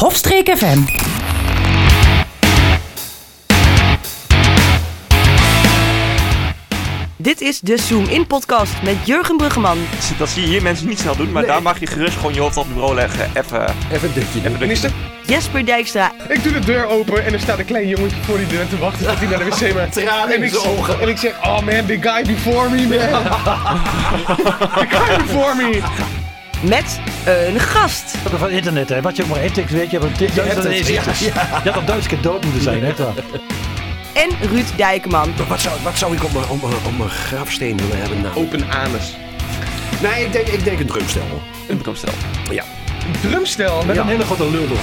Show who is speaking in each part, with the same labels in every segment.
Speaker 1: Hofstreek FM.
Speaker 2: Dit is de Zoom In Podcast met Jurgen Bruggeman.
Speaker 3: Dat zie je hier mensen niet snel doen, maar
Speaker 4: Nee.
Speaker 3: daar mag je gerust gewoon je hoofd op het bureau leggen. Even.
Speaker 4: Even een dukje doen.
Speaker 3: Minister?
Speaker 2: Jesper Dijkstra
Speaker 5: Ik doe de deur open en er staat een klein jongetje voor die deur te wachten tot hij naar de wc moet.
Speaker 4: Tranen
Speaker 5: en
Speaker 4: in
Speaker 5: ik,
Speaker 4: zijn ogen.
Speaker 5: en ik zeg, oh man, the guy before me, man. the guy before me.
Speaker 2: met een gast.
Speaker 6: Ook Van internet, hè. Wat je ook maar hebt, ik weet je, want dit je
Speaker 4: hebt het, ja,
Speaker 6: Je had al Duits keer dood moeten zijn, hè? toch?
Speaker 2: En Ruud Dijkman.
Speaker 4: Wat zou, wat zou ik op mijn, op, mijn- op mijn graafsteen willen hebben nou?
Speaker 5: Open anus.
Speaker 4: Nee, ik denk, ik denk een drumstel. hoor.
Speaker 3: Een drumstel.
Speaker 4: Ja.
Speaker 5: Drumstel. Met
Speaker 6: Een hele grote lul. hoor.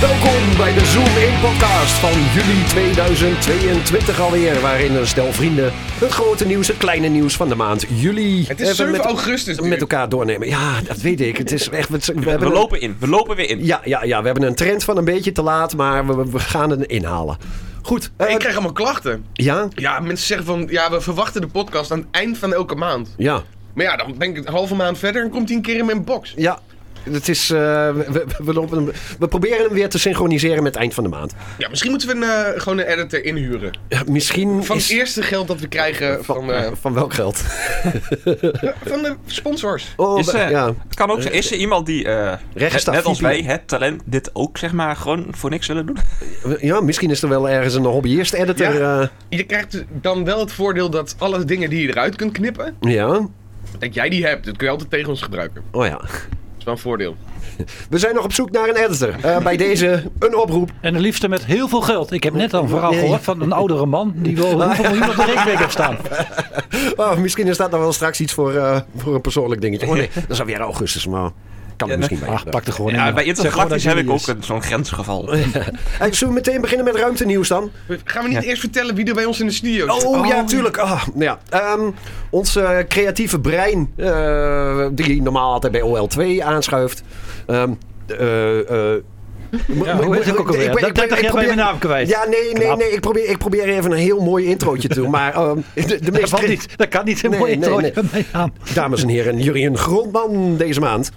Speaker 4: Welkom bij de Zoom In podcast van juli 2022 alweer. Waarin een stel vrienden het grote nieuws, het kleine nieuws van de maand juli.
Speaker 5: Het is 7 augustus nu.
Speaker 4: Met elkaar doornemen. Ja, dat weet ik. Het is echt, we,
Speaker 3: We,
Speaker 4: hebben
Speaker 3: lopen in, we lopen weer in.
Speaker 4: Een, ja, ja, ja, we hebben een trend van een beetje te laat, maar we, we- we gaan het inhalen. Goed. eh,
Speaker 5: Ik krijg allemaal klachten.
Speaker 4: Ja?
Speaker 5: Ja, mensen zeggen van, ja, we verwachten de podcast aan het eind van elke maand.
Speaker 4: Ja.
Speaker 5: Maar ja, dan denk ik een halve maand verder en komt hij een keer in mijn box.
Speaker 4: Ja. Het is, eh, we, we- we, lopen hem- we proberen hem weer te synchroniseren met het eind van de maand.
Speaker 5: Ja, misschien moeten we een, eh, gewoon een editor inhuren.
Speaker 4: Ja, misschien
Speaker 5: Van
Speaker 4: is...
Speaker 5: het eerste geld dat we krijgen
Speaker 4: Van,
Speaker 5: van, eh,
Speaker 4: van welk geld?
Speaker 5: van de sponsors.
Speaker 4: Oh,
Speaker 3: Is, eh,
Speaker 4: ja.
Speaker 3: Het kan ook zijn. Is er iemand die, eh, net,
Speaker 4: Rechtsstaat
Speaker 3: net als
Speaker 4: VP.
Speaker 3: wij, het talent, dit ook zeg maar gewoon voor niks willen doen?
Speaker 4: ja, misschien is er wel ergens een hobbyist-editor. eh,
Speaker 5: Ja.
Speaker 4: Ja.
Speaker 5: Je krijgt dan wel het voordeel dat alle dingen die je eruit kunt knippen,
Speaker 4: ja.
Speaker 5: dat jij die hebt. Dat kun je altijd tegen ons gebruiken.
Speaker 4: Oh ja.
Speaker 5: Dat is wel een voordeel.
Speaker 4: We zijn nog op zoek naar een editor. Eh, bij deze een oproep.
Speaker 6: En het liefste met heel veel geld. Ik heb net al een verhaal
Speaker 4: Nee.
Speaker 6: gehoord van een oudere man die wel hoeveel miljoen op de rekening heeft staan.
Speaker 4: Oh, misschien is dat dan wel straks iets voor, eh, voor een persoonlijk dingetje. Oh nee, dat is alweer augustus, maar kan er misschien bij.
Speaker 6: Ach, Ah, pak er gewoon in.
Speaker 3: Ja, bij Intergalactisch heb ik ook
Speaker 6: een.
Speaker 3: een- zo'n grensgeval.
Speaker 4: Eh, zullen we meteen beginnen met ruimtenieuws dan?
Speaker 5: Gaan we niet eerst vertellen wie er bij ons in de studio
Speaker 4: Oh,
Speaker 5: zit?
Speaker 4: ja, tuurlijk. Ah, nou ja. Ehm, ons eh, creatieve brein, eh, die normaal altijd bij OL2 aanschuift. Ehm, eh, eh,
Speaker 6: Ja, hoe heet ik ook alweer?
Speaker 4: ben-
Speaker 6: Dat- dat
Speaker 4: ben-
Speaker 6: dacht jij bij
Speaker 4: probeer-
Speaker 6: mijn naam kwijt.
Speaker 4: Ja, nee, nee,
Speaker 6: Knap.
Speaker 4: nee. Ik probeer, ik probeer even een heel mooi introotje te doen. Maar ehm, de, de
Speaker 6: Dat
Speaker 4: meest
Speaker 6: kan
Speaker 4: cre-
Speaker 6: niet. Dat kan niet. Een
Speaker 4: Nee,
Speaker 6: mooie
Speaker 4: nee,
Speaker 6: introotje
Speaker 4: nee.
Speaker 6: van mij aan.
Speaker 4: Dames en heren, Jurien Grondman deze maand.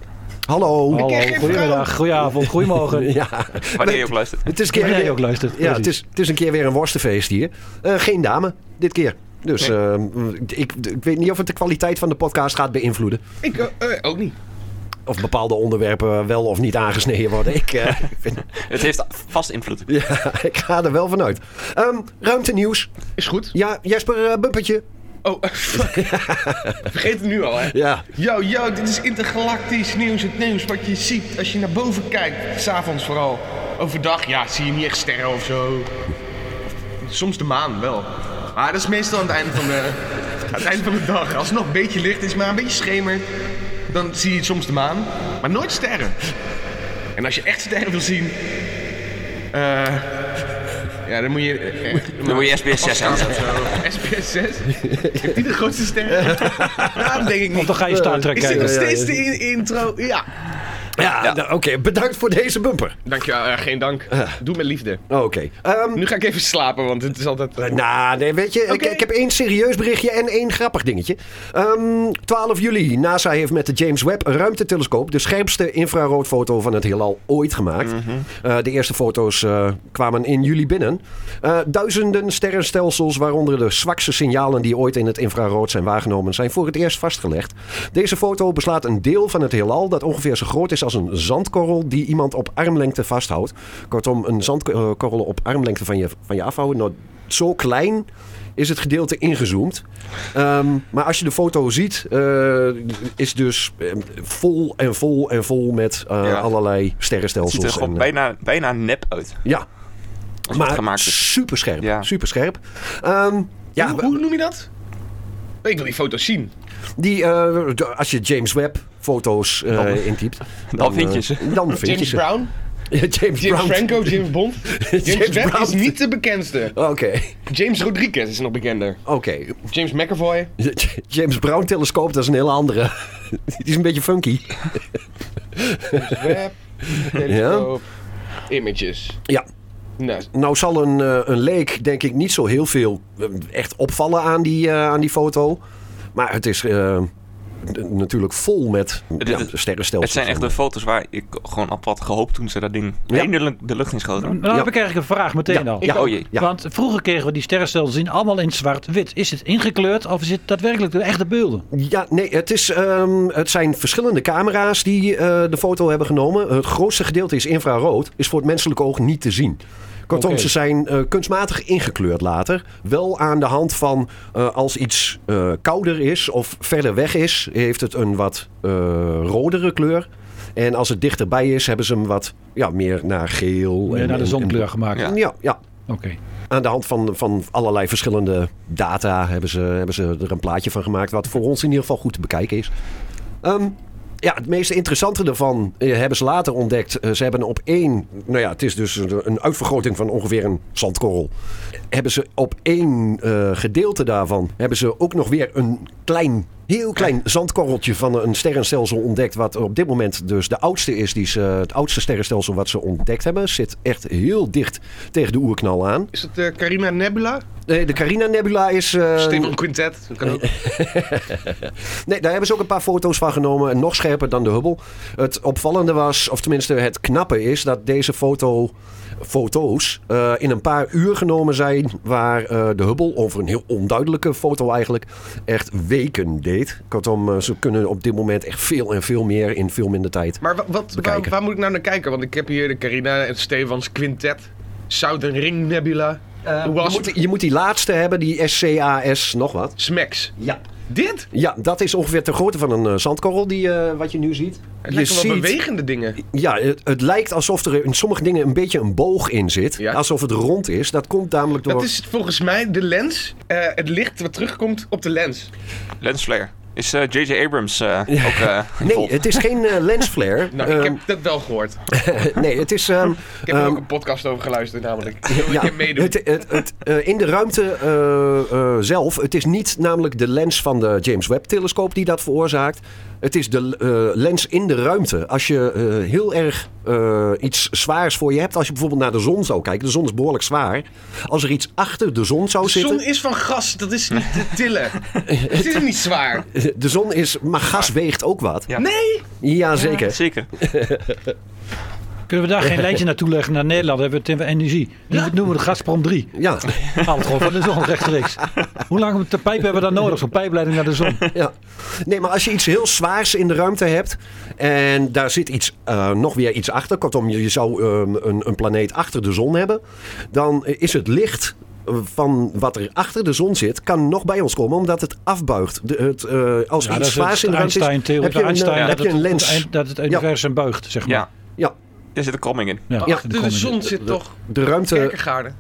Speaker 4: Hallo.
Speaker 6: Hallo,
Speaker 5: krijg geen
Speaker 6: goedemiddag, goedenavond, goedemorgen.
Speaker 4: Ja,
Speaker 3: Wanneer je ook luistert.
Speaker 4: het is een keer
Speaker 6: Wanneer je
Speaker 4: weer-
Speaker 6: ook luistert,
Speaker 4: Ja, het
Speaker 6: precies.
Speaker 4: is, het is een keer weer een worstenfeest hier. Eh, geen dame, dit keer. Dus ehm, ik, ik weet niet of het de kwaliteit van de podcast gaat beïnvloeden.
Speaker 5: Ik eh, eh, ook niet.
Speaker 4: Of bepaalde onderwerpen wel of niet aangesneden worden. Ik, eh,
Speaker 3: Het heeft vast invloed.
Speaker 4: ja, ik ga er wel vanuit. Ehm ruimte nieuws.
Speaker 5: Is goed.
Speaker 4: Ja, Jesper, eh, bumpertje.
Speaker 5: Oh, fuck. Vergeet het nu al, hè?
Speaker 4: Ja.
Speaker 5: Yo, yo, dit is intergalactisch nieuws. Het nieuws wat je ziet als je naar boven kijkt. S'avonds vooral. Overdag, ja, zie je niet echt sterren of zo. Soms de maan wel. Maar dat is meestal aan het einde van de, aan het einde van de dag. Als het nog een beetje licht is, maar een beetje schemert, dan zie je soms de maan. Maar nooit sterren. En als je echt sterren wil zien. eh, ja, dan moet je. eh,
Speaker 3: Dan moet je SBS 6 aan.
Speaker 5: SBS 6? Heeft die de grootste ster? nou, dat denk ik
Speaker 6: Of
Speaker 5: niet.
Speaker 6: dan ga je Star Trek
Speaker 5: Is dit nog
Speaker 6: kijken.
Speaker 5: steeds de in- intro? Ja.
Speaker 4: Ja, nou, oké. Bedankt voor deze bumper.
Speaker 5: Dankjewel, eh, geen dank. Doe met liefde.
Speaker 4: Oké. Ehm,
Speaker 5: Nu ga ik even slapen, want het is altijd...
Speaker 4: eh, nou, nee, weet je, ik,
Speaker 5: Oké.
Speaker 4: ik heb één serieus berichtje en één grappig dingetje. Ehm, 12 juli, NASA heeft met de James Webb ruimtetelescoop de scherpste infraroodfoto van het heelal ooit gemaakt. Eh, de eerste foto's eh, kwamen in juli binnen. Eh, duizenden sterrenstelsels, waaronder de zwakste signalen die ooit in het infrarood zijn waargenomen, zijn voor het eerst vastgelegd. Deze foto beslaat een deel van het heelal dat ongeveer zo groot is als een zandkorrel die iemand op armlengte vasthoudt. Kortom, een zandkorrel op armlengte van je, van je afhouden. Nou, zo klein is het gedeelte ingezoomd. Ehm, maar als je de foto ziet, eh, is dus eh, vol en vol en vol met eh,
Speaker 3: Ja.
Speaker 4: allerlei
Speaker 3: Het
Speaker 4: sterrenstelsels.
Speaker 3: ziet er
Speaker 4: en,
Speaker 3: gewoon
Speaker 4: eh,
Speaker 3: bijna, bijna nep uit.
Speaker 4: ja,
Speaker 3: Als het
Speaker 4: maar
Speaker 3: gemaakt is.
Speaker 4: super scherp.
Speaker 3: Ja.
Speaker 4: Super scherp. Ehm, ja,
Speaker 5: hoe, hoe noem je dat? Ik wil die foto's zien.
Speaker 4: die, eh, d- als je James Webb foto's eh,
Speaker 3: Dan-
Speaker 4: intypt. Dan,
Speaker 3: vind je
Speaker 4: eh,
Speaker 3: ze.
Speaker 4: Dan vind je
Speaker 5: James
Speaker 4: ze.
Speaker 5: Brown,
Speaker 4: James,
Speaker 5: James
Speaker 4: Brown.
Speaker 5: Franco, James Bond. James, Webb
Speaker 4: Brown.
Speaker 5: is niet de bekendste.
Speaker 4: Oké,
Speaker 5: James Rodriguez is nog bekender.
Speaker 4: oké.
Speaker 5: James McAvoy.
Speaker 4: James Brown telescoop, dat is een hele andere. Die is een beetje funky.
Speaker 5: Webb. telescoop, Images.
Speaker 4: Ja.
Speaker 5: Nee.
Speaker 4: Nou zal een, eh, een leek denk ik niet zo heel veel eh, echt opvallen aan die, eh, aan die foto. Maar het is eh, n- natuurlijk vol met
Speaker 3: Het-
Speaker 4: ja,
Speaker 3: het- Het
Speaker 4: sterrenstelsels.
Speaker 3: zijn echt de foto's waar ik gewoon op had gehoopt toen ze dat ding
Speaker 4: Ja.
Speaker 3: heen de, lu- de lucht in schoten.
Speaker 6: Nou
Speaker 4: Ja.
Speaker 6: heb ik eigenlijk een vraag meteen al.
Speaker 3: Ja, oh jee.
Speaker 4: Ja.
Speaker 6: Want vroeger kregen we die sterrenstelsels zien allemaal in zwart-wit. Is het ingekleurd of is het daadwerkelijk de echte beelden?
Speaker 4: Ja, nee, het, is, ehm, het zijn verschillende camera's die eh, de foto hebben genomen. Het grootste gedeelte is infrarood, is voor het menselijke oog niet te zien. Kortom,
Speaker 6: Oké.
Speaker 4: ze zijn eh, kunstmatig ingekleurd later. Wel aan de hand van eh, als iets eh, kouder is of verder weg is, heeft het een wat eh, rodere kleur. En als het dichterbij is, hebben ze hem wat ja, meer naar geel.
Speaker 6: Meer
Speaker 4: en,
Speaker 6: naar de
Speaker 4: en-
Speaker 6: zonkleur gemaakt.
Speaker 3: Ja.
Speaker 4: en- ja, ja,
Speaker 6: Oké.
Speaker 4: aan de hand van, van allerlei verschillende data hebben ze, hebben ze er een plaatje van gemaakt. Wat voor ons in ieder geval goed te bekijken is. Ehm, ja, het meest interessante ervan eh, hebben ze later ontdekt. Eh, ze hebben op één, nou ja, het is dus een een uitvergroting van ongeveer een zandkorrel. Hebben ze op één eh, gedeelte daarvan, hebben ze ook nog weer een klein, heel klein zandkorreltje van een sterrenstelsel ontdekt. Wat op dit moment dus de oudste is, die ze, het oudste sterrenstelsel wat ze ontdekt hebben. Zit echt heel dicht tegen de oerknal aan.
Speaker 5: Is het eh Carina Nebula?
Speaker 4: Nee, de Carina Nebula is. eh,
Speaker 5: Stefan Quintet. Dat kan ook.
Speaker 4: nee, daar hebben ze ook een paar foto's van genomen. En nog scherper dan de Hubble. Het opvallende was, of tenminste het knappe is, dat deze foto, foto's eh, in een paar uur genomen zijn. Waar eh, de Hubble, over een heel onduidelijke foto eigenlijk, echt weken deed. Kortom, eh, ze kunnen op dit moment echt veel en veel meer in veel minder tijd.
Speaker 5: Maar wa- wat, waar,
Speaker 4: Bekijken.
Speaker 5: waar moet ik nou naar kijken? Want ik heb hier de Carina en Stefans Quintet. Southern Ring Nebula.
Speaker 4: Eh, je,
Speaker 5: Wasp.
Speaker 4: moet, je moet die laatste hebben, die SCAS, nog wat.
Speaker 5: Smacks.
Speaker 4: Ja.
Speaker 5: Dit?
Speaker 4: Ja, dat is ongeveer de grootte van een eh, zandkorrel die, eh, wat je nu ziet.
Speaker 5: Het
Speaker 4: je
Speaker 5: lijken wel bewegende dingen.
Speaker 4: Ja, het, het lijkt alsof er in sommige dingen een beetje een boog in zit.
Speaker 5: Ja.
Speaker 4: Alsof het rond is. Dat komt namelijk door...
Speaker 5: Dat is volgens mij de lens. eh, het licht wat terugkomt op de lens.
Speaker 3: Lensflare. Is eh, J.J. Abrams eh, ook eh
Speaker 4: Nee,
Speaker 3: involved?
Speaker 4: het is geen eh, lensflare.
Speaker 5: Nou, ik
Speaker 4: Ehm,
Speaker 5: heb dat wel gehoord. Ik
Speaker 4: Nee, het is... ehm,
Speaker 5: heb er
Speaker 4: ehm,
Speaker 5: ook een podcast over geluisterd namelijk. Ik wil
Speaker 4: ja,
Speaker 5: ja, meedoen.
Speaker 4: het, het, het, eh, in de ruimte eh, eh, zelf, het is niet namelijk de lens van de James Webb-telescoop die dat veroorzaakt. Het is de eh, lens in de ruimte. Als je eh, heel erg eh, iets zwaars voor je hebt, als je bijvoorbeeld naar de zon zou kijken, de zon is behoorlijk zwaar. Als er iets achter de zon zou
Speaker 5: de
Speaker 4: zitten.
Speaker 5: zon is van gas, dat is niet te tillen. Het is niet zwaar.
Speaker 4: De zon is, maar gas weegt ook wat.
Speaker 3: Ja.
Speaker 5: Nee!
Speaker 4: Jazeker.
Speaker 3: Zeker.
Speaker 6: Kunnen we daar geen lijntje naarzetten? naartoe leggen naar Nederland? Dan hebben we het over energie. Die noemen we de Gazprom 3.
Speaker 4: Ja,
Speaker 6: Haal het gewoon van de zon rechtstreeks. Hoe lang te pijp hebben we dan nodig? Zo'n pijpleiding naar de zon.
Speaker 4: ja. Nee, maar als je iets heel zwaars in de ruimte hebt en daar zit iets, eh, nog weer iets achter, kortom, je, je zou ehm, een, een planeet achter de zon hebben, dan is het licht eh, van wat er achter de zon zit, kan nog bij ons komen, omdat het afbuigt. De, het, eh, als
Speaker 6: Ja, dat
Speaker 4: iets
Speaker 6: is het
Speaker 4: zwaars in de ruimte is,
Speaker 6: Einstein-theorie.
Speaker 4: heb je een, eh,
Speaker 6: Einstein
Speaker 4: heb
Speaker 6: dat
Speaker 4: je een
Speaker 6: het-
Speaker 4: lens.
Speaker 6: dat het universum buigt, zeg maar.
Speaker 3: Ja.
Speaker 4: Ja,
Speaker 3: Daar zit een kromming in.
Speaker 6: Ja,
Speaker 4: Ja.
Speaker 6: achter
Speaker 5: De,
Speaker 6: kom
Speaker 5: dus zon
Speaker 6: ik.
Speaker 5: zit toch...
Speaker 4: de ruimte...
Speaker 5: Kerkengaarden.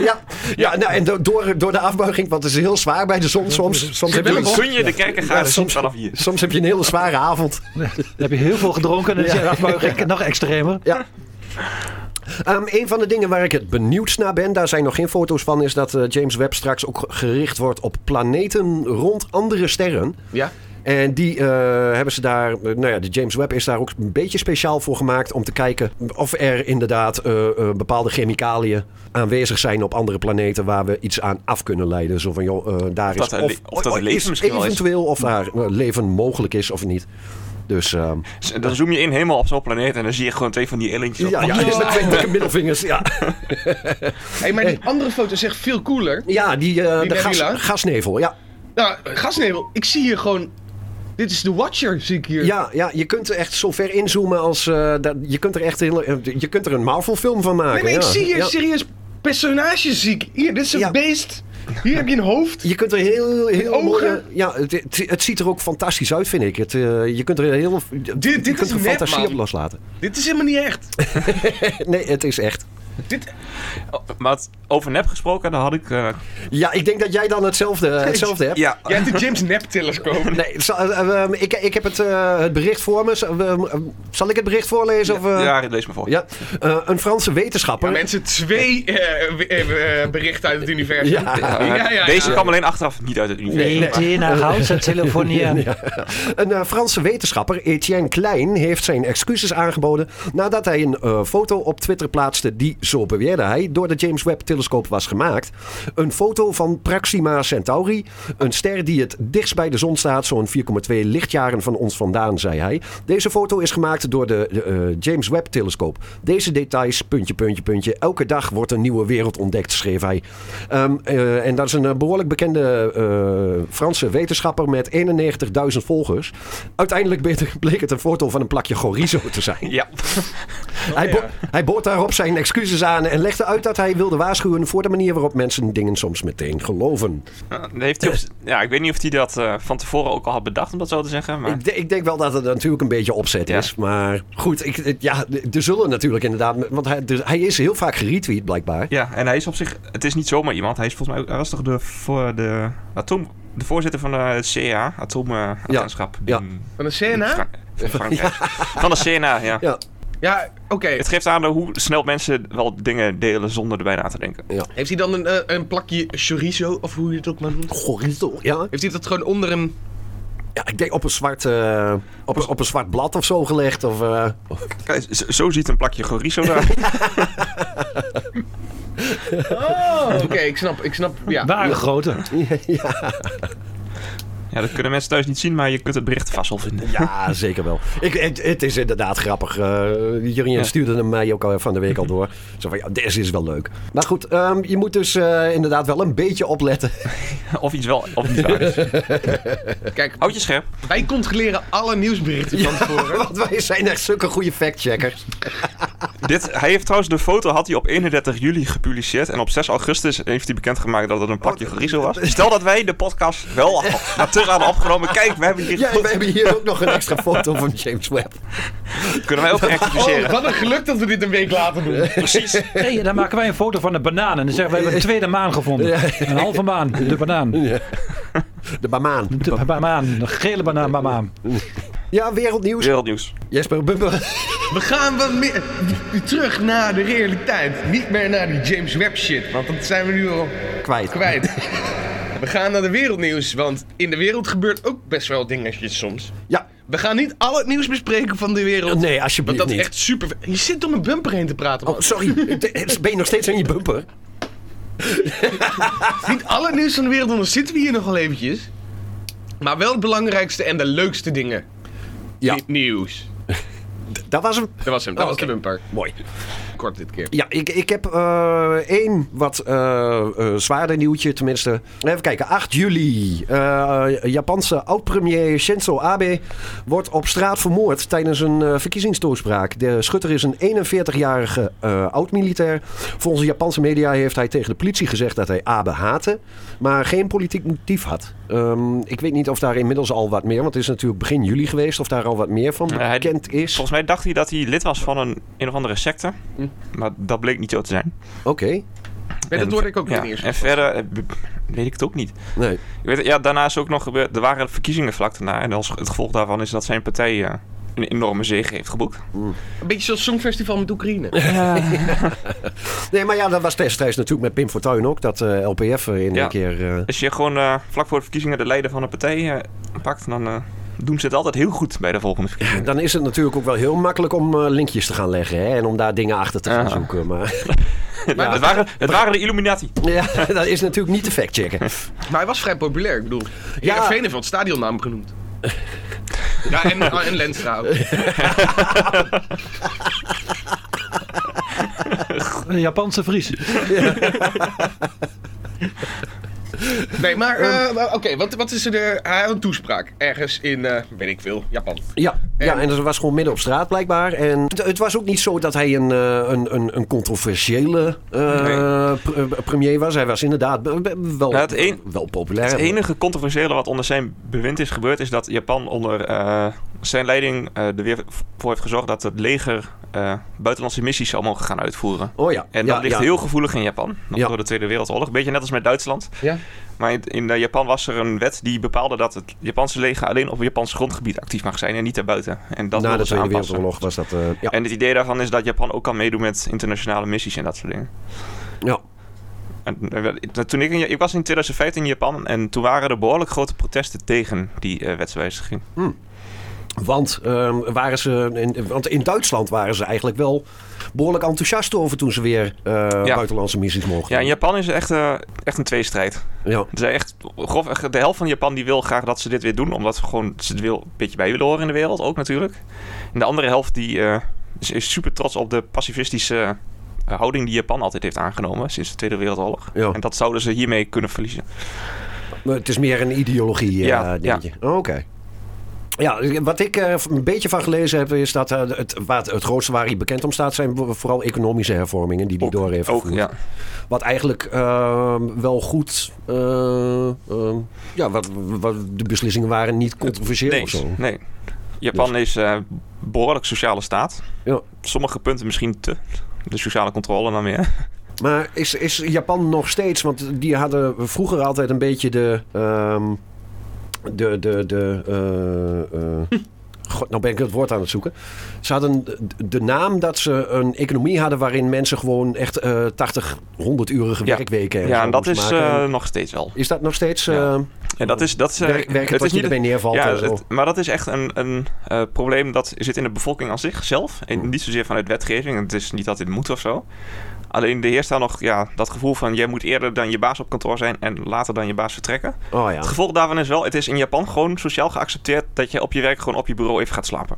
Speaker 4: Ja, ja nou, en do- door, door de afbuiging, want het is heel zwaar bij de zon soms. soms heb je-
Speaker 3: Kun je de kijker gaan
Speaker 4: Ja,
Speaker 3: soms
Speaker 4: soms-
Speaker 3: vanaf hier?
Speaker 4: Soms heb je een hele zware avond.
Speaker 6: Dan heb je heel veel gedronken en dan is je afbuiging nog extremer.
Speaker 4: Ja. Ehm, een van de dingen waar ik het benieuwd naar ben, daar zijn nog geen foto's van, is dat eh, James Webb straks ook gericht wordt op planeten rond andere sterren.
Speaker 5: Ja?
Speaker 4: En die eh, hebben ze daar, eh, nou ja, de James Webb is daar ook een beetje speciaal voor gemaakt om te kijken of er inderdaad eh, eh, bepaalde chemicaliën aanwezig zijn op andere planeten waar we iets aan af kunnen leiden. Zo van, joh, eh, daar
Speaker 3: dat
Speaker 4: is
Speaker 3: er le- of dat er leven
Speaker 4: is
Speaker 3: misschien wel is.
Speaker 4: eventueel of daar eh, leven mogelijk is of niet. Dus ehm,
Speaker 3: S- Dan zoom je in helemaal op zo'n planeet en dan zie je gewoon twee van die alientjes op.
Speaker 4: ja, ja, is dat twee dikke middelvingers. Ja.
Speaker 5: Hé, maar die andere foto is echt veel cooler.
Speaker 4: Ja, die, eh,
Speaker 5: Die
Speaker 4: de gas-
Speaker 5: nebula?
Speaker 4: gasnevel. Ja.
Speaker 5: Nou, gasnevel, ik zie hier gewoon... Dit is de Watcher, zie ik hier.
Speaker 4: Ja, ja, je kunt er echt zo ver inzoomen als... eh, dat, je, kunt er echt heel, eh, je kunt er een Marvel-film van maken.
Speaker 5: nee, maar ik
Speaker 4: ja.
Speaker 5: zie hier
Speaker 4: Ja.
Speaker 5: serieus personages zie ik. Hier, dit is een
Speaker 4: Ja.
Speaker 5: beest. Hier heb je een hoofd.
Speaker 4: Je kunt er heel... heel
Speaker 5: Ogen.
Speaker 4: mooie- ja, het, het, het ziet er ook fantastisch uit, vind ik. Het, eh, je kunt er heel... je
Speaker 5: dit
Speaker 4: kunt
Speaker 5: is
Speaker 4: er
Speaker 5: nep,
Speaker 4: fantasie
Speaker 5: man.
Speaker 4: op loslaten.
Speaker 5: Dit is helemaal niet echt.
Speaker 4: Nee, het is echt.
Speaker 5: Dit,
Speaker 3: Oh, maar het- over nep gesproken, dan had ik... eh,
Speaker 4: Ja, ik denk dat jij dan hetzelfde, hetzelfde hebt.
Speaker 3: ja,
Speaker 5: jij hebt de James Nep telescoop.
Speaker 4: Nee, zal- eh, ehm, ik, ik heb het, eh, het bericht voor me. Zal, ehm, ehm, zal ik het bericht voorlezen? Of, eh?
Speaker 3: ja, lees maar voor.
Speaker 4: Ja. Eh, een Franse wetenschapper.
Speaker 5: Ja, mensen, twee eh, we- eh, eh, berichten uit het universum.
Speaker 4: Ja.
Speaker 3: Eh,
Speaker 5: ja, ja.
Speaker 3: Deze kwam alleen achteraf niet uit het universum.
Speaker 6: Nee, nee. naar huis en telefonie.
Speaker 4: Ja. Een eh, Franse wetenschapper, Etienne Klein, heeft zijn excuses aangeboden nadat hij een eh, foto op Twitter plaatste die, zo beweerde hij, door de James Webb-telescoop was gemaakt. Een foto van Proxima Centauri, een ster die het dichtst bij de zon staat, zo'n 4,2 lichtjaren van ons vandaan, zei hij. Deze foto is gemaakt door de, de, eh, James Webb-telescoop. Deze details, puntje, puntje, puntje. Elke dag wordt een nieuwe wereld ontdekt, schreef hij. Ehm, eh, en dat is een eh, behoorlijk bekende eh, Franse wetenschapper met 91.000 volgers. Uiteindelijk bleek- bleek het een foto van een plakje chorizo te zijn.
Speaker 3: Ja.
Speaker 4: hij, bo- hij bood daarop zijn excuses aan en legde uit dat hij wilde waarschuwen voor de manier waarop mensen dingen soms meteen geloven.
Speaker 3: Eh, heeft hij op z- ja, ik weet niet of hij dat eh, van tevoren ook al had bedacht, om dat zo te zeggen. Maar...
Speaker 4: Ik, de- ik denk wel dat het natuurlijk een beetje opzet
Speaker 3: Ja.
Speaker 4: is. Maar goed, ik, ik- ja, er zullen natuurlijk inderdaad... Want hij, dus hij is heel vaak geretweet blijkbaar.
Speaker 3: Ja, en hij is op zich... Het is niet zomaar iemand. Hij is volgens mij... ook- Hij was toch de, voor de, atoom, de voorzitter van eh, de CA, atoomagentschap.
Speaker 4: Ja,
Speaker 5: Van de CNA?
Speaker 3: Van de CNA, ja.
Speaker 4: Ja,
Speaker 5: Ja, oké.
Speaker 3: Het geeft aan hoe snel mensen wel dingen delen zonder erbij na te denken.
Speaker 5: Heeft hij dan een, eh, een plakje chorizo, of hoe je het ook maar noemt?
Speaker 4: chorizo, ja.
Speaker 5: Heeft hij dat gewoon onder een...
Speaker 4: Ja, ik denk op een zwart, eh, op, een- op een zwart blad of zo gelegd. Of, eh,
Speaker 3: Kijk, z- zo ziet een plakje chorizo eruit.
Speaker 5: Oh, oké, ik snap, ik snap, ja.
Speaker 6: Ware grote.
Speaker 3: ja, dat kunnen mensen thuis niet zien, maar je kunt het bericht vast wel vinden.
Speaker 4: ja, zeker wel. Ik, het, het is inderdaad grappig. Eh Jurien stuurde hem mij ook al van de week al door. Zo van, ja, deze is wel leuk. Maar goed, ehm, je moet dus eh, inderdaad wel een beetje opletten.
Speaker 3: Of iets wel, of niet waar is.
Speaker 5: Kijk,
Speaker 3: Houd je scherp.
Speaker 5: wij controleren alle nieuwsberichten van tevoren.
Speaker 4: Want wij zijn echt zulke goede factcheckers.
Speaker 3: Dit, hij heeft trouwens de foto had hij op 31 juli gepubliceerd. En op 6 augustus heeft hij bekendgemaakt dat het een plakje chorizo was. Stel dat wij de podcast wel na terug hadden opgenomen. Kijk, we hebben hier
Speaker 4: Ja,
Speaker 3: goed.
Speaker 4: we hebben hier ook nog een extra foto van James Webb.
Speaker 3: Kunnen wij ook rectificeren.
Speaker 5: Oh, wat een geluk dat we dit een week later doen.
Speaker 3: Precies.
Speaker 6: Nee, dan maken wij een foto van de banaan. En dan zeggen we, we hebben een tweede maan gevonden. Een halve maan, de banaan.
Speaker 4: De Bamaan.
Speaker 6: De ba- banaan, de gele banaan, banaan.
Speaker 4: Ja, wereldnieuws.
Speaker 3: Wereldnieuws.
Speaker 4: Jesper Bumper.
Speaker 5: We gaan wat meer terug naar de realiteit. Niet meer naar die James Webb shit, want dat zijn we nu al
Speaker 4: Kwijt.
Speaker 5: kwijt. We gaan naar de wereldnieuws, want in de wereld gebeurt ook best wel dingetjes soms.
Speaker 4: Ja,
Speaker 5: We gaan niet al het nieuws bespreken van de wereld.
Speaker 4: nee,
Speaker 5: Want
Speaker 4: alsjeblieft
Speaker 5: dat is
Speaker 4: niet.
Speaker 5: echt super... Je zit om een bumper heen te praten, man.
Speaker 4: Oh, sorry. Ben je nog steeds aan je bumper?
Speaker 5: Niet al het nieuws van de wereld, want dan zitten we hier nog wel eventjes. Maar wel het belangrijkste en de leukste dingen.
Speaker 4: Ja,
Speaker 5: Ni- Nieuws.
Speaker 4: dat was hem.
Speaker 5: Dat was hem, dat
Speaker 4: Oh,
Speaker 5: was de
Speaker 4: oké.
Speaker 5: bumper.
Speaker 4: Mooi.
Speaker 5: Kort dit keer.
Speaker 4: Ja, ik, ik heb eh, één wat eh, eh, zwaarder nieuwtje, tenminste. Even kijken, 8 juli. Eh, Japanse oud-premier Shinzo Abe wordt op straat vermoord tijdens een eh, verkiezingstoespraak. De schutter is een 41-jarige eh, oud-militair. Volgens de Japanse media heeft hij tegen de politie gezegd dat hij Abe haatte, maar geen politiek motief had. Ehm, ik weet niet of daar inmiddels al wat meer, want het is natuurlijk begin juli geweest, of daar al wat meer van
Speaker 3: Ja, hij-
Speaker 4: bekend is.
Speaker 3: Volgens mij dacht hij dat hij lid was van een, een of andere secte. Maar dat bleek niet zo te zijn.
Speaker 4: Oké,
Speaker 5: Ja,
Speaker 3: En-
Speaker 5: dat hoorde ik ook
Speaker 3: ja,
Speaker 5: niet eerst.
Speaker 3: En verder eh, b- weet ik het ook niet.
Speaker 4: nee.
Speaker 3: Ik weet, ja, daarna is ook nog gebeurd. Er waren verkiezingen vlak daarna. En als het gevolg daarvan is dat zijn partij eh, een enorme zege heeft geboekt.
Speaker 5: Een beetje zoals Songfestival met Oekraïne.
Speaker 4: Nee, maar ja, dat was destijds natuurlijk met Pim Fortuyn ook. Dat eh, LPF in
Speaker 3: Ja.
Speaker 4: een keer... eh,
Speaker 3: Als je gewoon eh, vlak voor de verkiezingen de leider van een partij eh, pakt, dan eh, doen ze het altijd heel goed bij de volgende verkiezingen.
Speaker 4: dan is het natuurlijk ook wel heel makkelijk om eh, linkjes te gaan leggen. Hè, en om daar dingen achter te gaan
Speaker 3: Ja.
Speaker 4: zoeken. Maar
Speaker 3: Maar het, waren, het waren de Illuminati.
Speaker 4: ja, dat is natuurlijk niet te factchecken.
Speaker 5: Maar hij was vrij populair, ik bedoel.
Speaker 4: Ja.
Speaker 5: Ja. Veen heeft wel het stadionnaam genoemd. ja, en, en Lenstra ook.
Speaker 6: Een Japanse Vries.
Speaker 5: Nee, maar eh, oké, wat, wat is er... de- Hij had een toespraak ergens in, eh, weet ik veel, Japan.
Speaker 4: Ja, Ja, en dat was gewoon midden op straat blijkbaar. En het, het was ook niet zo dat hij een, eh, een, een, een controversiële eh,
Speaker 3: Nee.
Speaker 4: pr- eh, premier was. Hij was inderdaad be- be- wel,
Speaker 3: Nou, het een-
Speaker 4: wel populair.
Speaker 3: Het enige controversiële wat onder zijn bewind is gebeurd, is dat Japan onder eh, zijn leiding eh, er weer voor heeft gezorgd dat het leger eh, buitenlandse missies allemaal gaan uitvoeren.
Speaker 4: Oh ja.
Speaker 3: En
Speaker 4: ja,
Speaker 3: dat ligt
Speaker 4: ja.
Speaker 3: heel gevoelig in Japan, nog
Speaker 4: Ja.
Speaker 3: door de Tweede Wereldoorlog. Beetje net als met Duitsland.
Speaker 5: Ja.
Speaker 3: Maar in, in, eh, Japan was er een wet die bepaalde dat het Japanse leger alleen op Japans grondgebied actief mag zijn en niet daarbuiten. En dat
Speaker 4: Na de
Speaker 3: wilden ze
Speaker 4: Tweede
Speaker 3: aanpassen.
Speaker 4: Wereldoorlog was dat... eh, ja.
Speaker 3: En het idee daarvan is dat Japan ook kan meedoen met internationale missies en dat soort dingen.
Speaker 4: ja.
Speaker 3: En, eh, wel, toen ik, in Ja- ik was in 2015 in Japan en toen waren er behoorlijk grote protesten tegen die eh, wetswijziging.
Speaker 4: Want, ehm, waren ze in, want in Duitsland waren ze eigenlijk wel behoorlijk enthousiast over toen ze weer eh, buitenlandse missies mochten.
Speaker 3: Ja, in Japan is het echt, eh, echt een tweestrijd.
Speaker 4: ja.
Speaker 3: Er zijn echt, grof, de helft van Japan die wil graag dat ze dit weer doen, omdat ze gewoon ze het wil, een beetje bij willen horen in de wereld ook natuurlijk. En de andere helft die, eh, is, is super trots op de pacifistische eh, houding die Japan altijd heeft aangenomen sinds de Tweede Wereldoorlog.
Speaker 4: Ja.
Speaker 3: En dat zouden ze hiermee kunnen verliezen.
Speaker 4: Maar het is meer een ideologie, eh
Speaker 3: Ja,
Speaker 4: dingetje. Oh, Oké. Ja, wat ik er een beetje van gelezen heb, is dat eh, het, waar het, het grootste waar hij bekend om staat, zijn vooral economische hervormingen die hij door heeft
Speaker 3: Oh, Ook,
Speaker 4: gevoerd.
Speaker 3: ja.
Speaker 4: Wat eigenlijk ehm, wel goed, eh, ehm, ja, wat, wat de beslissingen waren niet controversieel
Speaker 3: Nee,
Speaker 4: of zo. Dus-
Speaker 3: nee. Japan is eh behoorlijk sociale staat.
Speaker 4: Ja.
Speaker 3: Sommige punten misschien te. De sociale controle dan weer.
Speaker 4: Maar is, is Japan nog steeds, want die hadden vroeger altijd een beetje de, ehm, de, de, de, eh, eh, god, nou ben ik het woord aan het zoeken. Ze hadden de- de naam dat ze een economie hadden waarin mensen gewoon echt eh 80, 100-urige
Speaker 3: Ja.
Speaker 4: werkweken en
Speaker 3: Ja,
Speaker 4: zo
Speaker 3: en dat
Speaker 4: moesten
Speaker 3: is
Speaker 4: maken.
Speaker 3: eh, nog steeds wel.
Speaker 4: is dat nog steeds
Speaker 3: Ja.
Speaker 4: eh
Speaker 3: En dat is, dat is, eh,
Speaker 4: werk, werken
Speaker 3: het
Speaker 4: tot
Speaker 3: is
Speaker 4: je
Speaker 3: niet
Speaker 4: erbij neervalt?
Speaker 3: Ja,
Speaker 4: en zo?
Speaker 3: het- maar dat is echt een, een eh, probleem dat zit in de bevolking aan zichzelf.
Speaker 4: Hm.
Speaker 3: En niet zozeer vanuit wetgeving. Het is niet dat dit moet of zo. Alleen er heerst daar nog ja, dat gevoel van... jij moet eerder dan je baas op kantoor zijn en later dan je baas vertrekken.
Speaker 4: oh ja.
Speaker 3: Het gevolg daarvan is wel... het is in Japan gewoon sociaal geaccepteerd... dat je op je werk gewoon op je bureau even gaat slapen.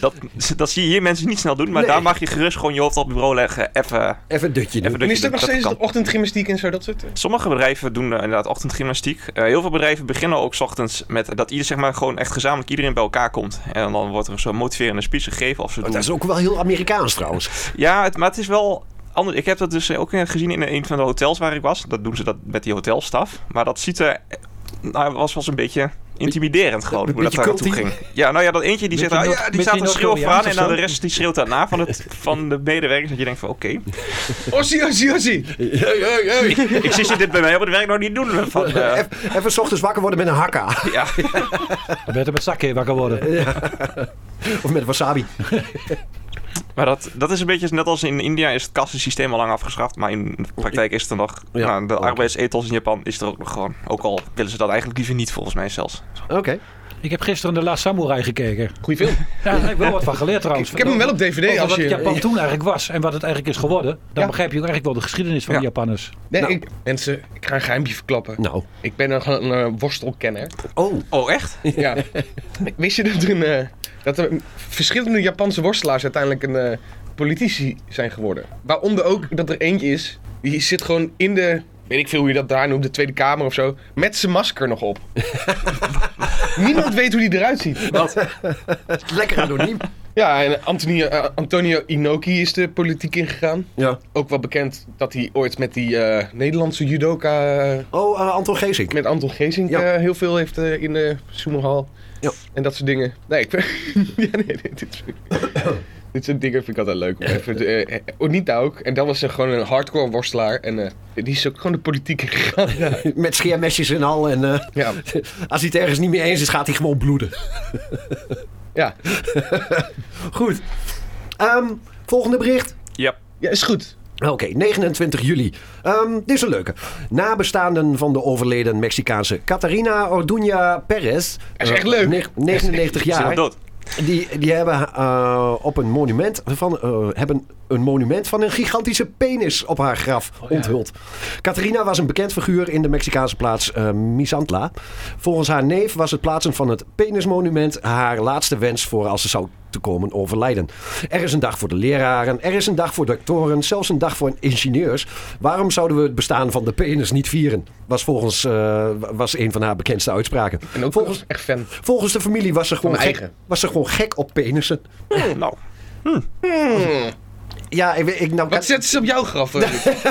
Speaker 3: dat, dat zie je hier mensen niet snel doen... maar
Speaker 4: Nee.
Speaker 3: daar mag je gerust gewoon je hoofd op het bureau leggen. Even...
Speaker 4: Even een dutje doen.
Speaker 3: even dat
Speaker 5: En is
Speaker 3: je
Speaker 5: dat nog
Speaker 3: dat
Speaker 5: steeds
Speaker 3: kan.
Speaker 5: de ochtendgymnastiek en zo, dat soort... eh?
Speaker 3: Sommige bedrijven doen eh, inderdaad ochtendgymnastiek. Eh, heel veel bedrijven beginnen ook 's ochtends met dat ieder, zeg maar, gewoon echt gezamenlijk iedereen bij elkaar komt. En dan wordt er zo'n motiverende speech gegeven. Of ze
Speaker 5: Oh,
Speaker 4: Maar
Speaker 3: doen.
Speaker 4: dat is ook wel heel Amerikaans trouwens.
Speaker 3: Ja, het, maar het is wel. Anders. Ik heb dat dus ook eh, gezien in een van de hotels waar ik was. Dat doen ze dat met die hotelstaf. Maar dat ziet er. eh, Nou, was wel eens een beetje intimiderend gewoon. Hoe dat
Speaker 4: beetje
Speaker 3: daar naartoe ging.
Speaker 4: culty.
Speaker 3: Ja, nou ja, dat eentje die
Speaker 6: Met
Speaker 3: zegt.
Speaker 6: die
Speaker 3: ah,
Speaker 6: Noord-
Speaker 3: ja, die
Speaker 6: met
Speaker 3: staat
Speaker 6: die
Speaker 3: een schreeuw
Speaker 6: Noord-Koreaans
Speaker 3: vooraan. En
Speaker 6: of
Speaker 3: dan de
Speaker 6: zo.
Speaker 3: rest die schreeuwt daarna van, het, van de medewerkers. Dat je denkt van oké.
Speaker 5: Ossie, ossie, ossie.
Speaker 3: Ik zie ze dit bij mij op het werk nog niet doen. Van, eh,
Speaker 4: Even, even 's ochtends wakker worden met een hakka.
Speaker 3: ja.
Speaker 6: Dan werd er met zakken wakker worden.
Speaker 4: Of met wasabi.
Speaker 3: Maar dat, dat is een beetje net als in India is het kassensysteem al lang afgeschaft. Maar in de praktijk is het er nog.
Speaker 4: Ja,
Speaker 3: nou, de
Speaker 4: oké.
Speaker 3: arbeidsethos in Japan is er ook nog gewoon. Ook al willen ze dat eigenlijk liever niet volgens mij zelfs.
Speaker 4: Oké.
Speaker 6: Ik heb gisteren de Last Samurai gekeken.
Speaker 5: Goeie film.
Speaker 6: Ja, daar heb ik wel wat van geleerd trouwens.
Speaker 5: Ik heb hem wel op
Speaker 6: Over
Speaker 5: DVD als
Speaker 6: Oh, wat
Speaker 5: je...
Speaker 6: Japan toen eigenlijk was en wat het eigenlijk is geworden. Dan
Speaker 5: Ja.
Speaker 6: begrijp je ook eigenlijk wel de geschiedenis van
Speaker 3: Ja.
Speaker 6: de Japanners.
Speaker 5: Nee,
Speaker 4: Nou.
Speaker 5: ik, mensen, ik ga een geheimje verklappen.
Speaker 4: Nou.
Speaker 5: Ik ben een, een eh, worstelkenner.
Speaker 4: Oh.
Speaker 3: Oh, echt?
Speaker 5: Ja. Wist je dat er, een, eh, dat er verschillende Japanse worstelaars uiteindelijk een eh, politici zijn geworden? Waaronder ook dat er eentje is, die zit gewoon in de, weet ik veel hoe je dat daar noemt, de Tweede Kamer of zo, met zijn masker nog op. Niemand weet hoe die eruit ziet.
Speaker 4: Lekker anoniem.
Speaker 5: Ja, en Antonio, eh, Antonio Inoki is de politiek ingegaan.
Speaker 4: Ja.
Speaker 5: Ook wel bekend dat hij ooit met die eh, Nederlandse judoka, eh,
Speaker 4: Oh, eh, Anton Geesink.
Speaker 5: met Anton Geesink,
Speaker 4: Ja.
Speaker 5: eh, heel veel heeft eh, in de Soemerhal.
Speaker 4: Ja.
Speaker 5: En dat soort dingen. Nee, ik ben... ja, nee, nee, dit, is... dit soort dingen vind ik altijd leuk. om Even, eh, eh, Onita ook. En dat was eh, gewoon een hardcore worstelaar. En eh, die is ook gewoon de politiek ingegaan. ja.
Speaker 4: Met scheermesjes en al. En eh,
Speaker 5: Ja.
Speaker 4: als hij het ergens niet mee eens is, gaat hij gewoon bloeden.
Speaker 5: ja.
Speaker 4: Goed. Ehm, volgende bericht.
Speaker 3: Ja.
Speaker 5: Ja, is goed.
Speaker 4: Oké, 29 juli. Ehm, dit is een leuke. Nabestaanden van de overleden Mexicaanse Catarina Orduña Perez.
Speaker 5: is
Speaker 4: eh,
Speaker 5: echt leuk.
Speaker 4: neg- 99
Speaker 3: Is hij
Speaker 4: jaar.
Speaker 3: nog dood?
Speaker 4: Die, die hebben, eh, op een monument van, eh, hebben een monument van een gigantische penis op haar graf
Speaker 5: Oh
Speaker 4: onthuld. Catharina was een bekend figuur in de Mexicaanse plaats eh Misantla. Volgens haar neef was het plaatsen van het penismonument haar laatste wens voor als ze zou te komen overlijden. Er is een dag voor de leraren, er is een dag voor doktoren, zelfs een dag voor ingenieurs. Waarom zouden we het bestaan van de penis niet vieren? Was volgens eh, was een van haar bekendste uitspraken.
Speaker 5: En ook
Speaker 4: volgens,
Speaker 5: volgens echt fan.
Speaker 4: volgens de familie was ze, gewoon
Speaker 5: mijn
Speaker 4: gek,
Speaker 5: eigen.
Speaker 4: was ze gewoon gek op penissen.
Speaker 3: Nou,
Speaker 4: Ja, ik, weet- ik, nou,
Speaker 5: Wat zetten ze op jouw graf? eh?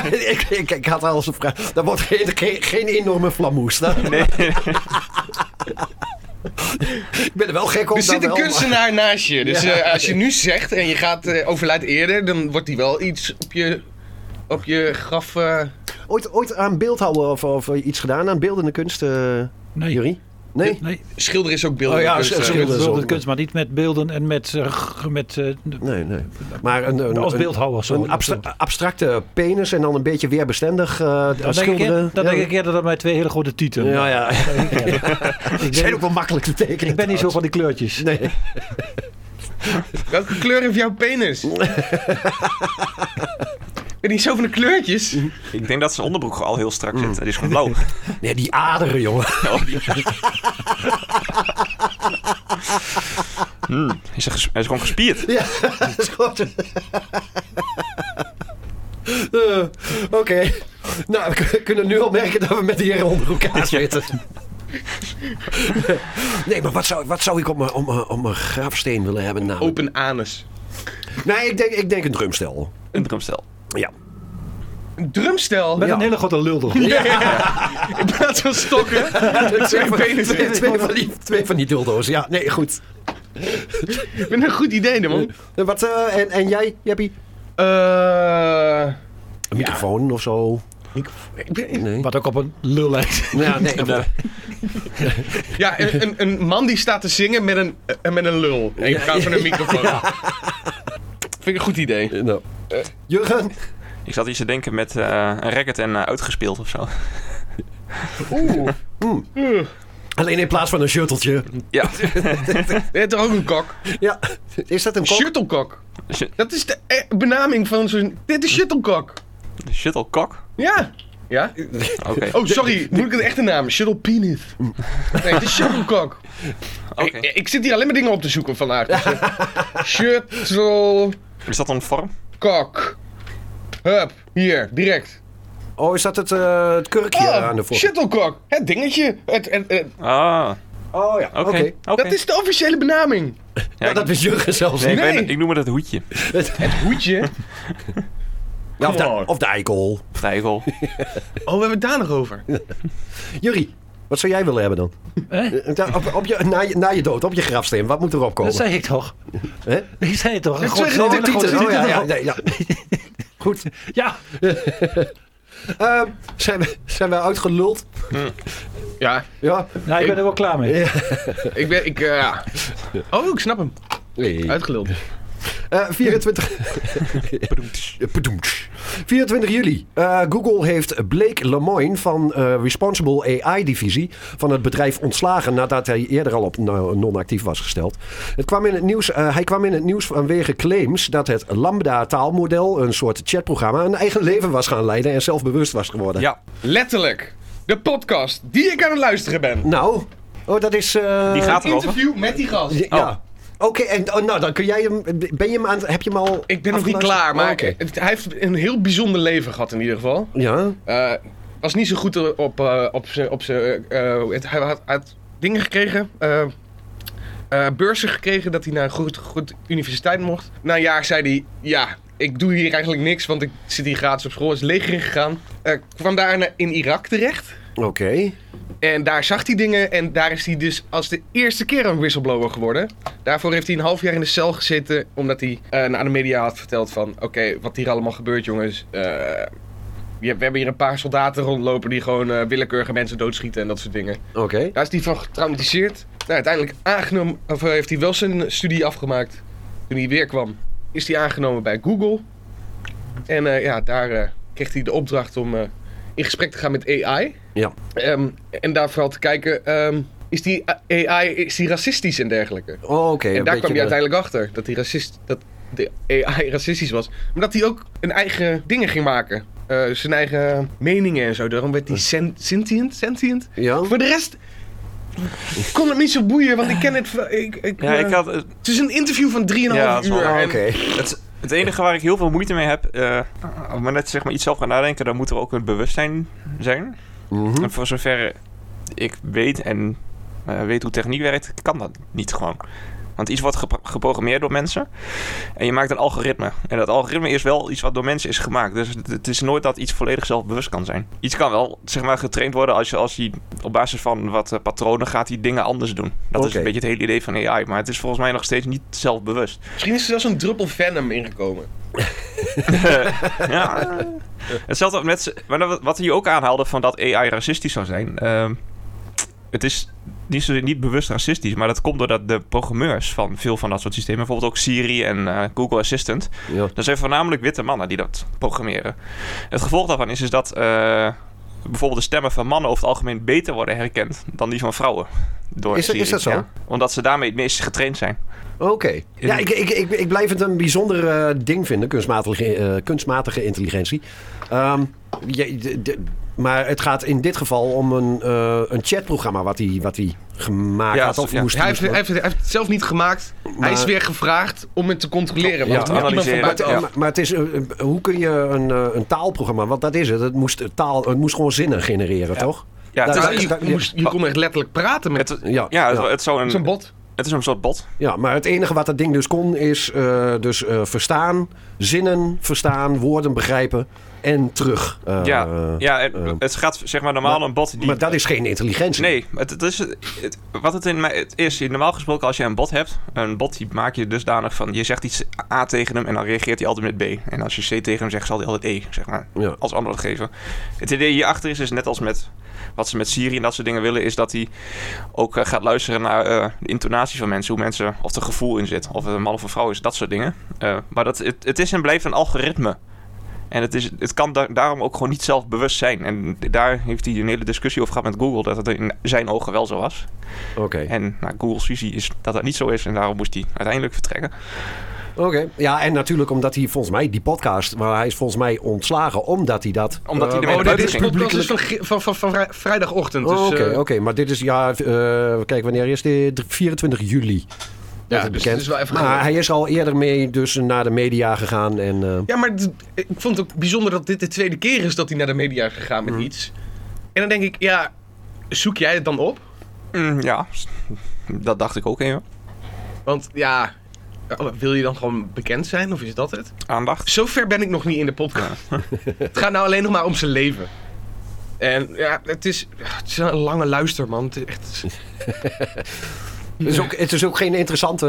Speaker 5: Ruud?
Speaker 4: ik, ik, ik had al eens een vraag. Dat wordt geen, geen, geen enorme flamoes. hè?
Speaker 3: nee.
Speaker 4: Ik ben er wel gek op.
Speaker 5: Er zit
Speaker 4: dan
Speaker 5: een
Speaker 4: wel, maar-
Speaker 5: kunstenaar naast je. Dus
Speaker 4: Ja.
Speaker 5: eh, als je nu zegt en je gaat eh, overlijdt eerder, dan wordt hij wel iets op je, op je graf. eh,
Speaker 4: Ooit, ooit aan beeldhouden of, of iets gedaan aan beeldende kunst, eh
Speaker 6: Nee.
Speaker 4: Jury? Nee?
Speaker 6: Nee,
Speaker 5: schilder is ook beelden.
Speaker 4: Oh ja,
Speaker 5: dus, eh,
Speaker 4: schilder.
Speaker 6: dat
Speaker 4: is ook-
Speaker 6: kunst, maar niet met beelden en met, eh, g- met eh,
Speaker 4: Nee, nee. Maar een, een,
Speaker 6: als
Speaker 4: een-
Speaker 6: beeldhouwer. Zo,
Speaker 4: Een abstra- abstracte penis en dan een beetje weerbeständig eh
Speaker 6: dan denk, ik,
Speaker 4: schilderen.
Speaker 6: eer- dan
Speaker 4: ja.
Speaker 6: denk ik eerder dat mij twee hele grote tieten.
Speaker 4: Ja, ja.
Speaker 6: Ik
Speaker 4: Zijn
Speaker 6: ben,
Speaker 4: ook wel makkelijk te tekenen.
Speaker 6: ik ben niet zo van die kleurtjes.
Speaker 4: trouwens. Nee.
Speaker 5: Welke kleur heeft jouw penis? ik ben niet zo van de kleurtjes.
Speaker 3: Ik denk dat zijn onderbroek al heel strak zit. Het is gewoon blauw.
Speaker 4: nee, die aderen, jongen.
Speaker 3: Oh, die- Hmm, hij is, ges- hij is gewoon gespierd.
Speaker 4: Ja, dat is goed. Eh, Oké. Nou, we k- kunnen nu al merken dat we met die heren onder elkaar zitten. Nee, maar wat zou, wat zou ik op mijn, op, mijn, op mijn graafsteen willen hebben? Nou,
Speaker 5: Open anus.
Speaker 4: Nee, ik denk, ik denk een drumstel.
Speaker 3: Een drumstel.
Speaker 4: Ja.
Speaker 5: Een drumstel.
Speaker 6: Met
Speaker 4: Ja.
Speaker 6: een hele grote lul erop.
Speaker 5: In plaats van stokken.
Speaker 4: Twee,
Speaker 5: van-
Speaker 4: twee, twee van die, twee van die dildo's. Ja, nee, goed.
Speaker 5: Ik vind het een goed idee, hè, man.
Speaker 4: Eh, Wat, eh, en, en jij, Jeppie?
Speaker 5: Eh,
Speaker 4: Een microfoon of zo?
Speaker 5: ik ben-
Speaker 4: Nee.
Speaker 6: Wat ook op een lul lijkt.
Speaker 4: Ja, nee. goed.
Speaker 5: ja, een, een, een man die staat te zingen met een, eh, met een lul. En je gaat van een microfoon. Vind ik een goed idee.
Speaker 4: Eh, nou. Eh, Jurgen?
Speaker 3: Ik zat iets te denken met eh, een racket en eh, uitgespeeld of zo.
Speaker 5: Oeh.
Speaker 4: Alleen in plaats van een shutteltje.
Speaker 3: Ja,
Speaker 5: Je hebt toch ook een kok?
Speaker 4: Ja. Is dat een kok?
Speaker 5: Shuttlecock.
Speaker 3: Sh-
Speaker 5: Dat is de eh, benaming van zo'n... Dit is shuttlecock.
Speaker 3: shuttlecock.
Speaker 5: Ja. Ja?
Speaker 3: Oké.
Speaker 5: Oh, sorry. Moet ik een echte naam? Shuttle penis. Nee, het is shuttlecock.
Speaker 3: Oké.
Speaker 5: Ik, ik zit hier alleen maar dingen op te zoeken vandaag. Dus, eh, shuttlecock.
Speaker 3: Is dat een vorm?
Speaker 5: Hup. Hier. Direct.
Speaker 4: Oh, is dat het, eh, het kurkje
Speaker 5: Oh,
Speaker 4: aan de voorkant?
Speaker 5: shuttlecock. Het dingetje. Het, het, het-
Speaker 3: Ah,
Speaker 4: Oh ja, oké.
Speaker 3: oké. oké.
Speaker 5: Dat is de officiële benaming.
Speaker 3: Ja,
Speaker 4: Ja, dat wist Jurgen zelfs
Speaker 3: Nee,
Speaker 4: niet.
Speaker 3: ik, weet
Speaker 5: Nee.
Speaker 3: het, ik noem het het hoedje.
Speaker 5: Hoedje.
Speaker 4: Ja, of,
Speaker 5: Come
Speaker 4: de,
Speaker 5: on.
Speaker 4: of de eikel.
Speaker 3: Vrijgel.
Speaker 5: Oh, we hebben het daar nog over.
Speaker 4: Jurrie, wat zou jij willen hebben dan?
Speaker 6: Hè?
Speaker 4: Eh, nou, Op, op je, na, je, na je dood, op je grafsteen, wat moet erop komen?
Speaker 6: Dat zei ik toch?
Speaker 4: Hè?
Speaker 6: Ik zei het toch? Een
Speaker 5: Dit
Speaker 6: grote-
Speaker 5: zijn de
Speaker 6: een grote
Speaker 4: Tieten,
Speaker 6: tieten
Speaker 4: oh, ja, ja,
Speaker 6: erop.
Speaker 4: ja, ja. Goed.
Speaker 6: Ja,
Speaker 4: Ehm, zijn, we, zijn we uitgeluld?
Speaker 5: Ja,
Speaker 4: Ja.
Speaker 6: nou, ik ben er wel klaar mee.
Speaker 5: ik ben... Ik, eh, ja. Oh, ik snap hem.
Speaker 4: Nee.
Speaker 5: Uitgeluld.
Speaker 4: Eh, 24... Bedoemtsch. 24 juli. Eh, Google heeft Blake Lemoine van eh, Responsible AI-divisie van het bedrijf ontslagen nadat hij eerder al op no- non-actief was gesteld. Het kwam in het nieuws, eh, hij kwam in het nieuws vanwege claims dat het Lambda-taalmodel, een soort chatprogramma, een eigen leven was gaan leiden en zelfbewust was geworden.
Speaker 3: Ja,
Speaker 5: Letterlijk. De podcast die ik aan het luisteren ben.
Speaker 4: Nou, oh, dat is... eh,
Speaker 3: die gaat
Speaker 5: Een
Speaker 3: erover.
Speaker 5: interview met die gast.
Speaker 4: Ja. Oké, en oh, nou, dan kun jij hem. Ben je hem aan, heb je hem al.
Speaker 5: Ik ben nog niet
Speaker 4: afgeluisterd?
Speaker 5: klaar, maar
Speaker 4: Oh, oké.
Speaker 5: het- hij heeft een heel bijzonder leven gehad in ieder geval.
Speaker 4: Ja.
Speaker 5: Eh, was niet zo goed op, eh, op zijn... Op zijn, eh, eh, het- hij had, had dingen gekregen. eh, eh, beurzen gekregen dat hij naar een goed, goed universiteit mocht. Na een jaar zei hij, ja, ik doe hier eigenlijk niks, want ik zit hier gratis op school. Is leger ingegaan. Eh kwam daarna in Irak terecht.
Speaker 4: Oké.
Speaker 5: En daar zag hij dingen en daar is hij dus als de eerste keer een whistleblower geworden. Daarvoor heeft hij een half jaar in de cel gezeten omdat hij eh, aan de media had verteld van... Oké, wat hier allemaal gebeurt jongens. eh, je- we hebben hier een paar soldaten rondlopen die gewoon eh, willekeurige mensen doodschieten en dat soort dingen.
Speaker 4: Oké.
Speaker 5: Daar is hij van getraumatiseerd. Nou, uiteindelijk aangenomen, of eh, heeft hij wel zijn studie afgemaakt. Toen hij weer kwam, is hij aangenomen bij Google. En eh, ja, daar eh, kreeg hij de opdracht om eh, in gesprek te gaan met AI.
Speaker 4: Ja.
Speaker 5: Ehm, en daar vooral te kijken, ehm, is die AI is die racistisch en dergelijke?
Speaker 4: Oh, oké.
Speaker 5: en daar
Speaker 4: een beetje
Speaker 5: kwam hij
Speaker 4: de-
Speaker 5: uiteindelijk achter, dat, die racist, dat de AI racistisch was. Maar dat hij ook een eigen dingen ging maken. Eh,
Speaker 4: Hm.
Speaker 5: zijn eigen meningen en zo. Daarom werd hij sen- sentient, sentient.
Speaker 4: Ja?
Speaker 5: Voor de rest Ik kon het niet zo boeien, want ik ken het... van- Ik, ik,
Speaker 3: Ja,
Speaker 5: eh,
Speaker 3: ik had, het-
Speaker 5: Het is een interview van 3,5
Speaker 3: Ja, dat is wel-
Speaker 5: uur.
Speaker 4: Oh,
Speaker 3: Ah,
Speaker 5: en-
Speaker 3: het, het enige waar ik heel veel moeite mee heb, eh als maar net zeg maar iets zelf gaan nadenken, dan moet er ook een bewustzijn zijn.
Speaker 4: Mhm.
Speaker 3: En voor zover ik weet en eh, weet hoe techniek werkt, kan dat niet gewoon. Want iets wordt gepro- geprogrammeerd door mensen en je maakt een algoritme. En dat algoritme is wel iets wat door mensen is gemaakt. Dus het- het is nooit dat iets volledig zelfbewust kan zijn. Iets kan wel zeg maar, getraind worden als je, als je op basis van wat eh, patronen gaat, die dingen anders doen. Dat is
Speaker 4: Oké.
Speaker 3: een beetje het hele idee van AI, maar het is volgens mij nog steeds niet zelfbewust.
Speaker 5: Misschien is er zelfs een druppel Venom ingekomen.
Speaker 3: ja. Hetzelfde met z'n- maar dan- wat hij ook aanhaalde van dat AI racistisch zou zijn. Ehm, het is niet, zo, niet bewust racistisch, maar dat komt doordat de programmeurs van veel van dat soort systemen, bijvoorbeeld ook Siri en eh, Google Assistant,
Speaker 4: Ja.
Speaker 3: dat zijn voornamelijk witte mannen die dat programmeren. Het gevolg daarvan is, is dat eh, bijvoorbeeld de stemmen van mannen over het algemeen beter worden herkend dan die van vrouwen. Door
Speaker 4: Is dat-
Speaker 3: Siri,
Speaker 4: is dat zo?
Speaker 3: ja. Omdat ze daarmee het meest getraind zijn.
Speaker 4: Oké. Ja, ik, ik, ik, ik blijf het een bijzonder eh, ding vinden, kunstmatige, eh, kunstmatige intelligentie. Ehm, je- de- de- maar het gaat in dit geval om een, eh, een chatprogramma wat hij wat hij gemaakt
Speaker 3: Ja,
Speaker 4: had of
Speaker 3: ja.
Speaker 4: moest
Speaker 5: Hij heeft,
Speaker 4: moest-
Speaker 5: hij, heeft, hij heeft het zelf niet gemaakt. hij is weer gevraagd om het te controleren.
Speaker 4: Ja,
Speaker 5: Want
Speaker 4: te
Speaker 5: ja, iemand van
Speaker 3: analyseren.
Speaker 5: buiten
Speaker 4: Maar, maar het is, eh, eh, hoe kun je een, eh, een taalprogramma, want dat is het, het moest, taal, het moest gewoon zinnen genereren, toch?
Speaker 3: Ja, het is,
Speaker 4: Dat-
Speaker 5: Ja,
Speaker 4: dat-
Speaker 5: je,
Speaker 4: dat-
Speaker 5: moest- je kon echt letterlijk praten met
Speaker 3: het,
Speaker 4: Ja,
Speaker 3: ja, het,
Speaker 4: ja.
Speaker 3: het zou een,
Speaker 5: zo'n bot.
Speaker 3: het is een soort bot.
Speaker 4: Ja, maar het enige wat dat ding dus kon is eh, dus eh, verstaan, zinnen verstaan, woorden begrijpen en terug. Eh,
Speaker 3: Ja, ja het,
Speaker 4: eh,
Speaker 3: het gaat zeg maar normaal
Speaker 4: maar-
Speaker 3: een bot die...
Speaker 4: Maar dat is geen intelligentie.
Speaker 3: Nee, het, het is, het- wat het in mij het is, normaal gesproken als je een bot hebt, een bot die maak je dusdanig van, je zegt iets A tegen hem en dan reageert hij altijd met B. En als je C tegen hem zegt, zal hij altijd E, zeg maar,
Speaker 4: Ja.
Speaker 3: als antwoord geven. Het idee hierachter is, is net als met wat ze met Siri en dat soort dingen willen, is dat hij ook eh, gaat luisteren naar eh, de intonatie van mensen, hoe mensen, of er gevoel in zit, of het een man of een vrouw is, dat soort dingen. Eh, maar dat, het, het is en blijft een algoritme. En het, is, het kan da- daarom ook gewoon niet zelfbewust zijn. En daar heeft hij een hele discussie over gehad met Google, dat het in zijn ogen wel zo was.
Speaker 4: Oké.
Speaker 3: En nou, Google's visie is dat dat niet zo is en daarom moest hij uiteindelijk vertrekken.
Speaker 4: Oké. Ja, en natuurlijk omdat hij volgens mij die podcast, maar hij is volgens mij ontslagen omdat hij dat.
Speaker 3: Omdat hij
Speaker 4: eh,
Speaker 3: ermee
Speaker 5: Oh,
Speaker 3: naar
Speaker 5: dit
Speaker 3: buiten
Speaker 5: is
Speaker 3: ging.
Speaker 5: podcast is van, gi- van, van, van vrij- vrijdagochtend.
Speaker 4: Oké,
Speaker 5: Dus,
Speaker 4: oké,
Speaker 5: eh,
Speaker 4: maar dit is ja, eh, kijk, wanneer is dit? 24 juli.
Speaker 5: Ja,
Speaker 4: is
Speaker 5: dus
Speaker 4: bekend.
Speaker 5: het is wel even
Speaker 4: maar
Speaker 5: geleden.
Speaker 4: hij is al eerder mee dus naar de media gegaan en. eh,
Speaker 5: Ja, maar d- ik vond het ook bijzonder dat dit de tweede keer is dat hij naar de media is gegaan met iets. En dan denk ik, ja, zoek jij het dan op?
Speaker 3: Mm, ja, dat dacht ik ook even.
Speaker 5: Want ja, eh, wil je dan gewoon bekend zijn of is dat het?
Speaker 3: Aandacht.
Speaker 5: Zo ver ben ik nog niet in de podcast. het gaat nou alleen nog maar om zijn leven. En ja, het is, het is een lange luister, man. Het is echt,
Speaker 4: het, is ook, het is ook geen interessante.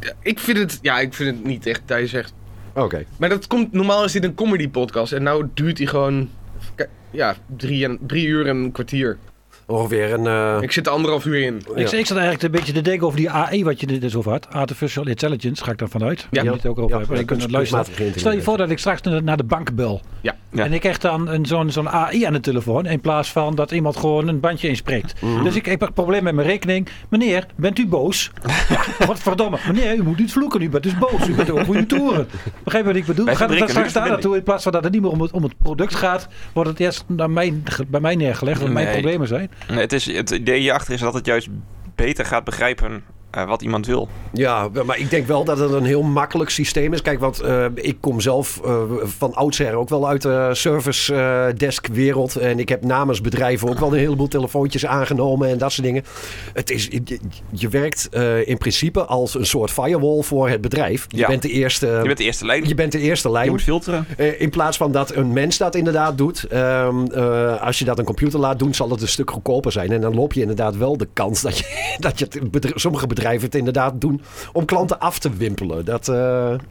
Speaker 4: eh,
Speaker 5: ik, vind het, ja, ik vind het niet echt, dat je zegt.
Speaker 4: Oké.
Speaker 5: Maar dat komt, normaal is dit een comedy podcast. En nou duurt hij gewoon, kijk, ja, drie, en, drie uur en een kwartier.
Speaker 4: Ongeveer een. eh,
Speaker 5: Ik zit er anderhalf uur in.
Speaker 6: Ik,
Speaker 4: Ja.
Speaker 6: ik zat eigenlijk een beetje te denken over die AI, wat je er dus over had. Artificial Intelligence, ga ik daarvan uit.
Speaker 5: Ja.
Speaker 6: Ja. Je het ook over
Speaker 4: Ja,
Speaker 6: hebben.
Speaker 4: ja,
Speaker 6: Ik kan het
Speaker 4: kunst-
Speaker 6: luisteren.
Speaker 4: kunstmatige
Speaker 6: Stel je voor dat ik straks naar de- naar de bank bel.
Speaker 5: Ja.
Speaker 3: Ja.
Speaker 6: En ik krijg dan een, zo'n, zo'n AI aan de telefoon. In plaats van dat iemand gewoon een bandje inspreekt. Dus ik, ik heb een probleem met mijn rekening. Meneer, bent u boos? ja, wat verdomme. Meneer, u moet niet vloeken. U bent dus boos. U bent over uw toeren. Begrijp je wat ik bedoel?
Speaker 3: Wij
Speaker 6: Gaat het dan
Speaker 3: verbreken
Speaker 6: straks
Speaker 3: nu de
Speaker 6: daar naartoe? In plaats van dat het niet meer om het, om het product gaat, wordt het eerst naar mij, ge- bij mij neergelegd. Wat mijn
Speaker 3: Nee.
Speaker 6: problemen zijn.
Speaker 3: Nee, het, is, het idee hierachter is dat het juist beter gaat begrijpen eh, wat iemand wil.
Speaker 4: Ja, maar ik denk wel dat het een heel makkelijk systeem is. Kijk, want eh, ik kom zelf eh, van oudsher ook wel uit de service eh, desk wereld. En ik heb namens bedrijven ook wel een heleboel telefoontjes aangenomen en dat soort dingen. Het is, je, je werkt eh, in principe als een soort firewall voor het bedrijf. Je
Speaker 3: Ja.
Speaker 4: bent de eerste...
Speaker 3: Je bent de eerste lijn.
Speaker 4: je
Speaker 3: Je,
Speaker 4: bent de eerste lijn.
Speaker 3: moet filteren.
Speaker 4: Eh, In plaats van dat een mens dat inderdaad doet, ehm, eh, als je dat een computer laat doen, zal het een stuk goedkoper zijn. En dan loop je inderdaad wel de kans dat, je, dat je het bedr- sommige bedrijven het inderdaad doen om klanten af te wimpelen. Dat, eh,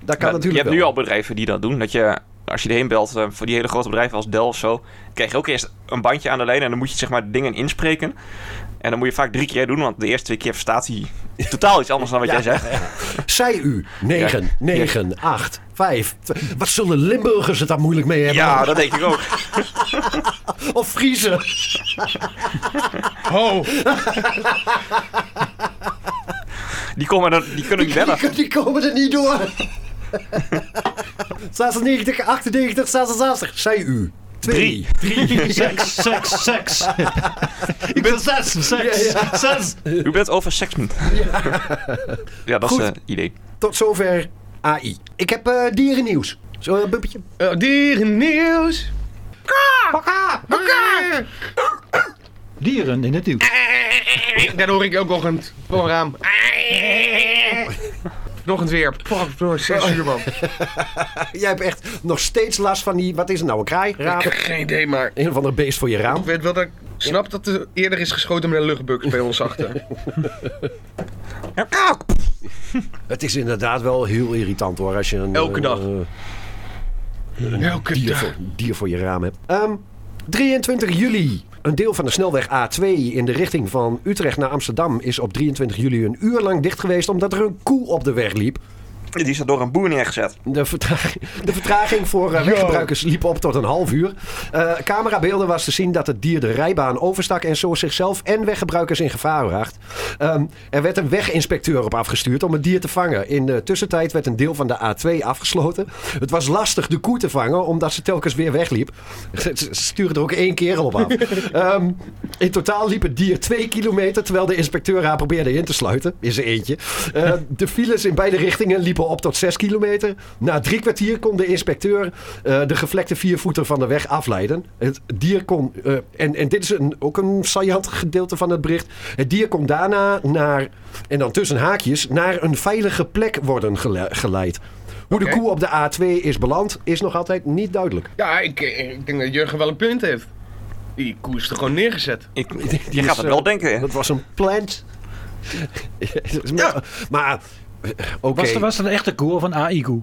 Speaker 4: dat kan
Speaker 3: Ja,
Speaker 4: natuurlijk
Speaker 3: je hebt
Speaker 4: wel.
Speaker 3: nu al bedrijven die dat doen. Dat je, als je erheen belt, eh, voor die hele grote bedrijven als Dell of zo, krijg je ook eerst een bandje aan de lijn en dan moet je zeg maar dingen inspreken. En dan moet je vaak drie keer doen, want de eerste twee keer verstaat hij totaal iets anders dan wat
Speaker 4: Ja.
Speaker 3: jij zegt.
Speaker 4: Zij u, 9,
Speaker 3: Ja.
Speaker 4: 9, 8, 5. Wat zullen Limburgers het daar moeilijk mee hebben?
Speaker 3: Ja, dat denk ik ook.
Speaker 4: Of Friesen?
Speaker 5: Ho!
Speaker 3: Die, komen dan, die kunnen niet bellen.
Speaker 4: Die, die komen er niet door. 96, 98, 66. Zij u,
Speaker 3: Drie.
Speaker 1: 3, 6, 6, 6. Ik ben 6, 6, 6.
Speaker 3: U bent over seksman. Ja, dat
Speaker 4: Goed.
Speaker 3: is een idee.
Speaker 4: Tot zover AI. Ik heb eh dierennieuws. Zo, een bumpetje.
Speaker 5: Eh, dierennieuws. Kaka.
Speaker 6: Dieren in het nieuws.
Speaker 5: Dat hoor ik elke ochtend. Voor een raam. Nog eens weer. Pak, door zes uur man.
Speaker 4: Jij hebt echt nog steeds last van die... Wat is het nou, een kraai?
Speaker 5: Ik
Speaker 4: Raap?
Speaker 5: heb geen idee, maar
Speaker 4: Een of ander beest voor je raam.
Speaker 5: ik weet wel dat ik snap dat er eerder is geschoten met een luchtbuk bij ons achter.
Speaker 4: Het is inderdaad wel heel irritant hoor. Als je een,
Speaker 5: Elke
Speaker 4: eh,
Speaker 5: dag.
Speaker 4: eh,
Speaker 5: Elke
Speaker 4: dier,
Speaker 5: dag.
Speaker 4: voor, dier voor je raam hebt. Ehm, 23 juli. Een deel van de snelweg A2 in de richting van Utrecht naar Amsterdam is op 23 juli een uur lang dicht geweest omdat er een koe op de weg liep.
Speaker 3: Die is er door een boer neergezet.
Speaker 4: De vertraging, de vertraging voor eh, weggebruikers liep op tot een half uur. Eh, camerabeelden was te zien dat het dier de rijbaan overstak en zo zichzelf en weggebruikers in gevaar bracht. Ehm, er werd een weginspecteur op afgestuurd om het dier te vangen. In de tussentijd werd een deel van de A2 afgesloten. Het was lastig de koe te vangen omdat ze telkens weer wegliep. Ze ze sturen er ook één kerel op af. Ehm, in totaal liep het dier twee kilometer terwijl de inspecteur haar probeerde in te sluiten. Is er eentje. Eh, de files in beide richtingen liepen op tot 6 kilometer. Na drie kwartier kon de inspecteur eh, de gevlekte viervoeter van de weg afleiden. Het dier kon, eh, en, en dit is een, ook een saillant gedeelte van het bericht. Het dier kon daarna naar, en dan tussen haakjes, naar een veilige plek worden gele- geleid. Hoe
Speaker 5: Oké.
Speaker 4: de koe op de A2 is beland, is nog altijd niet duidelijk.
Speaker 5: Ja, ik, eh, ik denk dat Jurgen wel een punt heeft. Die koe is er gewoon neergezet.
Speaker 3: Ik,
Speaker 4: Die
Speaker 3: je
Speaker 4: is,
Speaker 3: gaat het
Speaker 4: eh,
Speaker 3: wel denken.
Speaker 4: Dat was een plant.
Speaker 3: Ja.
Speaker 4: Maar, eh, oké.
Speaker 6: Was, er, was er een echte koe of een AI-koe?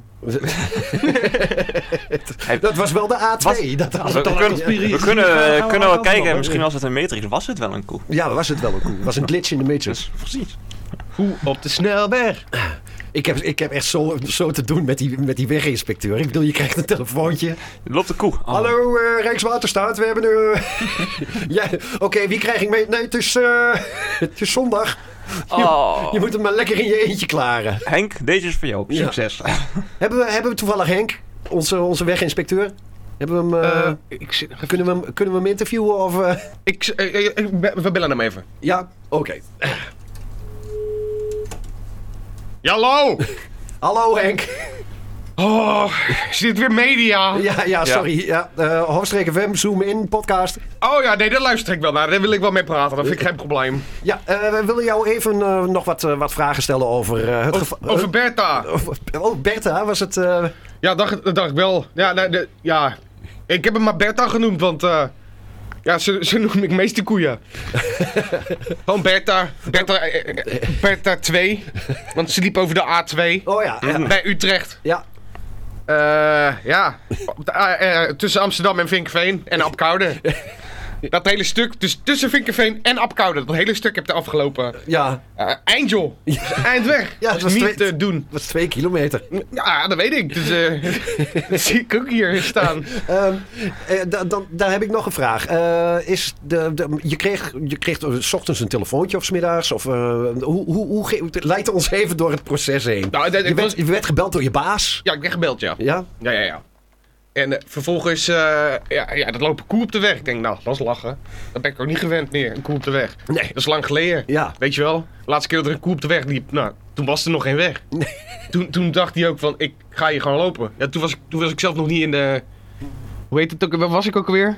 Speaker 4: Dat was wel de A2.
Speaker 3: Wat? We,
Speaker 4: Dat
Speaker 3: we kunnen, we kunnen, eh, kunnen wel kijken, misschien was het een meter, is, was het wel een koe.
Speaker 4: Ja, was het wel een koe. was een glitch in de matrix.
Speaker 3: Dus, precies.
Speaker 5: Koe op de snelweg.
Speaker 4: Ik heb, ik heb echt zo, zo te doen met die, met die weginspecteur. Ik bedoel, je krijgt een telefoontje.
Speaker 3: Er loopt een koe. Oh.
Speaker 4: Hallo, eh, Rijkswaterstaat, we hebben... eh, ja, Oké, wie krijg ik mee? Nee, het is, eh, het is zondag.
Speaker 3: Oh.
Speaker 4: Je moet hem maar lekker in je eentje klaren.
Speaker 3: Henk, deze is voor jou.
Speaker 4: Ja.
Speaker 3: Succes.
Speaker 4: Hebben we, hebben we toevallig Henk, onze, onze weginspecteur? Hebben we hem, eh,
Speaker 5: ik, zit-
Speaker 4: kunnen, we hem, kunnen we hem interviewen of... eh,
Speaker 5: ik, eh, eh, ik- we we bellen hem even.
Speaker 4: Ja, oké.
Speaker 5: Hallo!
Speaker 4: Hallo Henk.
Speaker 5: Oh, is dit weer media?
Speaker 4: Ja, ja, sorry. Ja. eh, Hoofdstreek FM, Zoom in, podcast.
Speaker 5: Oh ja, nee, daar luister ik wel naar. Daar wil ik wel mee praten. Dat vind ik geen probleem.
Speaker 4: Ja, eh, we willen jou even eh, nog wat, eh, wat vragen stellen over eh, het geval.
Speaker 5: Oh, Over Bertha.
Speaker 4: oh, Bertha, was het. eh,
Speaker 5: Ja, dacht, dat dacht ik wel. Ja, nee, de- ja, ik heb hem maar Bertha genoemd, want eh, ja, ze, ze noem ik meeste koeien. Gewoon Bertha. Bertha, eh, eh, Bertha 2. Want ze liep over de A2.
Speaker 4: Oh ja, ja.
Speaker 5: Bij Utrecht.
Speaker 4: ja.
Speaker 5: Eh, ja, Op de- eh, eh, tussen Amsterdam en Vinkveen en Apkoude. Dat hele stuk, dus tussen Vinkveen en Apkoude, dat hele stuk heb ik afgelopen.
Speaker 4: Ja,
Speaker 5: Eh eind joh, eind weg.
Speaker 4: Ja, het
Speaker 5: dat
Speaker 4: was
Speaker 5: is niet
Speaker 4: twee-
Speaker 5: te doen.
Speaker 4: het was twee kilometer.
Speaker 5: Ja, dat weet ik. Dus, eh, dat zie ik ook hier staan.
Speaker 4: Ehm, eh, da- dan, daar heb ik nog een vraag. Eh, is de, de, je kreeg, je kreeg eh, s ochtends een telefoontje of smiddags? Of, eh, hoe, hoe, hoe ge- leid ons even door het proces heen.
Speaker 5: Nou, dat-
Speaker 4: je,
Speaker 5: ik
Speaker 4: werd,
Speaker 5: was-
Speaker 4: je werd gebeld door je baas.
Speaker 5: Ja, ik ben gebeld, ja.
Speaker 4: Ja?
Speaker 5: Ja, ja, ja. En eh, vervolgens, eh, ja, ja, dat loopt een koe op de weg. Ik denk, nou, dat is lachen. Dat ben ik ook niet gewend meer, een koe op de weg.
Speaker 4: Nee.
Speaker 5: Dat is lang geleden.
Speaker 4: Ja.
Speaker 5: Weet je wel, de laatste keer dat er een koe op de weg liep, nou, toen was er nog geen weg. Toen, toen dacht hij ook van, ik ga hier gewoon lopen. Ja, toen was, ik- toen was ik zelf nog niet in de... Hoe heet het ook? Waar was ik ook alweer?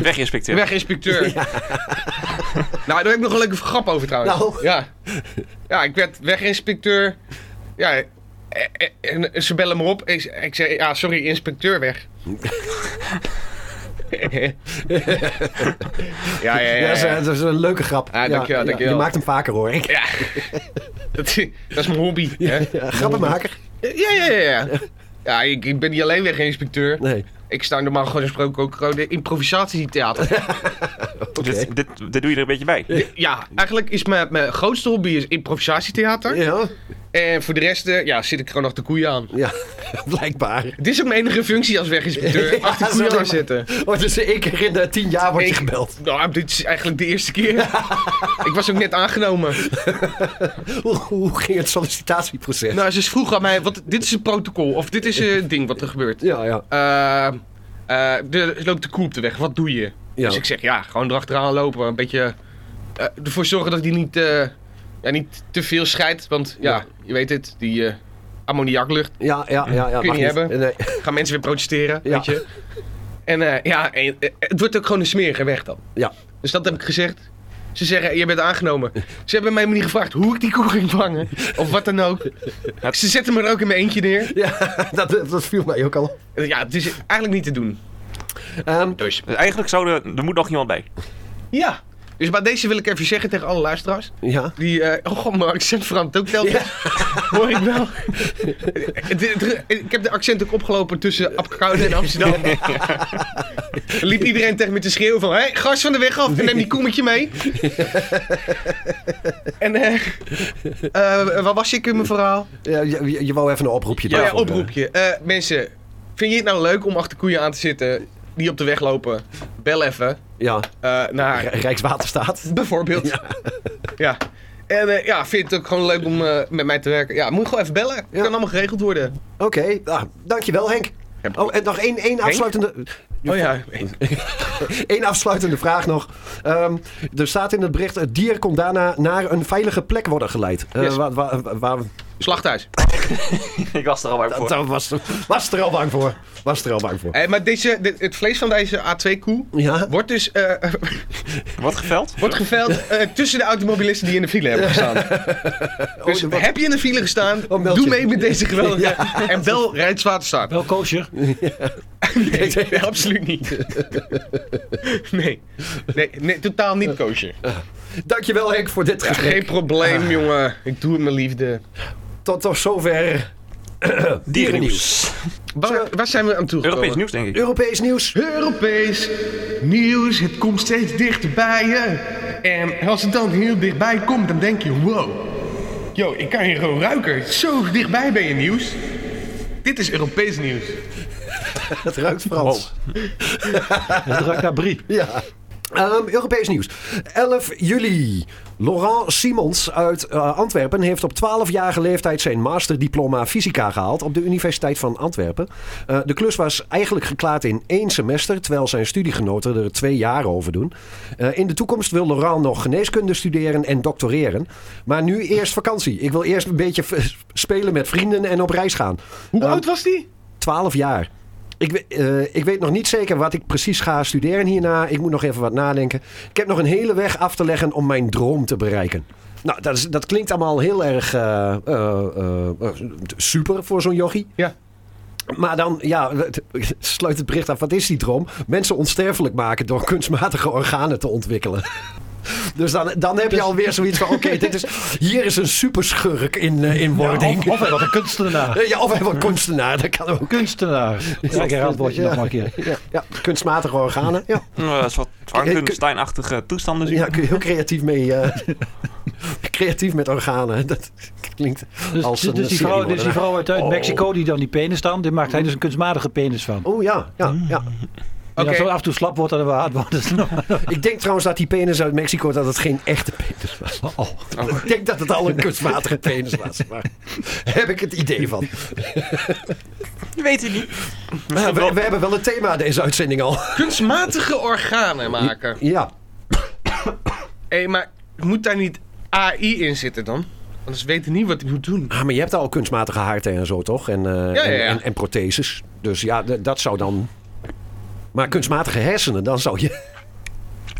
Speaker 3: Weginspecteur.
Speaker 5: Weginspecteur. nou, daar heb ik nog een leuke grap over trouwens.
Speaker 4: Nou.
Speaker 5: Ja. ja, ik werd weginspecteur. Ja, eh, eh, en ze bellen me op. Ik, ik zei, ja, sorry, inspecteur weg. ja, ja, ja.
Speaker 4: Ja,
Speaker 5: ja,
Speaker 4: dat is, eh, dat is een leuke grap.
Speaker 5: Ah, dankjewel, dankjewel.
Speaker 4: Je maakt hem vaker hoor. Ik,
Speaker 5: Ja. Dat, is- dat is mijn hobby. Hè?
Speaker 4: ja, grappenmaker?
Speaker 5: Ja, ja, ja. ja. Ja, ik, ik ben niet alleen weginspecteur.
Speaker 4: Nee.
Speaker 5: Ik sta normaal gesproken ook gewoon in improvisatietheater.
Speaker 3: dit, dit, dit doe je er een beetje bij.
Speaker 5: Ja, eigenlijk is mijn, mijn grootste hobby is improvisatietheater.
Speaker 4: Ja,
Speaker 5: En voor de rest eh, ja, zit ik gewoon achter koeien aan.
Speaker 4: ja blijkbaar.
Speaker 5: Het is ook mijn enige functie als weginspecteur.
Speaker 4: Ja,
Speaker 5: achter
Speaker 4: zo
Speaker 5: koeien aan
Speaker 4: helemaal.
Speaker 5: zitten.
Speaker 4: Oh, dus één keer in de tien jaar word je
Speaker 5: Ik-
Speaker 4: gebeld.
Speaker 5: Nou, dit is eigenlijk de eerste keer. ik was ook net aangenomen.
Speaker 4: Hoe, hoe ging het sollicitatieproces?
Speaker 5: Nou, ze vroeg aan mij, wat, dit is een protocol. Of dit is eh, een ding wat er gebeurt.
Speaker 4: ja, ja.
Speaker 5: Eh, Eh, er loopt de koe op de weg, wat doe je?
Speaker 4: Ja.
Speaker 5: Dus ik zeg, ja, gewoon erachteraan lopen. Een beetje eh, ervoor zorgen dat die niet, eh, ja, niet te veel scheidt. Want ja,
Speaker 4: Ja.
Speaker 5: je weet het, die eh ammoniaklucht.
Speaker 4: Ja, ja, ja. ja
Speaker 5: Kun je
Speaker 4: mag
Speaker 5: niet hebben.
Speaker 4: Nee.
Speaker 5: Gaan mensen weer protesteren,
Speaker 4: Ja.
Speaker 5: weet je. En eh, ja, en, eh, het wordt ook gewoon een smerige weg dan.
Speaker 4: Ja.
Speaker 5: Dus dat heb ik gezegd. Ze zeggen, je bent aangenomen. Ze hebben mij niet gevraagd hoe ik die koe ging vangen. Of wat dan ook. Ze zetten me er ook in mijn eentje neer.
Speaker 4: ja dat, eh, dat viel mij ook al op.
Speaker 5: Ja, het is eigenlijk niet te doen.
Speaker 4: Ehm,
Speaker 5: Dus
Speaker 3: Dus eigenlijk zou er, er moet nog iemand bij.
Speaker 5: ja. Dus bij deze wil ik even zeggen tegen alle luisteraars.
Speaker 4: ja.
Speaker 5: Die, eh oh god, mijn accent verandert ook telkens. Hoor ik wel. Het- het- ik heb de accent ook opgelopen tussen Apeldoorn en Amsterdam. Er liep iedereen tegen me te schreeuwen van... Hé, hey, gast van de weg af en neem die koemetje mee. en eh eh, waar was ik in mijn verhaal? Oh
Speaker 4: Ja, je, je- je wou even een oproepje
Speaker 5: Ja,
Speaker 4: daarvoor, eh.
Speaker 5: oproepje. Eh, mensen, vind je het nou leuk om achter koeien aan te zitten... die op de weg lopen? Bel even
Speaker 4: Ja,
Speaker 5: eh, naar...
Speaker 4: R- Rijkswaterstaat.
Speaker 5: Bijvoorbeeld. Ja. En eh, ja, vind het ook gewoon leuk om eh, met mij te werken. Ja, moet je gewoon even bellen. Het
Speaker 4: Ja.
Speaker 5: kan allemaal geregeld worden.
Speaker 4: Oké, ah, dankjewel Henk.
Speaker 5: Ja, maar-
Speaker 4: Oh, en nog één, één, afsluitende,
Speaker 5: Oh ja.
Speaker 4: één afsluitende vraag nog. Ehm, er staat in het bericht, het dier kon daarna naar een veilige plek worden geleid. Eh,
Speaker 5: Yes.
Speaker 4: waar, waar, waar-
Speaker 5: Slachthuis.
Speaker 3: Ik was er al bang voor.
Speaker 4: dat was, was er al bang voor. Was er al bang voor.
Speaker 5: Hé, maar deze, dit- het vlees van deze A2-koe
Speaker 4: Ja,
Speaker 5: wordt dus eh,
Speaker 3: Wat geveld?
Speaker 5: wordt geveild eh, tussen de automobilisten die in de file hebben gestaan. Dus
Speaker 4: dat-
Speaker 5: heb je in de file gestaan,
Speaker 4: Oh, meld
Speaker 5: doe
Speaker 4: je.
Speaker 5: mee met deze geweldige... En bel Rijkswaterstaat.
Speaker 6: Wel koosje.
Speaker 5: Nee, nee, absoluut niet. nee. Nee, nee, totaal niet koosje.
Speaker 4: dankjewel Henk voor dit gesprek.
Speaker 5: Geen probleem,
Speaker 4: Ah.
Speaker 5: jongen. Ik doe het mijn liefde.
Speaker 4: Tot, tot zover
Speaker 3: Dierennieuws.
Speaker 5: Waar, waar zijn we aan toe
Speaker 3: Europees nieuws, denk ik.
Speaker 4: Europees nieuws.
Speaker 5: Europees nieuws, het komt steeds dichterbij je. En als het dan heel dichtbij komt, dan denk je, wow. Yo, ik kan hier gewoon ruiken. Zo dichtbij ben je nieuws. Dit is Europees nieuws.
Speaker 4: Het ruikt Frans.
Speaker 6: Dat ruikt naar Brie.
Speaker 4: Ja. Ehm, Europees nieuws. 11 juli. Laurent Simons uit eh, Antwerpen heeft op 12-jarige leeftijd zijn masterdiploma fysica gehaald op de Universiteit van Antwerpen. Eh, de klus was eigenlijk geklaard in één semester, terwijl zijn studiegenoten er twee jaar over doen. Eh, in de toekomst wil Laurent nog geneeskunde studeren en doctoreren. Maar nu eerst vakantie. Ik wil eerst een beetje v- spelen met vrienden en op reis gaan.
Speaker 5: Hoe
Speaker 4: Ehm,
Speaker 5: oud was die?
Speaker 4: 12 jaar. Ik, we- eh, ik weet nog niet zeker wat ik precies ga studeren hierna. Ik moet nog even wat nadenken. Ik heb nog een hele weg af te leggen om mijn droom te bereiken. Nou, dat, is, dat klinkt allemaal heel erg eh, eh, eh, eh, super voor zo'n jochie.
Speaker 5: Ja.
Speaker 4: Maar dan, ja, het- het sluit het bericht af. Wat is die droom? Mensen onsterfelijk maken door kunstmatige organen te ontwikkelen. Dus dan, dan heb je alweer zoiets van, oké, dit is hier is een superschurk in, eh, in wording.
Speaker 6: Of, of hij was een kunstenaar.
Speaker 4: Ja, of hij wordt kunstenaar, dat kan ook.
Speaker 6: Kunstenaar. Lekker raadwoordje
Speaker 4: Ja.
Speaker 6: nog maar een keer.
Speaker 4: Ja, ja, kunstmatige organen. Ja,
Speaker 3: Eh, Een soort Frankenstein-achtige toestanden zien.
Speaker 4: ja kun je heel creatief mee. eh, creatief met organen. Dat klinkt
Speaker 6: Dus,
Speaker 4: als een
Speaker 6: dus, die vrouw, dus die vrouw uit, uit Mexico die dan die penis dan, die maakt hij dus een kunstmatige penis van.
Speaker 4: Oh ja, ja,
Speaker 6: Hmm.
Speaker 4: ja.
Speaker 6: En
Speaker 5: Oké.
Speaker 6: als het af en toe slap wordt en wel hard wordt, is het nog-
Speaker 4: Ik denk trouwens dat die penis uit Mexico dat het geen echte penis was.
Speaker 6: Oh,
Speaker 4: Ik denk dat het al een kunstmatige penis was. Maar heb ik het idee van.
Speaker 3: Je weet het niet.
Speaker 4: Nou,
Speaker 3: Misschien
Speaker 4: we,
Speaker 3: wel-
Speaker 4: we hebben wel een thema deze uitzending al.
Speaker 5: Kunstmatige organen maken.
Speaker 4: Ja.
Speaker 5: Hé, maar moet daar niet AI in zitten dan? Anders weten we niet wat hij moet doen.
Speaker 4: Ah, maar je hebt al kunstmatige haarten en zo, toch? En, eh,
Speaker 5: ja, ja.
Speaker 4: En, en, en protheses. Dus ja, d- dat zou dan... Maar kunstmatige hersenen, dan zou je...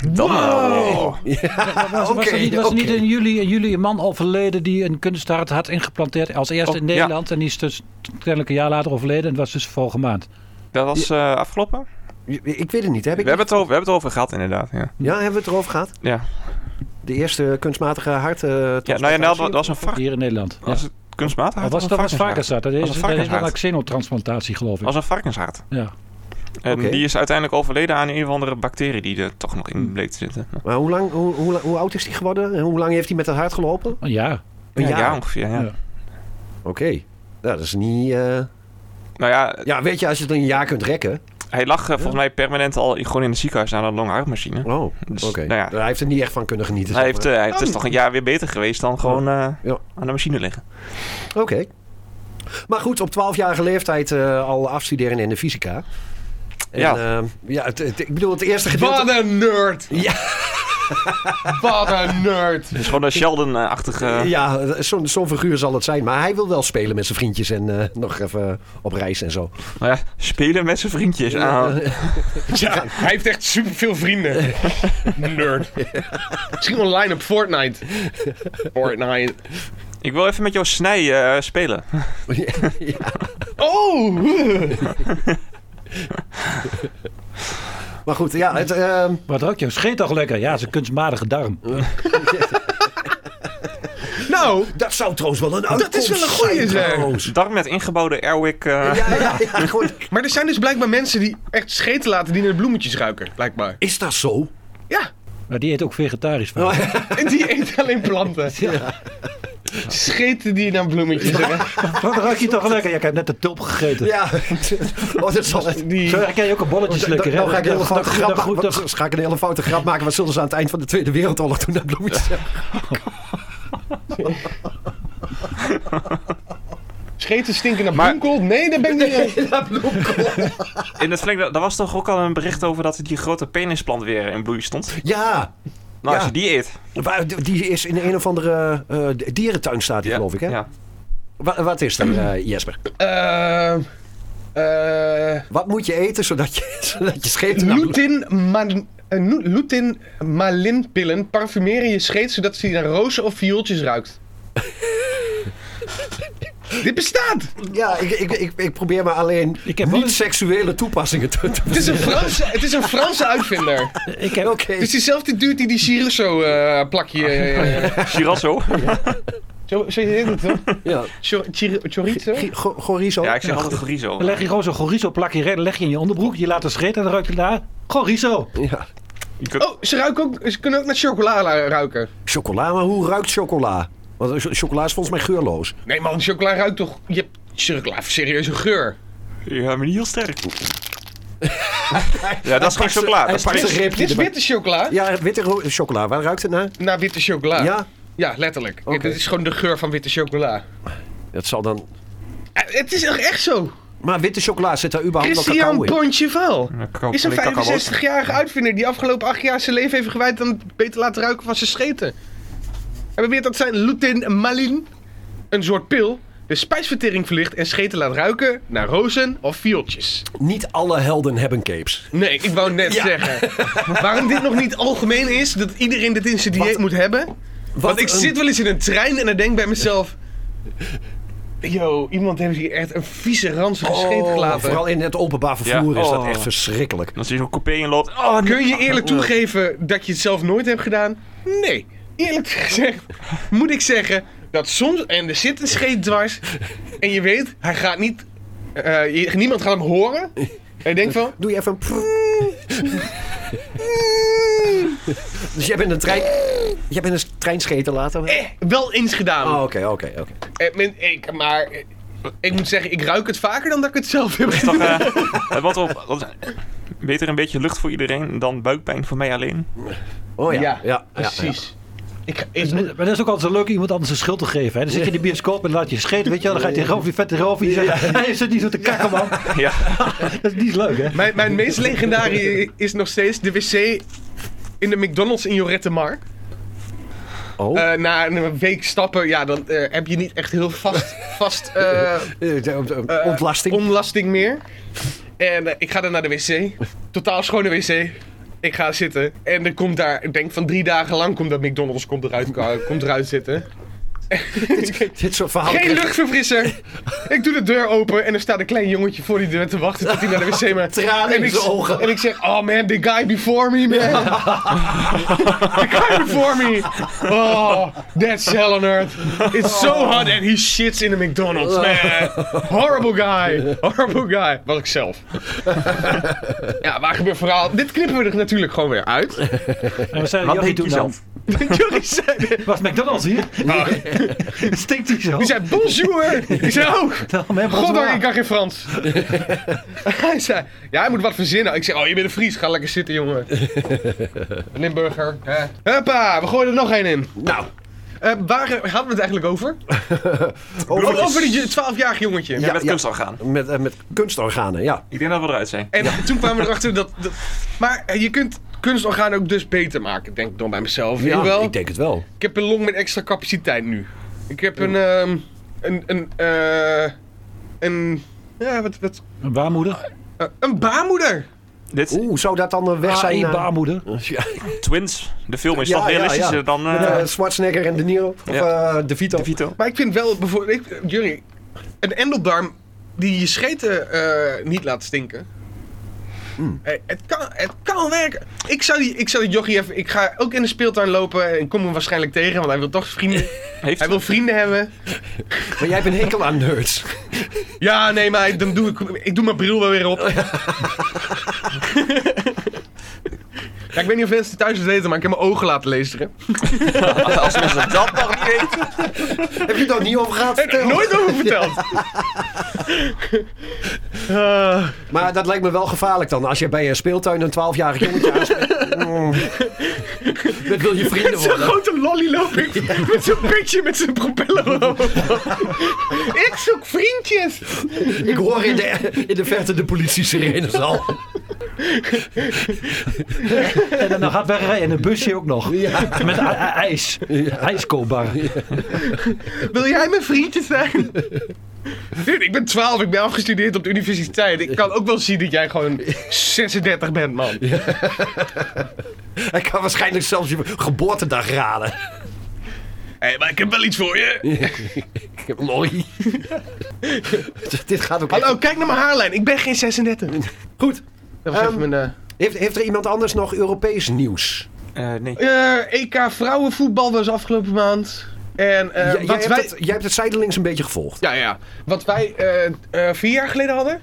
Speaker 3: Dan wel.
Speaker 4: Ja,
Speaker 6: was er niet, was er
Speaker 4: oké.
Speaker 6: niet in, juli, in juli een man overleden die een kunsthart had ingeplanteerd als eerste
Speaker 3: Oh,
Speaker 6: in
Speaker 3: ja.
Speaker 6: Nederland. En die is dus kennelijk een jaar later overleden en het was dus vorige maand.
Speaker 3: Dat was eh, afgelopen.
Speaker 4: Ik weet het niet. Heb
Speaker 3: We
Speaker 4: ik...
Speaker 3: hebben het, over, we hebben het over gehad, inderdaad. Ja.
Speaker 4: Ja, hebben we het erover gehad?
Speaker 3: Ja.
Speaker 4: De eerste kunstmatige hart... eh,
Speaker 3: Ja, nou ja, nou, dat was een
Speaker 6: Of
Speaker 3: vark.
Speaker 6: Hier in Nederland. Ja.
Speaker 3: Was het kunstmatig?
Speaker 6: Of was dat was varkenshart? Dat
Speaker 3: Was
Speaker 6: is,
Speaker 3: een
Speaker 6: dat is wel een
Speaker 3: varkenshart.
Speaker 6: xenotransplantatie, geloof ik.
Speaker 3: was een varkenshart.
Speaker 6: Ja.
Speaker 3: En
Speaker 4: Oké.
Speaker 3: die is uiteindelijk overleden aan een of andere bacterie die er toch nog in bleek te zitten.
Speaker 4: Maar hoe, lang, hoe, hoe, hoe oud is hij geworden? En hoe lang heeft hij met dat hart gelopen?
Speaker 6: Oh, ja.
Speaker 4: Een
Speaker 3: Ja,
Speaker 4: jaar.
Speaker 3: ongeveer, ja.
Speaker 6: Ja.
Speaker 4: Oké. Nou, dat is niet... eh,
Speaker 3: Nou ja,
Speaker 4: Ja, weet je, als je het in een jaar kunt rekken...
Speaker 3: hij lag eh, volgens mij permanent al i- gewoon in het ziekenhuis aan een longhartmachine.
Speaker 4: Oh,
Speaker 3: Dus,
Speaker 4: oké.
Speaker 3: nou ja.
Speaker 4: Hij heeft er niet echt van kunnen genieten.
Speaker 3: Hij
Speaker 4: zeg
Speaker 3: heeft,
Speaker 4: maar.
Speaker 3: eh, het is toch een jaar weer beter geweest dan gewoon eh,
Speaker 4: Oh. Ja.
Speaker 3: aan de machine liggen.
Speaker 4: Oké. Maar goed, op 12-jarige leeftijd eh, al afstuderen in de fysica. En,
Speaker 3: Ja.
Speaker 4: ja. ja, het, het- ik bedoel, het eerste gedeelte...
Speaker 5: Wat een nerd!
Speaker 4: Ja.
Speaker 5: Wat een nerd!
Speaker 3: Het is gewoon een Sheldon-achtige... eh,
Speaker 4: Ja, zo'n zo'n figuur zal het zijn. Maar hij wil wel spelen met zijn vriendjes en eh, nog even op reis en zo.
Speaker 3: nou ja, spelen met zijn vriendjes. Ah,
Speaker 5: Ja, hij heeft echt superveel vrienden. Nerd. Misschien online op Fortnite. Fortnite.
Speaker 3: ik wil even met jou snij eh, spelen.
Speaker 5: Oh!
Speaker 4: Maar goed, ja, het, ehm,
Speaker 6: Wat ruikt jouw scheet toch lekker? Ja, ze kunstmatige darm.
Speaker 5: Nou,
Speaker 4: dat zou trouwens wel een uitkomst
Speaker 5: is wel een goeie,
Speaker 4: zijn,
Speaker 5: zeg.
Speaker 4: trouwens.
Speaker 3: Darm met ingebouwde airwick. eh,
Speaker 4: Ja, ja, ja, goed.
Speaker 5: maar er zijn dus blijkbaar mensen die echt scheten laten die naar de bloemetjes ruiken, blijkbaar.
Speaker 4: Is dat zo?
Speaker 5: Ja,
Speaker 6: Maar die eet ook vegetarisch van.
Speaker 5: en die eet alleen planten. Scheten die naar bloemetjes ruiken.
Speaker 6: Wat ruikt je toch lekker? Ja, ik heb net de tulp gegeten.
Speaker 4: Ja. Oh, dat zal
Speaker 6: Zo
Speaker 5: Die...
Speaker 6: herken je ook een bolletje
Speaker 4: Dan,
Speaker 6: slikker. hè?
Speaker 4: ga ik een hele
Speaker 6: Dat-
Speaker 4: foute
Speaker 6: dat-
Speaker 4: grap
Speaker 6: dat-
Speaker 4: maken.
Speaker 6: goed- dat-
Speaker 4: Wat- ga ik een hele foute grap maken. Wat zullen ze aan het eind van de Tweede Wereldoorlog toen naar bloemetjes hebben?
Speaker 5: Scheten stinken naar
Speaker 3: Maar-
Speaker 5: bloemkool? Nee, daar ben ik niet aan.
Speaker 4: Ja, bloemkool.
Speaker 3: In het verlengde, daar was toch ook al een bericht over dat die grote penisplant weer in bloei stond.
Speaker 4: Ja,
Speaker 3: Nou, als
Speaker 4: Ja.
Speaker 3: je die eet.
Speaker 4: maar d- die is in een of andere eh, dierentuin staat die, geloof ik, hè?
Speaker 3: Ja.
Speaker 4: Wa- wat is dat, eh, Jesper?
Speaker 5: Ehm, eh,
Speaker 4: Wat moet je eten zodat je, zodat je scheet naar bloem-
Speaker 5: Lutin, man- eh, nu- lutin malinpillen parfumeren je scheet zodat ze naar rozen of viooltjes ruikt. Dit bestaat!
Speaker 4: Ja, ik, ik, ik, ik probeer maar alleen
Speaker 6: Ik heb wel eens-
Speaker 4: niet-seksuele toepassingen te... te-
Speaker 5: Het is een Franse, het is een Franse uitvinder.
Speaker 6: Ik heb,
Speaker 4: Oké.
Speaker 5: Het is diezelfde dude die die Chirizo eh, plakje... eh,
Speaker 3: Chirasso.
Speaker 5: zo, zo heet het toch?
Speaker 4: Ja.
Speaker 5: Chor- chiri- Chorizo?
Speaker 4: G- go- Gorizo?
Speaker 3: Ja, ik zeg altijd chorizo.
Speaker 6: dan leg je gewoon zo'n chorizo plakje red- leg je in je onderbroek. Je laat het scheten en dan ruikt het naar chorizo.
Speaker 4: Ja.
Speaker 5: Oh, ze, ruiken ook, ze kunnen ook naar chocola la- ruiken.
Speaker 4: Chocola, maar hoe ruikt chocola? Want eh, chocola is volgens mij geurloos.
Speaker 3: Ah,
Speaker 5: Nee man, chocola ruikt toch... Je hebt chocola heeft serieus een geur.
Speaker 3: Ja, maar niet heel sterk. ja, dat is geen chocola.
Speaker 4: hij
Speaker 3: Dat is
Speaker 4: pakt
Speaker 5: Dit
Speaker 4: zijn
Speaker 5: is,
Speaker 4: reepje
Speaker 5: dit is
Speaker 4: erbij.
Speaker 5: witte chocola.
Speaker 4: Ja, witte ro- chocola. Waar ruikt het naar?
Speaker 5: Naar witte
Speaker 3: Ah.
Speaker 5: chocola.
Speaker 4: Ja?
Speaker 5: Ja, letterlijk.
Speaker 4: Oké.
Speaker 5: Dit is gewoon de geur van witte chocola.
Speaker 4: Dat zal dan...
Speaker 5: Eh, Het is toch echt zo.
Speaker 4: Maar witte chocola zit daar überhaupt wel
Speaker 5: Christian
Speaker 4: cacao in.
Speaker 5: Boncheval
Speaker 3: Kakao-
Speaker 5: is een
Speaker 3: kakao-
Speaker 5: 65-jarige uitvinder die afgelopen acht jaar zijn leven heeft gewijd aan het beter laten ruiken van zijn scheten. Hij beweert dat zijn lutin malin, een soort pil, de spijsvertering verlicht en scheten laat ruiken naar rozen of viooltjes.
Speaker 4: Niet alle helden hebben capes.
Speaker 5: Nee, ik wou net
Speaker 4: Ja.
Speaker 5: zeggen. Waarom dit nog niet algemeen is, dat iedereen dit in zijn dieet
Speaker 4: Wat-
Speaker 5: moet hebben,
Speaker 4: Wat
Speaker 5: Want ik
Speaker 4: een-
Speaker 5: zit wel eens in een trein en dan denk ik bij mezelf... Yo, iemand heeft hier echt een vieze ranzige scheet
Speaker 4: Oh,
Speaker 5: gelaten.
Speaker 4: Vooral in het openbaar vervoer
Speaker 3: Ja.
Speaker 4: is dat
Speaker 3: Oh.
Speaker 4: echt verschrikkelijk.
Speaker 3: Als je zo'n coupé in loopt. Oh, nee.
Speaker 5: Kun je eerlijk toegeven dat je het zelf nooit hebt gedaan? Nee. Eerlijk gezegd moet ik zeggen dat soms... En er zit een scheet dwars en je weet, hij gaat niet... eh, je- niemand gaat hem horen. En je denkt van...
Speaker 4: Doe je even een... prrrr. dus jij bent een trein... Jij bent een treinscheten later?
Speaker 5: Eh, wel eens gedaan.
Speaker 4: Oh, oké, oké, oké.
Speaker 5: Eh, men- ik, maar eh, ik moet zeggen, ik ruik het vaker dan dat ik het zelf heb gedaan.
Speaker 3: Toch, eh, eh, wat op, wat, beter een beetje lucht voor iedereen dan buikpijn voor mij alleen.
Speaker 4: Oh
Speaker 5: Ja,
Speaker 4: ja, ja, ja, ja.
Speaker 5: Precies. Ik, ga- ik,
Speaker 6: Dus Maar dat is ook altijd zo leuk iemand anders een schuld te geven. Hè? Dan zit je in de bioscoop en laat je scheten. Weet je wel, dan gaat hij over die vette erover. Je zegt, hij hey, zit niet zo te kakken, man.
Speaker 3: Ja.
Speaker 6: Dat is niet leuk, hè?
Speaker 5: Mijn, mijn meest legendarie is nog steeds de wc in de McDonald's in Jorrettemar.
Speaker 4: Oh.
Speaker 5: Eh, na een week stappen, ja, dan eh, heb je niet echt heel vast, vast eh,
Speaker 4: Eh, de- de-
Speaker 5: eh,
Speaker 4: Ontlasting.
Speaker 5: onlasting meer. En eh, ik ga dan naar de wc. Totaal schone wc. Ik ga zitten. En er komt daar, ik denk van drie dagen lang, komt dat McDonald's komt eruit, komt eruit zitten.
Speaker 4: Dit soort verhalen.
Speaker 5: Geen
Speaker 4: krijg-
Speaker 5: luchtverfrisser. Ik doe de deur open en er staat een klein jongetje voor die deur te wachten tot hij naar de wc maar.
Speaker 4: Tranen
Speaker 5: en
Speaker 4: in
Speaker 5: ik,
Speaker 4: zijn ogen.
Speaker 5: En ik zeg, oh man, the guy before me, man. the guy before me. Oh, that's hell on earth. It's so
Speaker 4: Oh.
Speaker 5: hot and he shits in the McDonald's, man. Horrible guy. Horrible guy. Wat ik zelf. ja, waar gebeurt verhaal? Dit knippen we er natuurlijk gewoon weer uit.
Speaker 6: En wat zei
Speaker 3: Wat
Speaker 6: Jochie
Speaker 3: denk
Speaker 6: toen
Speaker 3: je
Speaker 6: dan?
Speaker 3: zelf?
Speaker 5: Jullie zeiden,
Speaker 6: Was McDonald's hier?
Speaker 5: Ah,
Speaker 6: Stinkt hij zo?
Speaker 5: die zei, bonjour. Ik zei, oh,
Speaker 6: Nou, mijn
Speaker 5: Goddank,
Speaker 6: Bonsoir.
Speaker 5: ik kan geen Frans. hij zei, ja, hij moet wat verzinnen. Ik zei, oh, je bent een Fries, ga lekker zitten, jongen. Limburger. Hè. Huppa, we gooien er nog één in.
Speaker 4: Nou,
Speaker 5: Eh, waar eh, hadden we het eigenlijk over? Over, over die 12-jarig jongetje.
Speaker 3: Ja, met
Speaker 4: ja.
Speaker 3: kunstorgaan.
Speaker 4: Met, eh, met kunstorganen, ja.
Speaker 3: Ik denk dat we eruit zijn.
Speaker 5: En toen kwamen we erachter dat, dat- Maar eh, je kunt kunstorganen ook dus beter maken, denk ik dan bij mezelf.
Speaker 4: ja
Speaker 5: Ja, wel?
Speaker 4: Ik denk het wel.
Speaker 5: Ik heb een long met extra capaciteit nu. Ik heb een... ehm, een... Een... eh, een... Ja, wat... wat
Speaker 6: Een baarmoeder?
Speaker 5: eh, een baarmoeder!
Speaker 3: Dit,
Speaker 4: Oeh, zou dat dan een weg zijn?
Speaker 6: AI
Speaker 4: naar-
Speaker 6: baarmoeder.
Speaker 4: Ja,
Speaker 3: Twins, de film is
Speaker 4: Ja,
Speaker 3: toch
Speaker 4: ja,
Speaker 3: realistischer
Speaker 4: ja.
Speaker 3: dan eh
Speaker 4: met, eh, Schwarzenegger en De Niro. Of
Speaker 3: Ja.
Speaker 4: eh, De Vito.
Speaker 3: De Vito.
Speaker 5: Maar ik vind wel, bijvoorbeeld, ik, eh, Jury, een endeldarm die je scheten eh, niet laat stinken.
Speaker 3: Hmm.
Speaker 5: Eh, het, kan, het kan werken. Ik zou die, ik zou die jochie even, ik ga ook in de speeltuin lopen en kom hem waarschijnlijk tegen, want hij wil toch vrienden.
Speaker 3: Heeft
Speaker 5: hij wil vrienden hebben.
Speaker 4: Maar jij hebt een hekel aan nerds.
Speaker 5: Ja, nee, maar dan doe ik, ik doe mijn bril wel weer
Speaker 3: Oh,
Speaker 5: op. ja, ik weet niet of mensen thuis het weten, maar ik heb mijn ogen laten lezen.
Speaker 3: Als mensen dat nog niet weten.
Speaker 4: Heb je het ook niet over gehad? Vertel.
Speaker 5: Nooit over verteld. Eh,
Speaker 4: Maar dat lijkt me wel gevaarlijk dan. Als je bij een speeltuin een 12-jarig jongetje aanspreekt. Mm. Dat wil je vrienden
Speaker 5: Zo'n
Speaker 4: worden.
Speaker 5: grote lolly loop ik met zo'n petje met zijn propeller op. ik zoek vriendjes.
Speaker 4: Ik hoor in de, in de verte de politie sirenes al.
Speaker 6: En dan nog hard wegrijden en een busje ook nog. Met i- i- ijs. Ijskoopbar.
Speaker 5: Wil jij mijn vriendje zijn? Dude, ik ben 12, ik ben afgestudeerd op de universiteit. Ik kan ook wel zien dat jij gewoon 36 bent, man.
Speaker 4: Hij kan waarschijnlijk zelfs je geboortedag raden.
Speaker 5: Hé, maar ik heb wel iets voor je.
Speaker 4: Lorry. Dit gaat ook
Speaker 5: Hallo, kijk naar mijn haarlijn. Ik ben geen 36.
Speaker 4: Goed.
Speaker 5: Dat was
Speaker 4: Ehm,
Speaker 5: even mijn...
Speaker 4: Heeft, heeft er iemand anders nog Europees nieuws?
Speaker 3: Eh, nee.
Speaker 5: eh, eh, EK vrouwenvoetbal was afgelopen maand. En eh,
Speaker 4: J- jij,
Speaker 5: wat
Speaker 4: hebt
Speaker 5: wij...
Speaker 4: het, jij hebt het zijdelings een beetje gevolgd.
Speaker 5: Ja, ja. Wat wij eh, eh, vier jaar geleden hadden,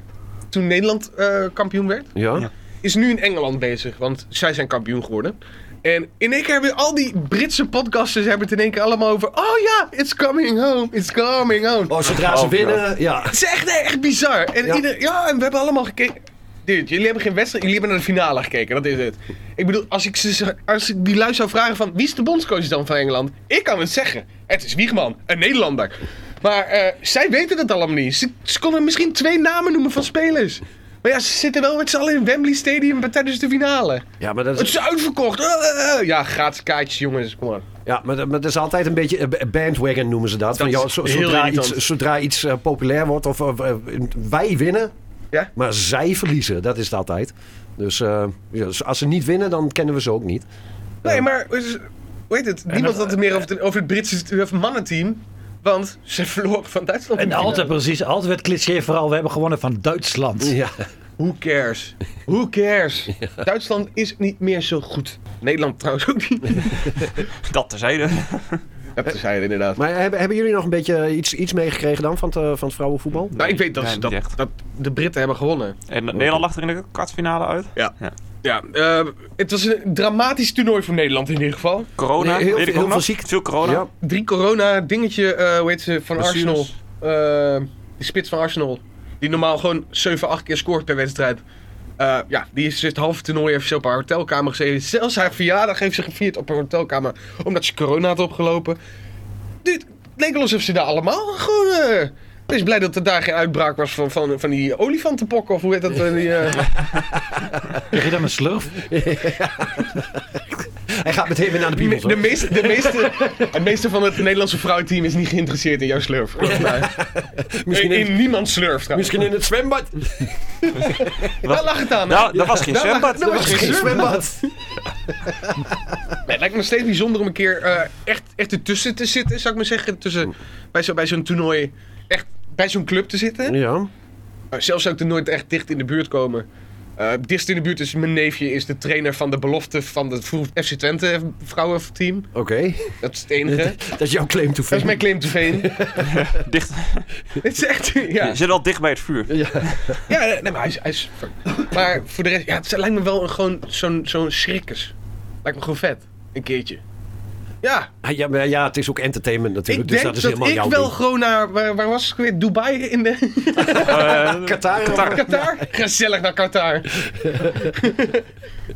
Speaker 5: toen Nederland eh, kampioen werd,
Speaker 4: Ja?
Speaker 5: is nu in Engeland bezig, want zij zijn kampioen geworden. En in één keer hebben al die Britse podcasters hebben het in één keer allemaal over, oh ja, it's coming home, it's coming home.
Speaker 4: Oh, zodra ze
Speaker 3: Oh,
Speaker 4: winnen, ja.
Speaker 5: Het is echt, echt bizar. En,
Speaker 4: Ja.
Speaker 5: Ieder, ja, en we hebben allemaal gekeken. Dude, jullie hebben geen wedstrijd, jullie hebben naar de finale gekeken, dat is het. Ik bedoel, als ik, ze- als ik die lui zou vragen van, wie is de bondscoach dan van Engeland? Ik kan het zeggen. Het is Wiegman, een Nederlander. Maar eh, zij weten het allemaal niet. Ze, ze konden misschien twee namen noemen van spelers. Maar ja, ze zitten wel met z'n allen in Wembley Stadium bij- tijdens de finale.
Speaker 4: Ja, maar dat
Speaker 5: Het
Speaker 4: is,
Speaker 5: is uitverkocht. Eh, eh, eh. Ja, gratis kaartjes, jongens. Kom maar.
Speaker 4: ja, maar, dat- maar dat is altijd een beetje eh, b- bandwagon noemen ze dat. Van,
Speaker 5: is
Speaker 4: joh, zo-
Speaker 5: heel
Speaker 4: zodra,
Speaker 5: irritant.
Speaker 4: iets, zodra iets eh, populair wordt of of, eh, wij winnen,
Speaker 5: Ja?
Speaker 4: maar zij verliezen. Dat is het altijd. Dus eh, ja, dus als ze niet winnen, dan kennen we ze ook niet.
Speaker 5: Nee, maar het is- hoe heet het? Niemand had het meer over, de- over het Britse over het mannenteam. Want ze verloren van Duitsland. in
Speaker 6: En
Speaker 5: de finale.
Speaker 6: altijd precies, altijd het cliché vooral, we hebben gewonnen van Duitsland.
Speaker 4: Ja.
Speaker 5: Who cares? Who cares? Duitsland is niet meer zo goed. Nederland trouwens ook niet.
Speaker 3: Dat terzijde.
Speaker 5: Dat zeiden inderdaad.
Speaker 4: Maar hebben, hebben jullie nog een beetje iets, iets meegekregen dan van het, eh, van het vrouwenvoetbal?
Speaker 5: nou, ik weet dat,
Speaker 3: Nee,
Speaker 5: ze dat,
Speaker 3: niet echt.
Speaker 5: dat de Britten hebben gewonnen.
Speaker 3: En Nederland lag er in de kwartfinale uit.
Speaker 5: Ja, eh, het was een dramatisch toernooi voor Nederland in ieder geval.
Speaker 3: Corona,
Speaker 4: Nee,
Speaker 3: weet
Speaker 4: heel veel-
Speaker 3: ik ook
Speaker 4: heel
Speaker 3: nog.
Speaker 4: veel ziekte.
Speaker 3: Veel corona.
Speaker 4: Ja.
Speaker 5: Drie corona dingetje, eh, hoe heet ze, van
Speaker 3: Blessures.
Speaker 5: Arsenal. Eh, die spits van Arsenal. Die normaal gewoon 7, 8 keer scoort per wedstrijd. Eh, ja, die is het halve toernooi heeft ze op haar hotelkamer gezeten. Zelfs haar verjaardag heeft ze gevierd op haar hotelkamer. Omdat ze corona had opgelopen. Dit het leek wel alsof ze daar allemaal gewoon... eh, ik is blij dat er daar geen uitbraak was van, van, van die olifantenpokken of hoe heet dat? eh, Die, eh,
Speaker 6: Krijg je dan een slurf?
Speaker 4: Hij gaat meteen weer naar de piemel.
Speaker 5: de, meeste, de, meeste, de meeste van het Nederlandse vrouwenteam is niet geïnteresseerd in jouw slurf.
Speaker 4: Misschien
Speaker 5: In,
Speaker 4: in,
Speaker 5: in niemand slurf trouwens.
Speaker 4: misschien in het zwembad.
Speaker 5: Daar lag het aan. hè?
Speaker 3: Nou, dat was geen
Speaker 5: Daar lag-
Speaker 3: zwembad.
Speaker 5: daar was
Speaker 4: Misschien in
Speaker 5: geen
Speaker 4: het
Speaker 5: zwembad.
Speaker 4: zwembad.
Speaker 5: Nee, het lijkt me steeds bijzonder om een keer eh, echt, echt ertussen te zitten, zou ik maar zeggen. Tussen, bij zo'n bij zo'n toernooi, echt bij zo'n club te zitten.
Speaker 4: Ja.
Speaker 5: Eh, zelfs zou ik er nooit echt dicht in de buurt komen. Eh dichtst in de buurt is mijn neefje, is de trainer van de belofte van het vroeg- FC Twente vrouwenteam.
Speaker 4: Oké.
Speaker 5: Dat is het enige.
Speaker 4: Dat is jouw claim to
Speaker 5: Dat
Speaker 4: fame.
Speaker 5: is mijn claim to fame.
Speaker 3: Dicht,
Speaker 5: Het is echt, ja.
Speaker 3: Je zit al dicht bij het vuur.
Speaker 5: ja nee, maar hij is, hij is... Maar voor de rest, ja, het lijkt me wel een, gewoon zo'n zo'n schrikkers. Lijkt me gewoon vet. Een keertje. Ja,
Speaker 4: Ah, Ja, maar ja, het is ook entertainment natuurlijk.
Speaker 5: ik
Speaker 4: dus
Speaker 5: denk
Speaker 4: dat is
Speaker 5: dat
Speaker 4: helemaal
Speaker 5: ik
Speaker 4: jouw
Speaker 5: wel
Speaker 4: ding.
Speaker 5: gewoon naar... Waar, waar was ik weer? Dubai in de
Speaker 3: Eh,
Speaker 4: Qatar.
Speaker 5: Qatar? Gezellig naar Qatar.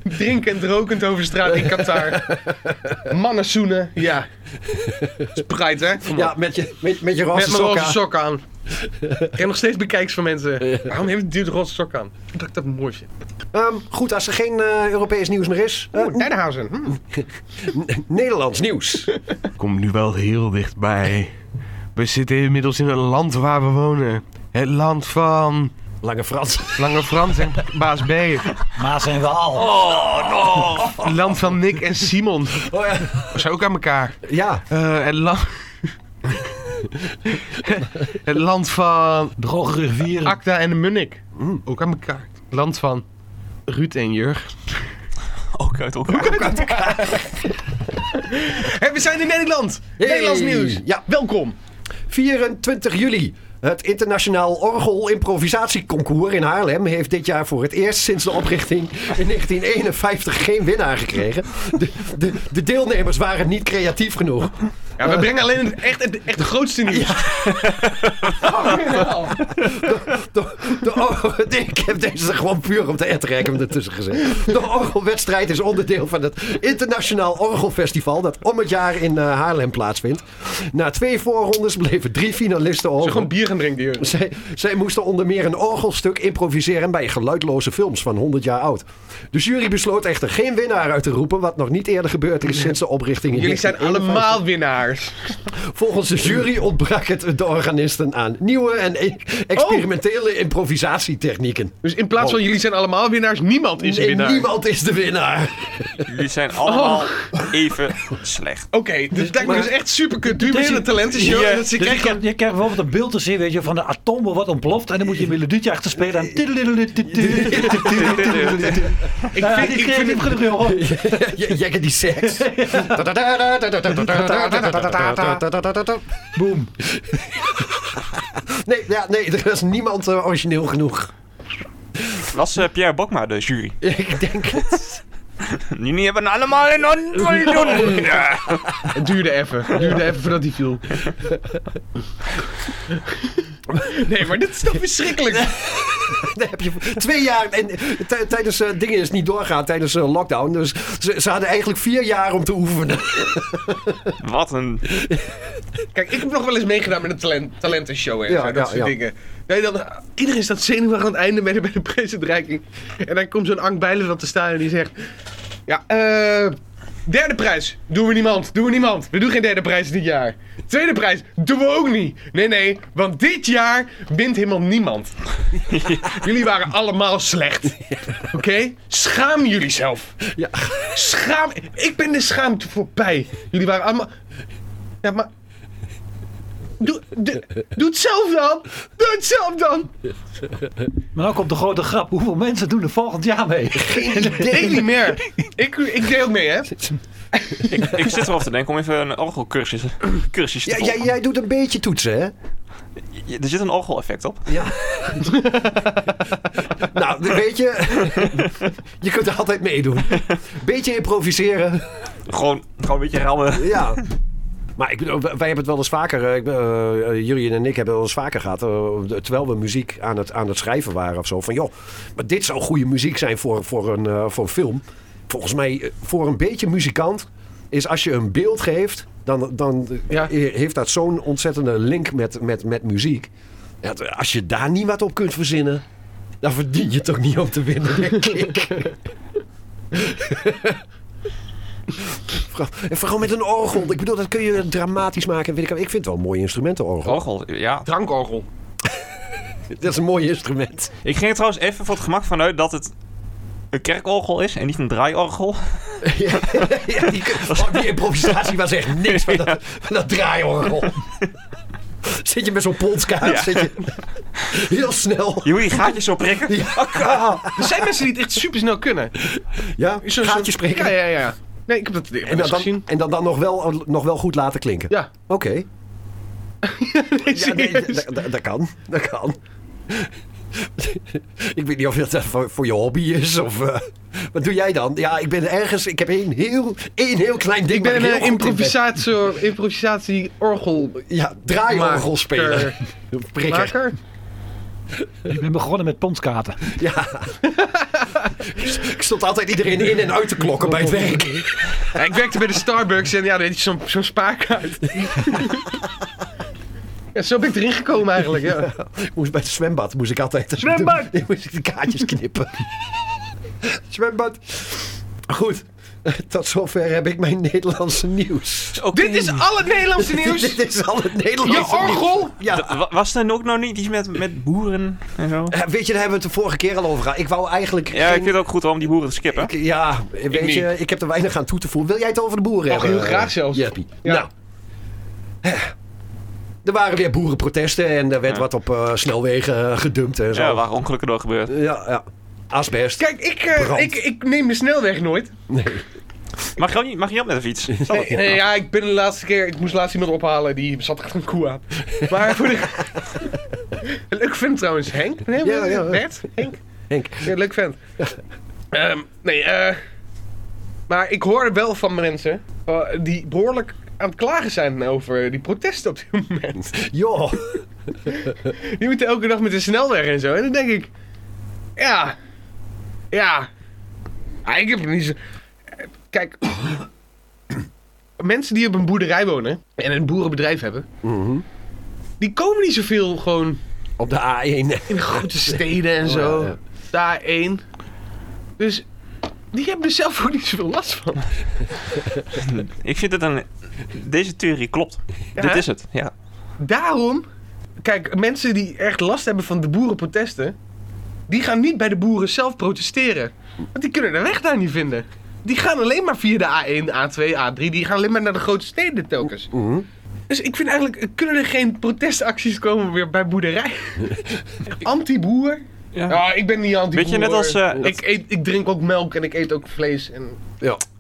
Speaker 5: Drinkend, rokend over straat in Qatar. Mannen zoenen. Ja. Spreidt, hè? Kom op.
Speaker 4: Ja, met je, met, met je
Speaker 5: Met
Speaker 4: roze
Speaker 5: mijn
Speaker 4: sokken.
Speaker 5: roze sok aan. Ik heb nog steeds bekijks van mensen. Waarom heeft het duurt roze sok aan? Dat ik dat mooi vind.
Speaker 4: Ehm, goed, als er geen eh, Europees nieuws meer is. eh,
Speaker 5: Oeh, Nijdenhuizen. Hm.
Speaker 4: Nederlands nieuws.
Speaker 7: Kom nu wel heel dichtbij. We zitten inmiddels in een land waar we wonen. Het land van
Speaker 4: Lange Frans.
Speaker 7: Lange Frans en Baas B.
Speaker 6: Maar zijn we al.
Speaker 7: Het land van Nick en Simon.
Speaker 4: Oh, ja.
Speaker 7: Dat is ook aan elkaar.
Speaker 4: ja,
Speaker 7: Eh, het, land. het land van
Speaker 6: Droge
Speaker 5: Ah,
Speaker 6: rivieren.
Speaker 7: Acta en de Munnik. Ook aan elkaar. Het land van Ruud en Jurg.
Speaker 3: ook uit elkaar.
Speaker 5: Hé, we zijn in Nederland.
Speaker 4: Hey.
Speaker 5: Nederlands nieuws.
Speaker 4: Ja.
Speaker 5: Welkom.
Speaker 4: 24 juli. Het internationaal orgel improvisatieconcours in Haarlem heeft dit jaar voor het eerst sinds de oprichting in 1951 geen winnaar gekregen. De, de, de deelnemers waren niet creatief genoeg.
Speaker 5: Ja, we brengen alleen het echt, het echt grootste nieuws.
Speaker 4: De, de orgel- Nee, ik heb deze gewoon puur om te etteren, ik heb hem ertussen gezet. De orgelwedstrijd is onderdeel van het Internationaal Orgelfestival dat om het jaar in eh, Haarlem plaatsvindt. Na twee voorrondes bleven drie finalisten
Speaker 5: Ze
Speaker 4: over.
Speaker 5: gewoon bier gaan drinken, joh.
Speaker 4: Zij, zij moesten onder meer een orgelstuk improviseren bij geluidloze films van 100 jaar oud. De jury besloot echter geen winnaar uit te roepen, wat nog niet eerder gebeurd is sinds de oprichting in
Speaker 5: Jullie zijn
Speaker 4: 1951.
Speaker 5: allemaal winnaars.
Speaker 4: Volgens de jury ontbrak het de organisten aan nieuwe en e-
Speaker 5: Oh!
Speaker 4: experimentele improvisatietechnieken.
Speaker 5: Dus in plaats van jullie zijn allemaal winnaars, niemand is een
Speaker 4: Nee,
Speaker 5: winnaar.
Speaker 4: niemand is de winnaar.
Speaker 3: Jullie zijn allemaal
Speaker 4: Oh.
Speaker 3: even slecht.
Speaker 5: Oké, dus dat is echt super kut. Duur
Speaker 6: Dus
Speaker 5: hele
Speaker 6: je-
Speaker 5: talenten show.
Speaker 3: Ja.
Speaker 5: dat ze
Speaker 6: Dus je,
Speaker 5: krijgen-
Speaker 6: kan, je krijgt bijvoorbeeld een beeld te zien, weet je, van de atoombom wat ontploft. En dan moet je een melodietje achter spelen. En
Speaker 5: ik
Speaker 6: Ja,
Speaker 5: vind,
Speaker 6: die
Speaker 5: ik vind het
Speaker 6: creatief genoeg, joh.
Speaker 4: J- Jekker die seks.
Speaker 6: Boom.
Speaker 4: Nee, ja, nee, er is niemand eh, origineel genoeg.
Speaker 3: Was eh, Pierre Bokma de jury?
Speaker 4: Ik denk het.
Speaker 3: Jullie hebben allemaal een onvoldoende. Ja.
Speaker 5: Het duurde even. Het duurde even voordat hij viel. Nee, maar dit is toch verschrikkelijk?
Speaker 4: Daar heb je twee jaar. En t- tijdens eh, dingen is niet doorgaan, tijdens eh, lockdown. Dus ze, ze hadden eigenlijk vier jaar om te oefenen.
Speaker 3: Wat een.
Speaker 5: Kijk, ik heb nog wel eens meegedaan met een talent, talentenshow en
Speaker 4: Ja,
Speaker 5: zo, dat
Speaker 4: ja,
Speaker 5: soort
Speaker 4: ja.
Speaker 5: dingen. Nee, dan, iedereen staat zenuwachtig aan het einde bij de, bij de prijsuitreiking. En dan komt zo'n Ank Bijleveld te staan en die zegt... Ja, eh... Derde prijs, doen we niemand, doen we niemand. We doen geen derde prijs dit jaar. Tweede prijs, doen we ook niet. Nee, nee, want dit jaar wint helemaal niemand. Jullie waren allemaal slecht. Oké? Schaam jullie zelf.
Speaker 4: Ja.
Speaker 5: Schaam. Ik ben de schaamte voorbij. Jullie waren allemaal. Ja, maar. Doe, doe, doe het zelf dan! Doe het zelf dan!
Speaker 6: Maar dan komt de grote grap. Hoeveel mensen doen er volgend jaar mee?
Speaker 5: Deed niet meer. Ik, ik deed ook mee, hè?
Speaker 3: Ik, ik zit erover te denken om even een orgelcursus cursus te
Speaker 4: Ja,
Speaker 3: volgen.
Speaker 4: jij, jij doet een beetje toetsen, hè?
Speaker 3: Ja, Er zit een orgeleffect op.
Speaker 4: Nou, weet je, je kunt er altijd meedoen. Beetje improviseren.
Speaker 3: Gewoon, gewoon een beetje rammen.
Speaker 4: Ja. Maar ik bedoel, wij hebben het wel eens vaker, eh, ik, eh, eh, Jurien en ik hebben het wel eens vaker gehad, eh, terwijl we muziek aan het, aan het schrijven waren of zo. Van joh, maar dit zou goede muziek zijn voor, voor, een, eh, voor een film. Volgens mij, eh, voor een beetje muzikant, is als je een beeld geeft, dan, dan eh,
Speaker 5: Ja.
Speaker 4: he- heeft dat zo'n ontzettende link met, met, met muziek. Ja, t- als je daar niet wat op kunt verzinnen, dan verdien je toch niet om te winnen, denk ik. Vooral- En vooral met een orgel. Ik bedoel, dat kun je dramatisch maken. Weet ik, wel. ik vind het wel een mooi instrument, een orgel.
Speaker 3: Orgel, ja.
Speaker 5: Drankorgel.
Speaker 4: Dat is een mooi instrument.
Speaker 3: Ik ging er trouwens even voor het gemak vanuit dat het een kerkorgel is en niet een draaiorgel.
Speaker 4: Ja, ja, die, oh, die improvisatie was echt niks van dat, van dat draaiorgel. Zit je met zo'n polskaart,
Speaker 3: Ja.
Speaker 4: zit je heel snel.
Speaker 3: Je moet je gaatjes zo prikken.
Speaker 5: Er zijn mensen die het echt super snel kunnen.
Speaker 4: Ja,
Speaker 5: Zo'n-
Speaker 4: gaatje
Speaker 5: zo'n-
Speaker 4: spreken.
Speaker 5: Ja, ja, ja. Nee, ik heb dat ik heb
Speaker 4: En
Speaker 5: dat
Speaker 4: dan, dan,
Speaker 5: gezien.
Speaker 4: en dan, dan nog, wel, nog wel goed laten klinken.
Speaker 5: Ja,
Speaker 4: Oké.
Speaker 5: nee,
Speaker 4: Ja, nee,
Speaker 5: serieus.
Speaker 4: dat- dat- dat kan. Dat kan. Ik weet niet of dat voor, voor je hobby is of eh, Wat doe jij dan? Ja, ik ben ergens. Ik heb één heel, één heel klein ding.
Speaker 5: Ik ben
Speaker 4: waar heel
Speaker 5: een
Speaker 4: goed in
Speaker 5: improvisatie, improvisatie orgel
Speaker 4: Ja, draaiorgel spelen. Prikker.
Speaker 5: Maker?
Speaker 6: Ik ben begonnen met ponskaarten.
Speaker 4: Ja. ik stond altijd iedereen in en uit te klokken bij het werk.
Speaker 5: Ja, ik werkte bij de Starbucks en ja, daar had je zo'n zo'n spaarkaart. ja, zo ben ik erin gekomen eigenlijk. Ja.
Speaker 4: Ik moest bij het zwembad moest ik altijd.
Speaker 6: Zwembad!
Speaker 4: Ik moest ik de kaartjes knippen. zwembad. Goed. Tot zover heb ik mijn Nederlandse nieuws.
Speaker 5: Dit is al het Nederlandse nieuws.
Speaker 4: Dit is al het Nederlandse
Speaker 5: Je orgel.
Speaker 4: nieuws. Ja.
Speaker 3: Da- wa- Was er ook nog niet iets met, met boeren en zo?
Speaker 4: Eh, Weet je, daar hebben we het de vorige keer al over gehad. Ik wou eigenlijk.
Speaker 3: Ja, ik
Speaker 4: geen-
Speaker 3: vind het ook goed om die boeren te skippen.
Speaker 4: Ik- Ja, weet
Speaker 5: niet.
Speaker 4: je, ik heb er weinig aan toe te voegen. Wil jij het over de boeren
Speaker 5: Och,
Speaker 4: hebben? eh,
Speaker 5: heel graag zelfs.
Speaker 4: Jeppie?
Speaker 5: Ja.
Speaker 4: Nou. Eh. Er waren weer boerenprotesten en er werd
Speaker 3: Ja.
Speaker 4: wat op eh, snelwegen eh, gedumpt en zo.
Speaker 3: Ja, waar ongelukken door gebeurd.
Speaker 4: ja, ja. Asbest.
Speaker 5: Kijk, ik, eh,
Speaker 4: Brand.
Speaker 5: ik, ik neem de snelweg nooit.
Speaker 3: Mag je, ook niet- mag je niet op met een fiets? Zal het?
Speaker 4: Oh,
Speaker 5: Nee, nee, Eh, ja, ik ben de laatste keer. Ik moest laatst iemand ophalen die zat echt een koe aan. Maar voor de. Een leuk vent trouwens, Henk. Nee,
Speaker 4: Ja, ja.
Speaker 5: Bert? Henk.
Speaker 4: Henk.
Speaker 5: Ja, leuk vent. Ehm, nee, eh. Maar ik hoor wel van mensen eh, die behoorlijk aan het klagen zijn over die protesten op dit moment.
Speaker 4: Joh.
Speaker 5: Die moeten elke dag met de snelweg en zo. En dan denk ik, ja, ja. Ah, ik heb er niet zo. eh, Kijk, mensen die op een boerderij wonen en een boerenbedrijf hebben,
Speaker 4: Mhm.
Speaker 5: die komen niet zoveel gewoon
Speaker 4: Op de A1.
Speaker 5: in grote steden en zo.
Speaker 4: Oh, ja, ja.
Speaker 5: Daar één. Dus die hebben er zelf ook niet zoveel last van.
Speaker 3: Ik vind het een... Deze theorie klopt. Dit
Speaker 5: hè?
Speaker 3: is het, ja.
Speaker 5: Daarom, kijk, mensen die echt last hebben van de boerenprotesten, die gaan niet bij de boeren zelf protesteren. Want die kunnen de weg daar niet vinden. Die gaan alleen maar via de A1, A2, A3, die gaan alleen maar naar de grote steden telkens.
Speaker 4: Mm-hmm.
Speaker 5: Dus ik vind eigenlijk, eh, kunnen er geen protestacties komen weer bij boerderij? anti-boer? Ja. ik ben niet anti-boer.
Speaker 3: Weet je, net als... eh,
Speaker 5: ik, eet, ik drink ook melk en ik eet ook vlees. En...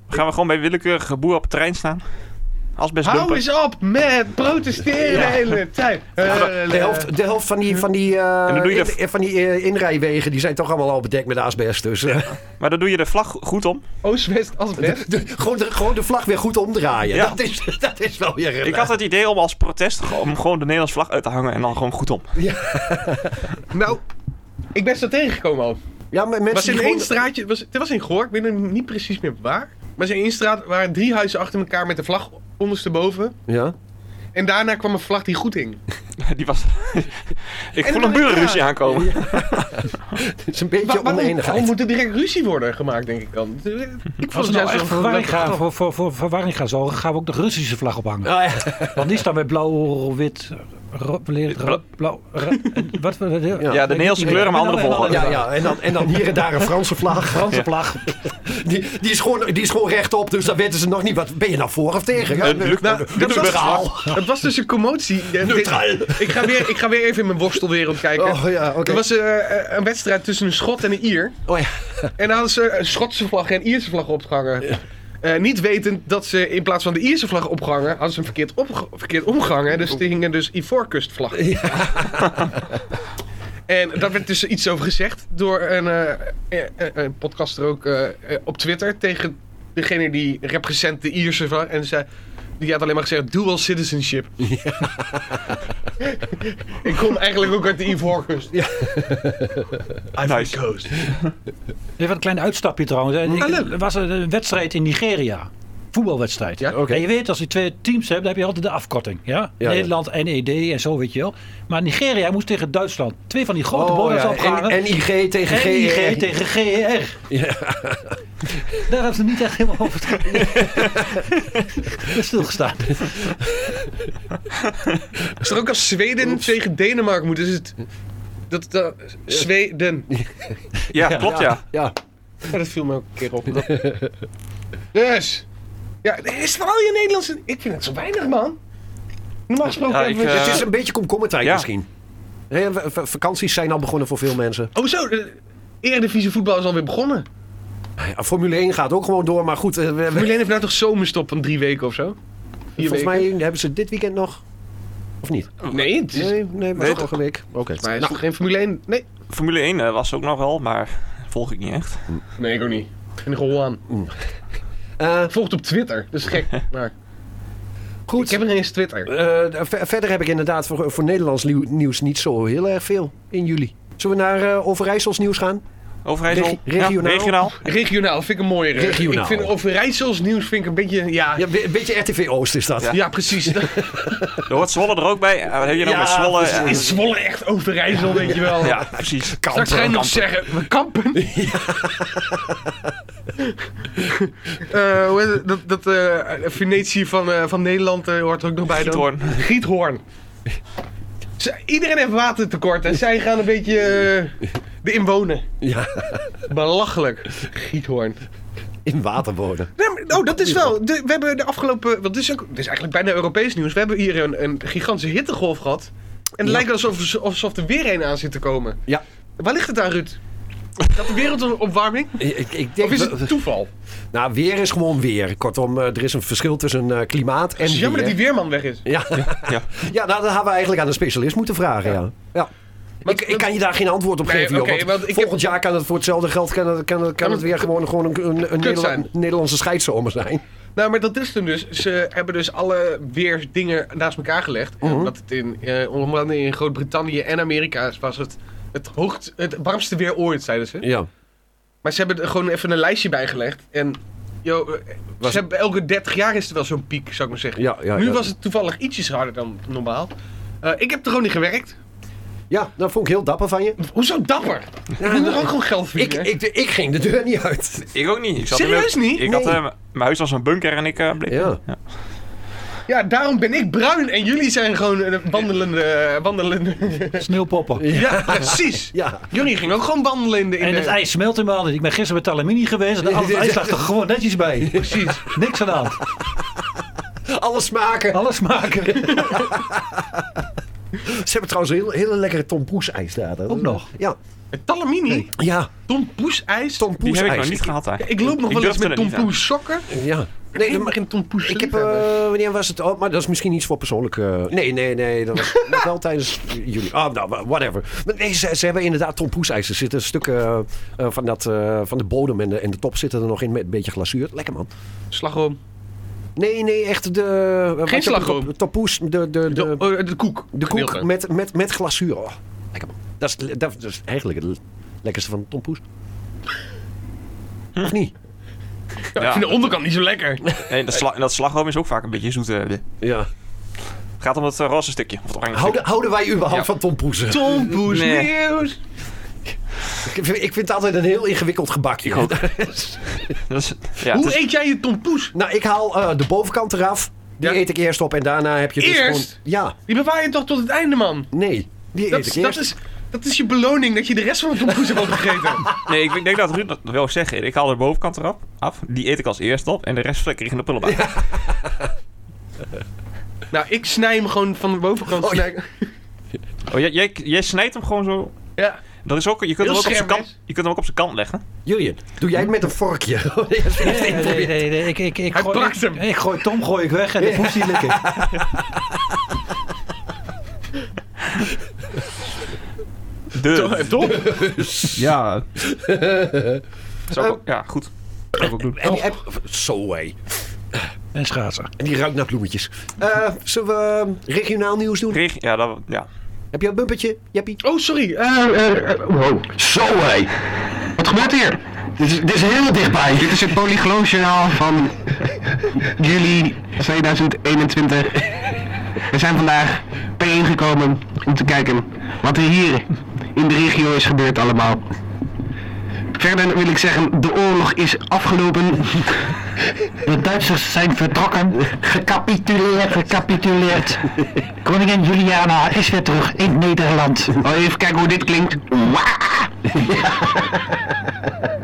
Speaker 3: Gaan we gewoon bij willekeurige boer op de trein staan? Als best
Speaker 5: Hou eens op met protesteren de hele tijd. eh,
Speaker 4: De helft, de helft van die, van die, eh,
Speaker 3: En dan doe je de-
Speaker 4: in- van die eh, inrijwegen die zijn toch allemaal al bedekt met asbest. Dus eh,
Speaker 3: Maar dan doe je de vlag goed om.
Speaker 5: Oost-West als best.
Speaker 4: de- gewoon, de, gewoon de vlag weer goed omdraaien.
Speaker 3: Ja.
Speaker 4: Dat, is, dat is wel weer... een-
Speaker 3: Ik had het idee om als protest gewoon- om gewoon de Nederlandse vlag uit te hangen en dan gewoon goed om.
Speaker 5: Nou, ik ben zo tegengekomen al.
Speaker 4: eh, Ja, maar mensen
Speaker 5: Was
Speaker 4: die
Speaker 5: in
Speaker 4: gewoon-
Speaker 5: één straatje, was, het was in Goor, ik weet nog niet precies meer waar. Maar in één straat waren drie huizen achter elkaar met de vlag ondersteboven.
Speaker 4: Ja.
Speaker 5: En daarna kwam een vlag die goed hing.
Speaker 3: Die was... ik
Speaker 5: En
Speaker 3: voel
Speaker 5: dan-
Speaker 3: een burenruzie aankomen.
Speaker 4: Het is een beetje
Speaker 5: waarom, waarom
Speaker 4: oneenigheid.
Speaker 5: moet er direct ruzie worden gemaakt, denk ik dan? Ik
Speaker 6: Als
Speaker 5: het
Speaker 6: we nou echt
Speaker 5: een
Speaker 6: verwarring
Speaker 5: leuke
Speaker 6: gaan,
Speaker 5: grap.
Speaker 6: voor, voor, voor verwarring gaan zorgen, gaan we ook de Russische vlag ophangen.
Speaker 4: Ah, ja.
Speaker 6: Want die staan met blauw, wit, rood, blauw, blauw, ra- en wat we dat
Speaker 4: Ja,
Speaker 3: Ja, de Nederlandse kleuren, maar andere volgorde.
Speaker 4: Ja, ja. En, dan, en dan hier en daar een Franse vlag.
Speaker 6: Franse vlag.
Speaker 4: Die, die, is gewoon, die is gewoon rechtop, dus dan weten ze nog niet. Wat, ben je nou voor of tegen? Ja,
Speaker 3: Eh, Luc-
Speaker 4: nou,
Speaker 3: Luc-
Speaker 4: dat is
Speaker 3: Luc-
Speaker 4: verhaal.
Speaker 5: Het was dus een commotie.
Speaker 4: Neutraal.
Speaker 5: Ik ga, weer, ik ga weer even in mijn worstelwereld kijken.
Speaker 4: Oh ja, oké.
Speaker 5: Er was eh, een wedstrijd tussen een Schot en een Ier.
Speaker 4: Oh ja.
Speaker 5: En dan hadden ze een Schotse vlag en een Ierse vlag opgehangen. Eh, niet wetend dat ze in plaats van de Ierse vlag opgehangen, hadden ze hem verkeerd, opge- verkeerd omgehangen. Dus er hingen dus Ivoorkustvlag. en daar werd dus iets over gezegd door een, eh, eh, eh, een podcaster ook eh, eh, op Twitter tegen degene die represent de Ierse vlag. En zei, die had alleen maar gezegd dual citizenship. Ik kom eigenlijk ook uit de Ivoorkust. Ja.
Speaker 3: Nice.
Speaker 6: Even een klein uitstapje trouwens. hè. Ik-
Speaker 5: Ah, leuk.
Speaker 6: Er was een- een wedstrijd in Nigeria. Voetbalwedstrijd.
Speaker 5: Ja,
Speaker 4: oké.
Speaker 6: En je weet, als je twee teams hebt, dan heb je altijd de afkorting. Ja?
Speaker 4: Ja,
Speaker 6: Nederland, NED en zo, weet je wel. Maar Nigeria moest tegen Duitsland. Twee van die
Speaker 4: Oh,
Speaker 6: grote borders opgaan.
Speaker 4: En, IG tegen G. E
Speaker 6: NIG tegen GR. Daar hebben ze niet echt helemaal over te- stilgestaan.
Speaker 5: Is er ook als Zweden tegen Denemarken moet? Is het. Dat, dat, Zweden.
Speaker 3: Ja, klopt ja.
Speaker 4: Ja.
Speaker 5: Ja, dat viel me ook een keer op. dus. Ja, is er al je Nederlandse. Ik vind het zo weinig, man. Normaal gesproken
Speaker 3: Ja,
Speaker 5: hebben
Speaker 3: ik,
Speaker 5: we.
Speaker 3: eh,
Speaker 4: Het is een beetje komkommertijd
Speaker 3: Ja.
Speaker 4: misschien. Hè, v- v- vakanties zijn al begonnen voor veel mensen.
Speaker 5: Oh, zo. De Eredivisie voetbal is alweer begonnen.
Speaker 4: Ja, Formule 1 gaat ook gewoon door, maar goed. eh, we- we-
Speaker 5: Milan heeft nou toch zomerstop van drie weken of zo? Vier
Speaker 4: volgens
Speaker 5: weken?
Speaker 4: mij hebben ze dit weekend nog. Of niet?
Speaker 5: Nee, Nou. het is.
Speaker 4: Nee, nee maar
Speaker 3: Nee,
Speaker 4: vorige week. Oké.
Speaker 5: Maar is toch geen Formule 1? Nee.
Speaker 3: eh, Formule 1 eh, was ook nog wel, maar volg ik niet echt.
Speaker 5: Nee, ik ook niet. in Rowan.
Speaker 4: Eh,
Speaker 5: Volgt op Twitter, dat is gek. Maar
Speaker 4: goed.
Speaker 5: ik heb er eens Twitter.
Speaker 4: Eh, ver- verder heb ik inderdaad voor, voor Nederlands nieuw- nieuws niet zo heel erg veel in juli. Zullen we naar eh, Overijssels nieuws gaan?
Speaker 3: Overijssel.
Speaker 4: Regi- regionaal.
Speaker 3: Ja, regionaal.
Speaker 5: Regionaal vind ik een mooiere.
Speaker 4: Regionaal.
Speaker 5: Ik vind Overijssels nieuws vind ik een beetje, ja...
Speaker 4: Ja,
Speaker 5: Ja,
Speaker 4: een beetje RTV Oost is dat.
Speaker 5: precies. Daar
Speaker 3: Er hoort Zwolle er ook bij. Eh, Wat heb je nou
Speaker 4: Ja,
Speaker 3: met Zwolle?
Speaker 4: precies.
Speaker 3: Eh,
Speaker 5: Is Zwolle echt Overijssel, weet je wel.
Speaker 3: Ja, precies.
Speaker 5: Straks
Speaker 4: eh,
Speaker 5: ga je nog zeggen, we kampen. Eh, hoe heet het? dat dat eh, Venetië van, eh, van Nederland eh, hoort er ook nog bij. dan.
Speaker 3: Giethoorn.
Speaker 5: Giethoorn. Ze- iedereen heeft watertekort en zij gaan een beetje eh, erin wonen.
Speaker 4: Ja.
Speaker 5: Belachelijk. Giethoorn.
Speaker 4: In water wonen.
Speaker 5: Nee, maar- oh, dat is wel. de- we hebben de afgelopen. Wat is ook, dit is eigenlijk bijna Europees nieuws. We hebben hier een, een gigantische hittegolf gehad. En het
Speaker 4: Ja.
Speaker 5: lijkt alsof, alsof er weer een aan zit te komen.
Speaker 4: Ja.
Speaker 5: Waar ligt het aan, Ruud? Dat de wereldopwarming?
Speaker 4: Ik, ik denk,
Speaker 5: Of is het toeval?
Speaker 4: Nou, weer is gewoon weer. Kortom, eh, er is een verschil tussen eh, klimaat en
Speaker 5: Het is jammer dat
Speaker 4: weer.
Speaker 5: die weerman weg is.
Speaker 4: Ja, ja.
Speaker 3: Ja.
Speaker 4: nou, dat hadden we eigenlijk aan een specialist moeten vragen, ja. ja.
Speaker 5: Maar
Speaker 4: ik,
Speaker 5: het-
Speaker 4: ik kan je daar geen antwoord op
Speaker 5: Nee,
Speaker 4: geven, joh,
Speaker 5: oké,
Speaker 4: want
Speaker 5: want ik heb-
Speaker 4: volgend jaar kan het voor hetzelfde geld kan het, kan het, kan
Speaker 5: Kan
Speaker 4: het
Speaker 5: het
Speaker 4: weer gewoon, gewoon een, een, een Nederla-
Speaker 5: zijn.
Speaker 4: Nederlandse scheidzomer zijn.
Speaker 5: Nou, maar dat is toen dus. Ze hebben dus alle weersdingen naast elkaar gelegd.
Speaker 4: Mhm.
Speaker 5: En Omdat het in, eh onder andere in Groot-Brittannië en Amerika was het het, hoogst, het warmste weer ooit, zeiden ze.
Speaker 4: Ja.
Speaker 5: Maar ze hebben er gewoon even een lijstje bij gelegd. En yo, eh,
Speaker 4: Was-
Speaker 5: ze hebben, elke 30 jaar is er wel zo'n piek, zou ik maar zeggen.
Speaker 4: Ja, ja,
Speaker 5: nu
Speaker 4: ja.
Speaker 5: was het toevallig ietsjes harder dan normaal. Eh, ik heb er gewoon niet gewerkt.
Speaker 4: ja, dat vond ik heel dapper van je.
Speaker 5: Hoezo dapper? ik moet er ook gewoon geld
Speaker 4: Ik,
Speaker 5: verdienen.
Speaker 4: ik, ik ging de deur niet uit.
Speaker 3: Ik ook niet. Ik zat
Speaker 5: Serieus
Speaker 3: in mijn-
Speaker 5: niet?
Speaker 3: Ik had
Speaker 4: Nee.
Speaker 3: eh, mijn huis als een bunker en ik eh, bleef.
Speaker 4: Ja.
Speaker 5: Ja, daarom ben ik bruin en jullie zijn gewoon eh, wandelende... wandelende...
Speaker 6: Sneeuwpoppen.
Speaker 5: ja, precies.
Speaker 4: Ja.
Speaker 5: Jullie gingen ook gewoon wandelen in de... in
Speaker 6: En
Speaker 5: de-
Speaker 6: het ijs smelt helemaal niet. Ik ben gisteren met Talamini geweest en al het ijs lag er gewoon netjes bij.
Speaker 5: Precies.
Speaker 6: Niks aan de hand.
Speaker 4: Alles maken.
Speaker 6: Alles maken.
Speaker 4: Ze hebben trouwens een heel, hele lekkere Tom Poes ijs daar. Dat-
Speaker 6: Ook nog?
Speaker 4: Ja.
Speaker 5: Het Talamini,
Speaker 4: Ja,
Speaker 5: Tom Poes ijs.
Speaker 4: Tom
Speaker 3: Die
Speaker 4: Poes
Speaker 3: heb ik nog
Speaker 4: ijs.
Speaker 3: niet gehad eigenlijk.
Speaker 5: Ik loop nog wel eens
Speaker 3: durfde
Speaker 5: met
Speaker 3: er
Speaker 5: Tom
Speaker 3: niet aan.
Speaker 5: Poes sokken.
Speaker 4: Ja.
Speaker 5: Nee,
Speaker 4: Nee,
Speaker 5: ik
Speaker 4: maar
Speaker 5: begin Tom Poes
Speaker 4: Ik heb,
Speaker 5: liefhebben.
Speaker 4: eh, wanneer was het? Oh, maar dat is misschien iets voor persoonlijk. eh, nee, nee, nee. Dat was nog wel tijdens jullie. Ah, nou, whatever. Maar nee, ze, ze hebben inderdaad tompoesijzer. Er zitten stukken eh, eh, van, dat, eh, van de bodem en de, en de top zitten er nog in met een beetje glazuur. Lekker man.
Speaker 5: Slagroom.
Speaker 4: Nee, nee, echt de. eh, wat je op
Speaker 5: slagroom.
Speaker 4: De tompoes, de, de, de,
Speaker 5: De,
Speaker 4: de,
Speaker 5: eh, de koek.
Speaker 4: koek
Speaker 5: Gedeelte.
Speaker 4: met, met, met glazuur. Oh, lekker man. Dat is, dat, dat is eigenlijk het lekkerste van de tompoes. Of niet?
Speaker 5: Ja, Ik vind de onderkant niet zo lekker.
Speaker 3: Nee, en dat, sla- en dat slagroom is ook vaak een beetje zoet. eh, Het
Speaker 4: Ja.
Speaker 3: gaat om dat eh, roze stukje. Of het oranje
Speaker 4: Houden, houden wij überhaupt
Speaker 3: Ja.
Speaker 4: van tompoes?
Speaker 5: Tom Poes
Speaker 3: Nee.
Speaker 5: nieuws.
Speaker 4: Ik vind, ik vind het altijd een heel ingewikkeld gebakje.
Speaker 3: Ik ook. stukje. Dat is- ja, het
Speaker 5: Hoe
Speaker 3: is-
Speaker 5: eet jij je Tom Poes?
Speaker 4: Nou, ik haal eh, de bovenkant eraf. Die
Speaker 5: Ja.
Speaker 4: eet ik eerst op en daarna heb je dus
Speaker 5: Eerst?
Speaker 4: gewoon... Ja,
Speaker 5: Die bewaar je toch tot het einde, man.
Speaker 4: nee. Die
Speaker 5: Dat,
Speaker 4: eet
Speaker 5: is-
Speaker 4: ik
Speaker 5: dat,
Speaker 4: eerst.
Speaker 5: is, dat is je beloning dat je de rest van de Tom Poes hebt opgegeten.
Speaker 3: Nee, ik denk dat Ruud dat wil zeggen. Ik haal de bovenkant eraf af. Die eet ik als eerste op. En de rest flikker ik in de prullenbak.
Speaker 5: nou, ik snij hem gewoon van de bovenkant.
Speaker 4: Oh, ja.
Speaker 5: snij-
Speaker 3: Oh, jij, jij, jij snijdt hem gewoon zo.
Speaker 5: ja.
Speaker 3: Dat is ook, je, kunt hem
Speaker 5: Heel
Speaker 3: ook op zijn
Speaker 5: scherp,
Speaker 3: kant,
Speaker 5: hè?
Speaker 3: je kunt hem ook op zijn kant leggen.
Speaker 4: Julian, doe jij het met een vorkje?
Speaker 6: Nee, nee, nee. nee. Ik, ik, ik,
Speaker 5: Hij
Speaker 6: gooi,
Speaker 5: plakt
Speaker 6: ik,
Speaker 5: hem.
Speaker 6: ik gooi Tom gooi ik weg en de poes die likken.
Speaker 3: De.
Speaker 5: Top.
Speaker 3: Ja. Zou ik ook- ja, goed. Zou ik ook doen.
Speaker 5: Oh.
Speaker 4: en die heb... Zo, hé.
Speaker 6: En schaatsen.
Speaker 4: En die ruikt naar bloemetjes. Eh, zullen we eh, regionaal nieuws doen?
Speaker 3: Reg- ja, dat, ja.
Speaker 4: Heb je een bumpertje, Jeppie?
Speaker 5: Oh, sorry. Eh,
Speaker 8: Zo hé! Wat gebeurt hier? Dit is, dit is heel dichtbij. Dit is het polygloosjournaal van juli 2021. We zijn vandaag bijeen gekomen om te kijken wat er hier in de regio is gebeurd allemaal. Verder wil ik zeggen, de oorlog is afgelopen. De Duitsers zijn vertrokken, gecapituleerd, gecapituleerd. Koningin Juliana is weer terug in Nederland. Oh, even kijken hoe dit klinkt. Waa!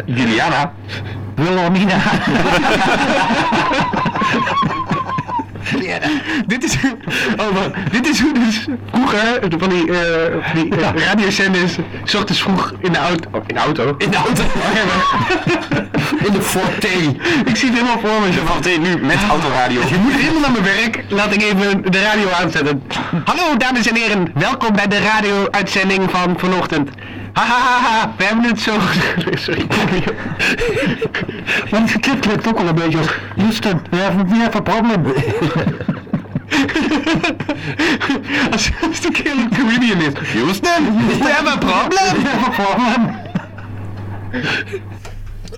Speaker 8: Juliana. Wilhelmina. Dit is, oh, maar dit is hoe dus vroeger van die, eh, van die eh, radiozenders, s ochtends vroeg in de auto. Oh, in de auto? In de auto. in de Forte. Ik zie het helemaal voor me. De Forte nu met autoradio. Je moet helemaal naar mijn werk. Laat ik even de radio aanzetten. Hallo dames en heren, welkom bij de radio-uitzending van vanochtend. Hahaha, we hebben het zo gedaan. Sorry. Maar die clip klinkt ook al een beetje als... Houston, we have, we have a problem. als, als de keer een comedian is. Houston, we have a problem. We have a problem.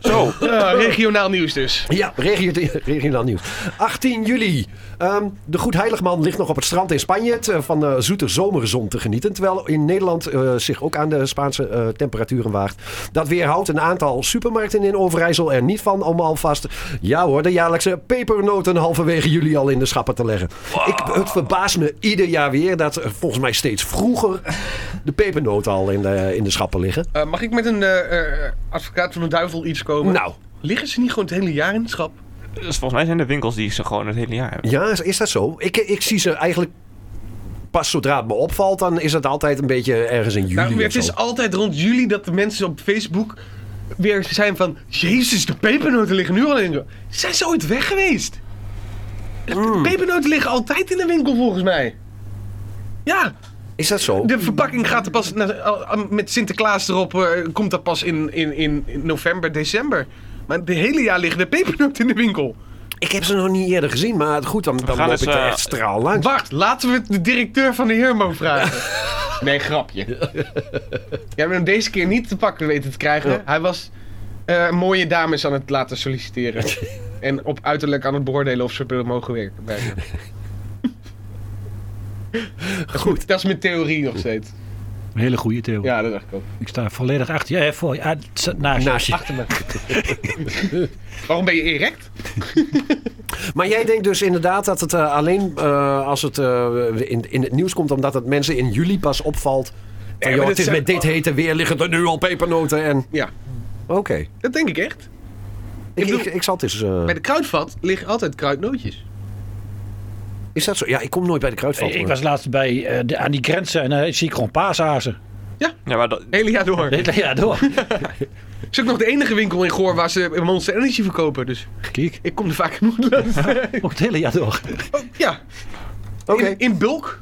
Speaker 5: Zo. Ja, Eh, regionaal nieuws dus.
Speaker 4: Ja, regio- regionaal nieuws. 18 juli. Ehm, de Goed Heiligman ligt nog op het strand in Spanje het, eh, van eh, zoete zomerzon te genieten. Terwijl in Nederland eh, zich ook aan de Spaanse eh, temperaturen waagt. Dat weerhoudt een aantal supermarkten in Overijssel er niet van om alvast, ja hoor, de jaarlijkse pepernoten halverwege juli al in de schappen te leggen. Ik, het verbaast me ieder jaar weer dat er volgens mij steeds vroeger de pepernoten al in de, in de schappen liggen.
Speaker 5: Eh, mag ik met een eh, eh, advocaat van de duivel iets komen?
Speaker 4: Nou,
Speaker 5: Liggen ze niet gewoon het hele jaar in het schap?
Speaker 3: Dus volgens mij zijn de winkels die ze gewoon het hele jaar hebben.
Speaker 4: Ja, is, is dat zo? Ik, ik zie ze eigenlijk pas zodra het me opvalt, dan is het altijd een beetje ergens in juli.
Speaker 5: Nou,
Speaker 4: of
Speaker 5: het
Speaker 4: zo.
Speaker 5: is altijd rond juli dat de mensen op Facebook weer zijn van... Jezus, de pepernoten liggen nu al in de winkel. Zijn ze ooit weg geweest? De pepernoten liggen altijd in de winkel volgens mij. Ja,
Speaker 4: Is dat zo?
Speaker 5: de verpakking gaat er pas... na- al- al- met Sinterklaas erop eh, komt dat pas in, in, in in november, december. Maar het hele jaar liggen de pepernoten in de winkel.
Speaker 4: Ik heb ze nog niet eerder gezien, maar goed, dan, dan
Speaker 3: gaan
Speaker 4: loop
Speaker 3: eens,
Speaker 4: ik er
Speaker 3: eh,
Speaker 4: echt straal langs.
Speaker 5: Wacht, laten we het de directeur van de Hermo vragen. Nee, grapje. Jij hebt hem deze keer niet te pakken weten te krijgen. Hij was eh, mooie dames aan het laten solliciteren. en op uiterlijk aan het beoordelen of ze er mogen werken. bij hem.
Speaker 4: Goed.
Speaker 5: Dat is mijn theorie nog steeds.
Speaker 6: Een hele goede Theo.
Speaker 5: Ja, dat dacht ik ook.
Speaker 6: Ik sta volledig achter je. Ja, voor je. Ah, het zat naast je.
Speaker 4: Naast je.
Speaker 6: Achter me.
Speaker 5: Waarom ben je erect?
Speaker 4: Maar jij denkt dus inderdaad dat het eh, alleen eh, als het eh, in, in het nieuws komt, omdat het mensen in juli pas opvalt. Van,
Speaker 5: maar
Speaker 4: joh,
Speaker 5: dit
Speaker 4: het is
Speaker 5: zijn-
Speaker 4: met dit hete weer liggen er nu al pepernoten en...
Speaker 5: Ja.
Speaker 4: Oké.
Speaker 5: Dat denk ik echt.
Speaker 4: Ik,
Speaker 5: bedoel-
Speaker 4: ik, ik zal het eens... eh,
Speaker 5: Bij de kruidvat liggen altijd kruidnootjes.
Speaker 4: Is dat zo? Ja, ik kom nooit bij de kruidvat.
Speaker 6: Ik
Speaker 4: hoor.
Speaker 6: was laatst bij, eh, de, aan die grenzen en dan zie ik gewoon paasazen.
Speaker 3: Ja, maar dat,
Speaker 5: Hele jaar door. Het
Speaker 6: Ja, door.
Speaker 5: is ook nog de enige winkel in Goor waar ze Monster Energy verkopen. Dus
Speaker 6: Kijk,
Speaker 5: ik kom er vaak genoeg langs.
Speaker 6: ook het hele jaar door.
Speaker 5: Ja,
Speaker 4: Oké.
Speaker 5: in, in bulk.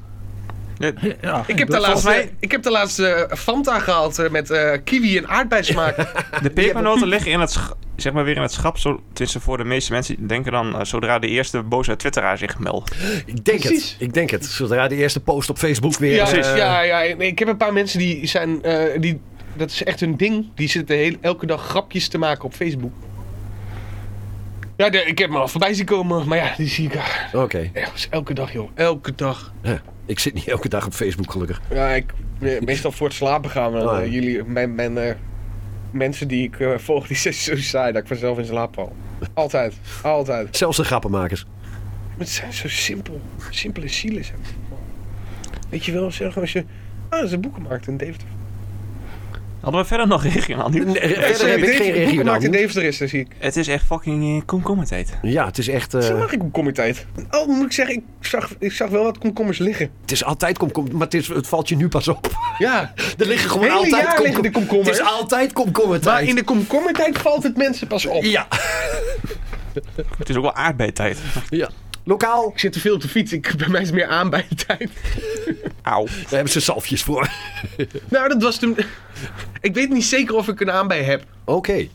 Speaker 6: Ja,
Speaker 5: Ik heb, de
Speaker 6: dat-
Speaker 5: laatste, ik heb de laatste eh, Fanta gehaald eh, met eh, kiwi en aardbeismaak.
Speaker 3: De pepernoten liggen in het sch- zeg maar weer in het schap. Zo, tussen voor de meeste mensen die denken dan eh, zodra de eerste boze twitteraar zich meldt.
Speaker 4: Ik denk
Speaker 5: Precies.
Speaker 4: het. Ik denk het. Zodra de eerste post op Facebook weer...
Speaker 5: ja,
Speaker 4: eh,
Speaker 5: ja, ja, nee, ik heb een paar mensen die zijn... eh, die, dat is echt hun ding. Die zitten heel, elke dag grapjes te maken op Facebook. Ja, de- ik heb me al voorbij zien komen. Maar ja, die zie ik ah,
Speaker 4: Oké.
Speaker 5: ergens elke dag, joh. Elke dag.
Speaker 4: Ja, ik zit niet elke dag op Facebook, gelukkig.
Speaker 5: Ja, ik, eh, meestal voor het slapen gaan we.
Speaker 4: Oh.
Speaker 5: eh, jullie, mijn, mijn eh, mensen die ik eh, volg, die zijn zo saai dat ik vanzelf in slaap val. Altijd. Altijd.
Speaker 4: Zelfs de grappenmakers.
Speaker 5: Maar het zijn zo simpel. Simpele zielen zijn het. Weet je wel, zeg als je... Ah, dat is een boekenmarkt in Deventer.
Speaker 3: Hadden we verder nog regionaal nieuws?
Speaker 4: Nee, verder heb ik geen
Speaker 5: Een
Speaker 4: regionaal.
Speaker 5: boekenmarkt in Deventer is er, zie ik.
Speaker 3: Het is echt fucking eh, komkommertijd.
Speaker 4: Ja, het is echt... eh,
Speaker 5: Zo mag ik komkommertijd. Oh, moet ik zeggen, ik zag, ik zag wel wat komkommers liggen.
Speaker 4: het is altijd komkommer, maar het, is, het valt je nu pas op.
Speaker 5: Ja,
Speaker 4: Er liggen gewoon
Speaker 5: Het hele
Speaker 4: altijd
Speaker 5: jaar liggen de
Speaker 4: Het
Speaker 5: komkommers.
Speaker 4: is altijd komkommertijd.
Speaker 5: maar in de komkommertijd valt het mensen pas op.
Speaker 4: Ja.
Speaker 3: Het is ook wel aardbeidtijd.
Speaker 4: ja. Lokaal,
Speaker 5: Ik zit te veel op de fiets, ik, bij mij is het meer aan bij de tijd.
Speaker 3: Auw.
Speaker 4: daar hebben ze zalfjes voor.
Speaker 5: Nou, dat was toen... Ik weet niet zeker of ik een aan bij heb.
Speaker 4: Oké.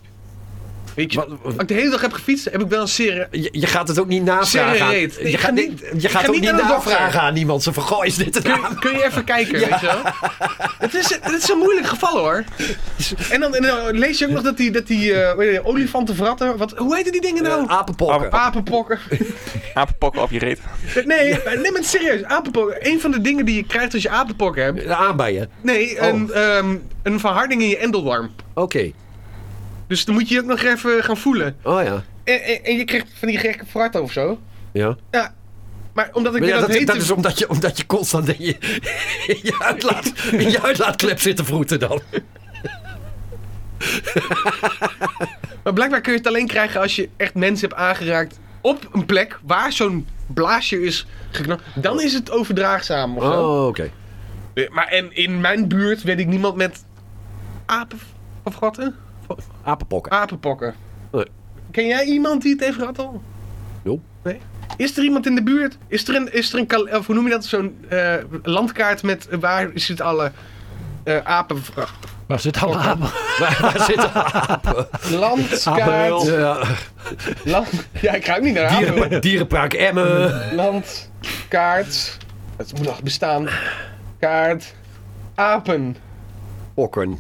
Speaker 5: Weet je,
Speaker 4: Wat-
Speaker 5: als ik de hele dag heb gefietst, heb ik wel een serie...
Speaker 4: Je, je gaat het ook niet navragen. aan-
Speaker 5: Serieet.
Speaker 4: Je
Speaker 5: Ik ga
Speaker 4: gaat,
Speaker 5: niet-
Speaker 4: je
Speaker 5: ik
Speaker 4: gaat
Speaker 5: ga
Speaker 4: ook
Speaker 5: niet
Speaker 4: niet
Speaker 5: naar de dokter.
Speaker 4: navragen aan iemand. Ze van, goh, is dit het
Speaker 5: Kun, kun je even kijken, weet je wel? Het is, het is een moeilijk geval hoor. En dan, en dan lees je ook nog dat die, dat die eh, hoe heet het, olifantenvratten, wat, hoe heette die dingen nou?
Speaker 4: Eh, apenpokken.
Speaker 5: apenpokken.
Speaker 3: Apenpokken op je reet.
Speaker 5: Nee, maar neem het serieus. Apenpokken. Een van de dingen die je krijgt als je apenpokken hebt.
Speaker 4: De aanbijen.
Speaker 5: Nee,
Speaker 4: Oh.
Speaker 5: een, ehm, een verharding in je endeldarm.
Speaker 4: Oké.
Speaker 5: Dus dan moet je je ook nog even gaan voelen.
Speaker 4: Oh ja.
Speaker 5: En, en, en je krijgt van die gekke fratten of zo.
Speaker 4: Ja.
Speaker 5: Ja, maar omdat ik
Speaker 4: Maar
Speaker 5: weer dat,
Speaker 4: ja, dat, dus-
Speaker 5: hete...
Speaker 4: dat is omdat je, omdat je constant in je, in je, uitlaat, in je uitlaatklep zit te vroeten dan.
Speaker 5: Maar blijkbaar kun je het alleen krijgen als je echt mensen hebt aangeraakt op een plek waar zo'n blaasje is geknapt. Dan is het overdraagzaam of zo.
Speaker 4: Oh, oké.
Speaker 5: Eh, Maar en in mijn buurt weet ik niemand met apen of ratten?
Speaker 4: Apenpokken.
Speaker 5: Apenpokken.
Speaker 4: Nee.
Speaker 5: Ken jij iemand die het heeft gehad al?
Speaker 4: Nope.
Speaker 5: Nee? Is er iemand in de buurt? Is er een, is er een kal- of hoe noem je dat, zo'n eh, landkaart met eh, waar zit alle eh apen...
Speaker 6: Waar zit alle apen?
Speaker 4: Waar zitten
Speaker 5: Landkaart.
Speaker 4: ja,
Speaker 5: Land, ja, ik ruik niet naar apen.
Speaker 4: dieren, dierenpraak Emmen?
Speaker 5: Landkaart. Het moet nog bestaan. Kaart. Apen.
Speaker 4: Okken.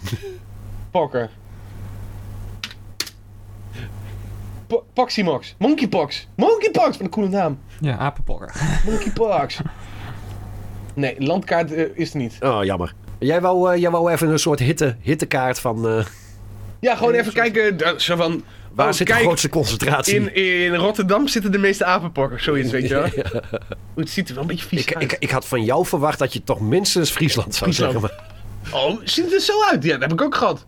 Speaker 5: Pokken. Po- Poxymox. Monkeypox. Monkeypox! Wat een coole naam.
Speaker 3: Ja, apenpokken.
Speaker 5: Monkeypox. Nee, landkaart eh, is er niet.
Speaker 4: Oh, jammer. Jij wou, eh, jij wou even een soort hitte, hittekaart van... eh,
Speaker 5: Ja, gewoon even kijken. eh, Zo van...
Speaker 4: waar
Speaker 5: oh,
Speaker 4: zit
Speaker 5: kijk,
Speaker 4: de grootste concentratie?
Speaker 5: in, in Rotterdam zitten de meeste apenpokkers. Zoiets, weet je wel. Oeh, Het ziet er wel een beetje vies
Speaker 4: ik,
Speaker 5: uit.
Speaker 4: ik, ik had van jou verwacht dat je toch minstens Friesland zou
Speaker 5: Friesland.
Speaker 4: zeggen. maar-
Speaker 5: Oh, ziet het er zo uit? Ja, dat heb ik ook gehad.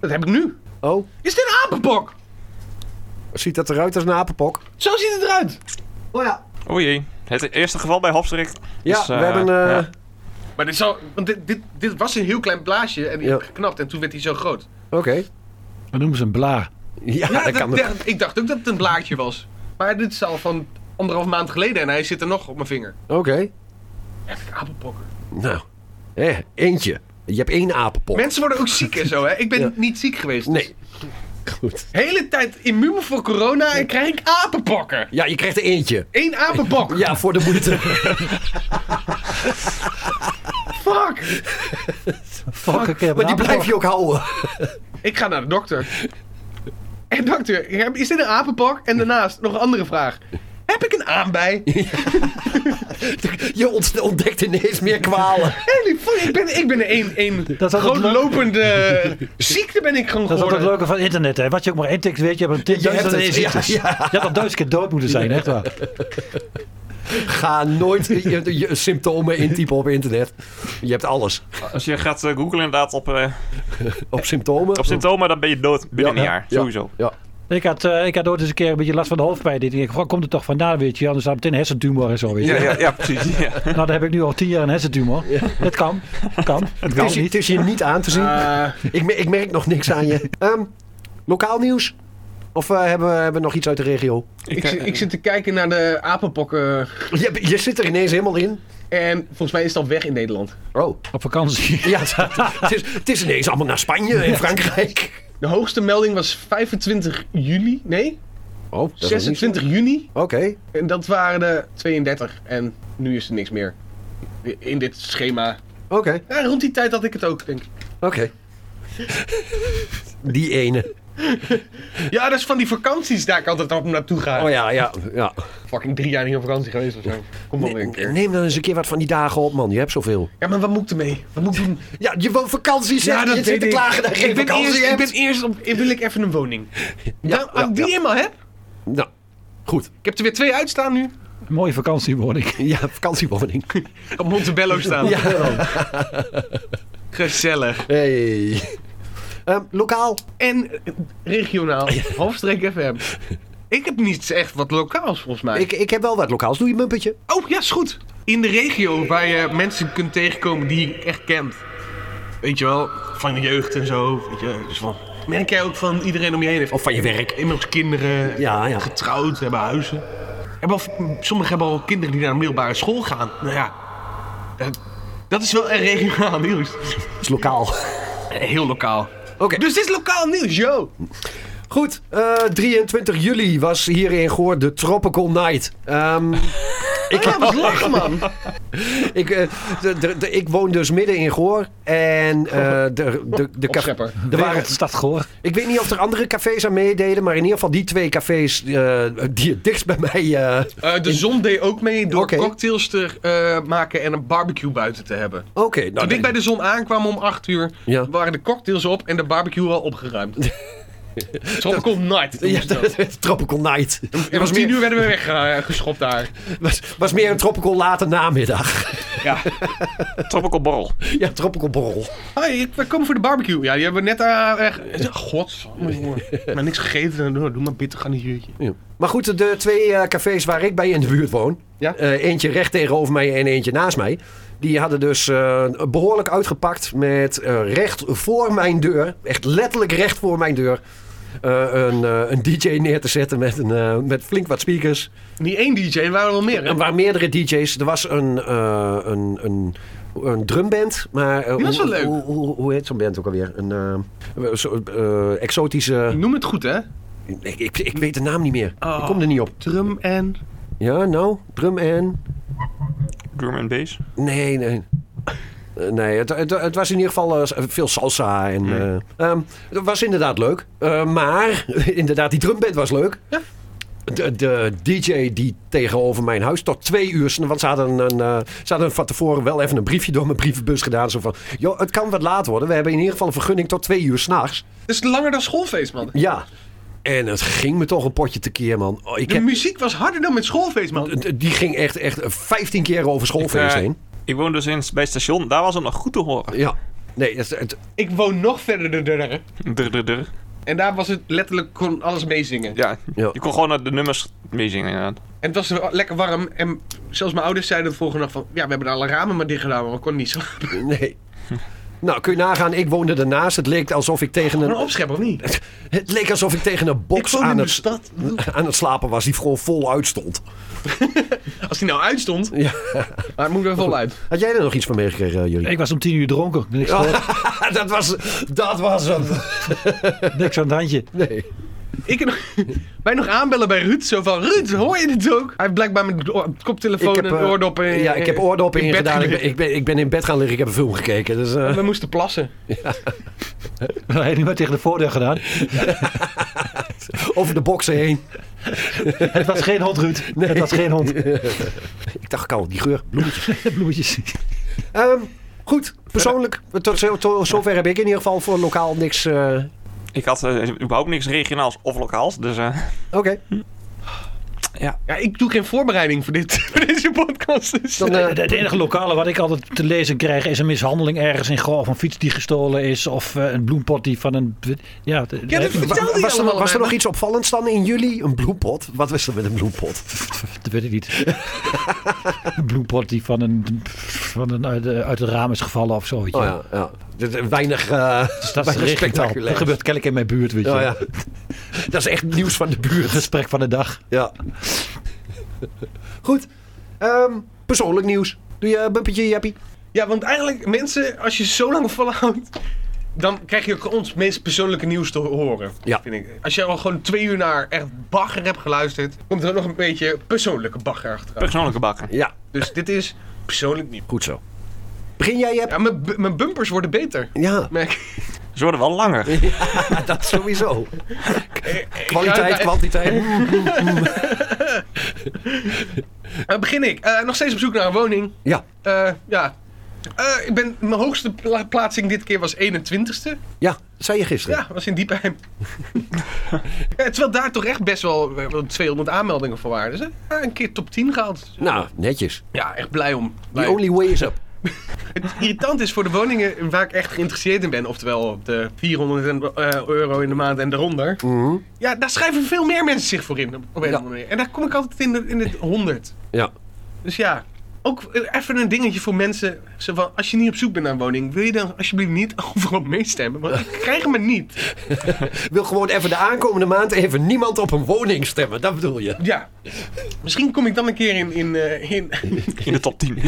Speaker 5: dat heb ik nu.
Speaker 4: Oh,
Speaker 5: Is dit een apenpok?
Speaker 4: ziet dat eruit als een apenpok?
Speaker 5: Zo ziet het eruit.
Speaker 4: Oh ja.
Speaker 3: O jee. Het eerste geval bij Hofstrik.
Speaker 4: Ja,
Speaker 3: Dus, eh,
Speaker 4: we hebben... eh,
Speaker 3: ja.
Speaker 5: Maar dit, zal, want dit, dit, dit was een heel klein blaasje en die
Speaker 4: Ja.
Speaker 5: heb ik geknapt en toen werd hij zo groot.
Speaker 4: Oké.
Speaker 6: We noemen ze een blaar.
Speaker 4: Ja,
Speaker 5: Ja,
Speaker 4: dat
Speaker 5: dat-
Speaker 4: kan ook.
Speaker 5: dat- ik dacht ook dat het een blaadje was. Maar dit is al van anderhalf maand geleden en hij zit er nog op mijn vinger.
Speaker 4: Oké.
Speaker 5: Echt apenpokken.
Speaker 4: Nou, hè, eentje. Je hebt één apenpok.
Speaker 5: Mensen worden ook ziek en zo, hè? Ik ben
Speaker 4: Ja.
Speaker 5: niet ziek geweest. dus.
Speaker 4: Nee. Goed.
Speaker 5: Hele tijd immuun voor corona en krijg ik apenpokken.
Speaker 4: Ja, je krijgt er eentje.
Speaker 5: Eén apenpok.
Speaker 4: Ja, voor de moeite.
Speaker 5: Fuck.
Speaker 6: Fuck, ik heb
Speaker 4: maar die
Speaker 6: een
Speaker 4: blijf je ook houden.
Speaker 5: Ik ga naar de dokter. En dokter, heb- is dit een apenpok? En daarnaast nog een andere vraag. Heb ik een aanbij?
Speaker 4: Je ont- ontdekt ineens meer kwalen.
Speaker 5: Holy fuck, ik ben, ik ben een, een,
Speaker 6: Dat is altijd
Speaker 5: gewoon
Speaker 6: leuk.
Speaker 5: lopende ziekte ben ik gewoon
Speaker 6: Dat is
Speaker 5: geworden.
Speaker 6: altijd het leuke van internet, hè. Wat je ook maar intikt, weet je, je hebt een
Speaker 4: Je hebt
Speaker 6: duizend
Speaker 4: het. Ja,
Speaker 6: inzichters. Je
Speaker 4: ja.
Speaker 6: had al duizend keer dood moeten zijn, echt waar.
Speaker 4: Ga nooit je, je symptomen intypen op internet. Je hebt alles.
Speaker 3: Als je gaat eh, googlen inderdaad op, eh,
Speaker 4: Op symptomen.
Speaker 3: op symptomen, dan ben je dood binnen
Speaker 4: Ja,
Speaker 3: een
Speaker 4: ja,
Speaker 3: jaar.
Speaker 4: ja.
Speaker 3: Sowieso.
Speaker 4: Ja.
Speaker 6: Ik had, eh, ik had ooit eens een keer een beetje last van de hoofdpijn. Ik dacht, waar komt het toch vandaan, weet je? Anders had ik meteen een hersentumor en zo, weet je.
Speaker 3: Ja, ja, ja precies. Ja.
Speaker 6: Nou, dan heb ik nu al tien jaar een hersentumor. Het kan. Kan. Het
Speaker 4: Het
Speaker 6: kan
Speaker 4: is, je-
Speaker 6: niet.
Speaker 4: het is je niet aan te zien.
Speaker 5: Eh.
Speaker 4: Ik, me- ik merk nog niks aan je. Ehm, lokaal nieuws? Of eh, hebben, we, hebben we nog iets uit de regio?
Speaker 5: Ik, zit- ik zit te kijken naar de apenpokken.
Speaker 4: Je, je zit er ineens helemaal in.
Speaker 5: En volgens mij is het al weg in Nederland.
Speaker 4: Oh.
Speaker 6: Op vakantie.
Speaker 4: Ja, het is, het is ineens allemaal naar Spanje en Frankrijk.
Speaker 5: De hoogste melding was 25 juli. Nee,
Speaker 4: Oh, dat is nog niet zo.
Speaker 5: 26 juni.
Speaker 4: Oké.
Speaker 5: En dat waren de 32. En nu is er niks meer. In dit schema.
Speaker 4: Oké.
Speaker 5: Ja, rond die tijd had ik het ook, denk ik.
Speaker 4: Oké. Die ene.
Speaker 5: Ja, dat is van die vakanties daar ik altijd op naartoe ga.
Speaker 4: Oh ja, ja, ja.
Speaker 5: Fucking drie jaar niet op vakantie geweest of zo. Kom wel weer een keer.
Speaker 4: Neem dan eens een keer wat van die dagen op, man. Je hebt zoveel.
Speaker 5: Ja, maar wat moet ik ermee? Wat moet ik doen?
Speaker 4: Ja, je woont vakantie, zeg. je zit te klagen dat je geen
Speaker 5: ik ben
Speaker 4: vakantie
Speaker 5: eerst,
Speaker 4: hebt.
Speaker 5: Ik ben eerst op, ik wil ik even een woning. Dan- als
Speaker 4: ja,
Speaker 5: ik die
Speaker 4: ja.
Speaker 5: eenmaal heb.
Speaker 4: Nou, goed.
Speaker 5: Ik heb er weer twee uitstaan nu.
Speaker 6: Een mooie vakantiewoning.
Speaker 4: Ja, vakantiewoning.
Speaker 5: Op Montebello staan.
Speaker 4: Ja.
Speaker 5: Gezellig.
Speaker 4: Hey. Ehm, lokaal.
Speaker 5: En eh, regionaal. Hoofdstreek FM. Ik heb niets echt wat lokaals volgens mij.
Speaker 4: Ik, ik heb wel wat lokaals. Doe je mumpetje?
Speaker 5: Oh, ja, is goed. In de regio waar je mensen kunt tegenkomen die je echt kent. Weet je wel, van de jeugd en zo. Weet je, dus van, merk jij ook van iedereen om je heen heeft.
Speaker 4: Of van je werk.
Speaker 5: Inmiddels kinderen,
Speaker 4: Ja, ja.
Speaker 5: getrouwd, hebben huizen. Hebben al, sommigen hebben al kinderen die naar de middelbare school gaan. Nou ja, dat, dat is wel een regionaal nieuws.
Speaker 4: Het is lokaal.
Speaker 5: Eh, Heel lokaal.
Speaker 4: Oké.
Speaker 5: Dus dit is lokaal nieuws, yo!
Speaker 4: Goed, eh, 23 juli was hier in Goor de Tropical Night. Ehm, ik,
Speaker 5: Oh Ja, was lachen, man.
Speaker 4: ik, eh, de- de- de- ik woon dus midden in Goor. En eh, de, de, de caf-
Speaker 5: Opschepper.
Speaker 4: Er waren,
Speaker 6: Wereldstad Goor.
Speaker 4: ik weet niet of er andere cafés aan meededen, maar in ieder geval die twee cafés eh, die het dichtst bij mij. eh,
Speaker 5: Eh, de zon deed ook mee door
Speaker 4: Oké.
Speaker 5: cocktails te eh, maken en een barbecue buiten te hebben.
Speaker 4: Oké, nou.
Speaker 5: Toen ik bij de zon aankwam om 8 uur,
Speaker 4: Ja.
Speaker 5: waren de cocktails op en de barbecue al opgeruimd. Tropical Night.
Speaker 4: Ja,
Speaker 5: Ja, dat.
Speaker 4: Tropical Night.
Speaker 5: En
Speaker 4: Het
Speaker 5: was
Speaker 4: was
Speaker 5: 10
Speaker 4: meer,
Speaker 5: uur werden we weggeschopt daar.
Speaker 4: was, was meer een tropical late namiddag.
Speaker 5: Ja.
Speaker 3: Tropical borrel.
Speaker 4: Ja, tropical borrel.
Speaker 5: Hoi, we komen voor de barbecue. Ja, die hebben we net eh, daar. echt. Godsamme, jongen. Maar niks gegeten. en Doe doe maar bitter garnituurtje.
Speaker 4: Ja. Maar goed, de twee eh, cafés waar ik bij in de buurt woon.
Speaker 5: Ja.
Speaker 4: eh, eentje recht tegenover mij en eentje naast mij. Die hadden dus eh, behoorlijk uitgepakt met eh, recht voor mijn deur. Echt letterlijk recht voor mijn deur. eh, een, eh, een DJ neer te zetten met, een, eh, met flink wat speakers.
Speaker 5: Niet één DJ, er waren er wel meer. hè?
Speaker 4: Er waren meerdere DJ's. Er was een, eh, een, een een drumband. Maar, eh,
Speaker 5: Dat is
Speaker 4: hoe,
Speaker 5: wel leuk.
Speaker 4: Hoe, hoe, hoe heet zo'n band ook alweer? Een eh, zo- eh, exotische...
Speaker 5: Noem het goed, hè?
Speaker 4: Ik, ik, ik weet de naam niet meer.
Speaker 5: Oh.
Speaker 4: Ik kom er niet op.
Speaker 5: Drum en...
Speaker 4: Ja, nou, drum en...
Speaker 3: Drum and bass.
Speaker 4: Nee, nee. Eh, Nee, het, het, het was in ieder geval eh, veel salsa. En, eh, ehm, het was inderdaad leuk. Eh, maar, inderdaad, die drumband was leuk. De, de DJ die tegenover mijn huis tot twee uur... Want ze hadden, een, eh, ze hadden van tevoren wel even een briefje door mijn brievenbus gedaan. Zo van, joh, het kan wat laat worden. We hebben in ieder geval een vergunning tot twee uur s'nachts.
Speaker 5: Het is langer dan schoolfeest, man.
Speaker 4: Ja. En het ging me toch een potje tekeer, man. Oh, ik
Speaker 5: De
Speaker 4: heb,
Speaker 5: muziek was harder dan met schoolfeest, man.
Speaker 4: d- die ging echt, echt 15 keer over schoolfeest
Speaker 3: Eh,
Speaker 4: heen.
Speaker 3: Ik woon dus in, bij het station, daar was het nog goed te horen.
Speaker 4: Ja. Nee, het, het,
Speaker 5: Ik woon nog verder de deur.
Speaker 3: Drr, drr, drr.
Speaker 5: En daar was het letterlijk, kon alles meezingen.
Speaker 3: Ja,
Speaker 4: Ja.
Speaker 3: je kon gewoon naar de nummers meezingen inderdaad.
Speaker 5: En het was wel lekker warm. En zelfs mijn ouders zeiden de volgende dag van... Ja, we hebben alle ramen maar dicht gedaan, maar we konden niet zo.
Speaker 4: Nee. Nou, kun je nagaan, ik woonde ernaast. Het leek alsof ik tegen
Speaker 5: Een
Speaker 4: een,
Speaker 5: opschep, of niet?
Speaker 4: het leek alsof ik tegen een box
Speaker 5: woon in
Speaker 4: aan
Speaker 5: de
Speaker 4: het,
Speaker 5: stad.
Speaker 4: aan het slapen was die gewoon voluit stond.
Speaker 5: Als die nou uitstond...
Speaker 4: Ja.
Speaker 5: Maar het moet wel voluit.
Speaker 4: Had jij er nog iets van meegekregen, eh, jullie?
Speaker 6: Ik was om tien uur dronken. Niks, gehoord,
Speaker 4: dat, was, dat was het.
Speaker 6: niks aan het handje.
Speaker 4: Nee.
Speaker 5: Ik en, wij nog aanbellen bij Ruud. Zo van, Ruud, hoor je dit ook? Hij heeft blijkbaar met oor- koptelefoon en
Speaker 4: eh,
Speaker 5: oordoppen in-
Speaker 4: ja, ik heb oordoppen
Speaker 5: in bed
Speaker 4: ingedaan. Ik ben,
Speaker 5: gelegen.
Speaker 4: ik, ben, ik ben in bed gaan liggen, ik heb een film gekeken. Dus, eh,
Speaker 5: We moesten plassen.
Speaker 6: Dat heeft hij maar tegen de voordeur gedaan.
Speaker 4: over de boksen heen.
Speaker 6: Het was geen hond, Ruud. Het was geen hond.
Speaker 4: Ik dacht, kou, die geur.
Speaker 6: Bloemetjes.
Speaker 4: Ehm, goed, persoonlijk. Tot, zo- tot zover heb ik in ieder geval voor lokaal niks... eh,
Speaker 3: Ik had eh, überhaupt niks regionaals of lokaals, dus eh,
Speaker 4: Oké,
Speaker 5: Ja, ik doe geen voorbereiding voor, dit, voor deze podcast. Dus.
Speaker 4: dan... eh,
Speaker 6: Het enige lokale wat ik altijd te lezen krijg is een mishandeling ergens in Goor. Of een fiets die gestolen is. Of eh, een bloempot die van een... Ja, de-
Speaker 5: Ja, dat
Speaker 6: dat
Speaker 5: vertel
Speaker 4: Wa-
Speaker 5: die
Speaker 4: was, er,
Speaker 5: allemaal.
Speaker 4: was er
Speaker 5: man.
Speaker 4: nog iets opvallends dan in juli? Een bloempot? Wat was er met een bloempot?
Speaker 6: weet ik niet. een bloempot die van een, van een uit, de- uit het raam is gevallen of zo. Weet je.
Speaker 4: Oh ja, ja. Dit- eh, Weinig, eh
Speaker 6: Dus dat is
Speaker 4: weinig
Speaker 6: respectaal. Dat
Speaker 4: spectaculair.
Speaker 6: gebeurt kennelijk in mijn buurt, weet je.
Speaker 4: Oh ja. Dat is echt nieuws van de buurt.
Speaker 6: Gesprek van de dag.
Speaker 4: Ja. Goed. Ehm, persoonlijk nieuws. Doe je eh, bumpetje, Jappie?
Speaker 5: Ja, want eigenlijk, mensen, als je zo lang volhoudt, dan krijg je ook ons meest persoonlijke nieuws te horen.
Speaker 4: Ja.
Speaker 5: Vind ik. Als je al gewoon twee uur naar echt bagger hebt geluisterd, komt er ook nog een beetje persoonlijke bagger achteraan.
Speaker 3: persoonlijke bakken.
Speaker 4: Ja,
Speaker 5: Dus dit is persoonlijk nieuws.
Speaker 4: goed zo. Begin jij, Jep?
Speaker 5: Ja, mijn, bu- mijn bumpers worden beter.
Speaker 4: Ja,
Speaker 5: Merk. ik.
Speaker 3: Ze worden wel langer.
Speaker 4: dat sowieso.
Speaker 5: Ja,
Speaker 4: Kwaliteit,
Speaker 5: ja,
Speaker 4: kwantiteit.
Speaker 5: eh, begin ik. Eh, nog steeds op zoek naar een woning.
Speaker 4: Ja,
Speaker 5: Eh, ja. Eh, ik ben, mijn hoogste pla- plaatsing dit keer was 21ste.
Speaker 4: ja, zei je gisteren.
Speaker 5: Ja, was in Diepheim. ja, terwijl daar toch echt best wel, eh, wel 200 aanmeldingen voor waren. Dus eh, ja, een keer top 10 gehaald.
Speaker 4: Nou, netjes.
Speaker 5: Ja, echt blij om.
Speaker 4: The
Speaker 5: Blij om.
Speaker 4: only way is up.
Speaker 5: Het irritant is voor de woningen waar ik echt geïnteresseerd in ben. Oftewel op de 400 en, eh, euro in de maand en daaronder. Ja, daar schrijven veel meer mensen zich voor in. Op een of andere manier. En daar kom ik altijd in de, in de 100.
Speaker 4: Ja,
Speaker 5: Dus ja, ook eh, even een dingetje voor mensen. Zo van, als je niet op zoek bent naar een woning, wil je dan alsjeblieft niet overal meestemmen? Want ik krijg me niet.
Speaker 4: wil gewoon even de aankomende maand even niemand op een woning stemmen. Dat bedoel je?
Speaker 5: Ja. Misschien kom ik dan een keer in... in, eh, in
Speaker 3: In de top 10.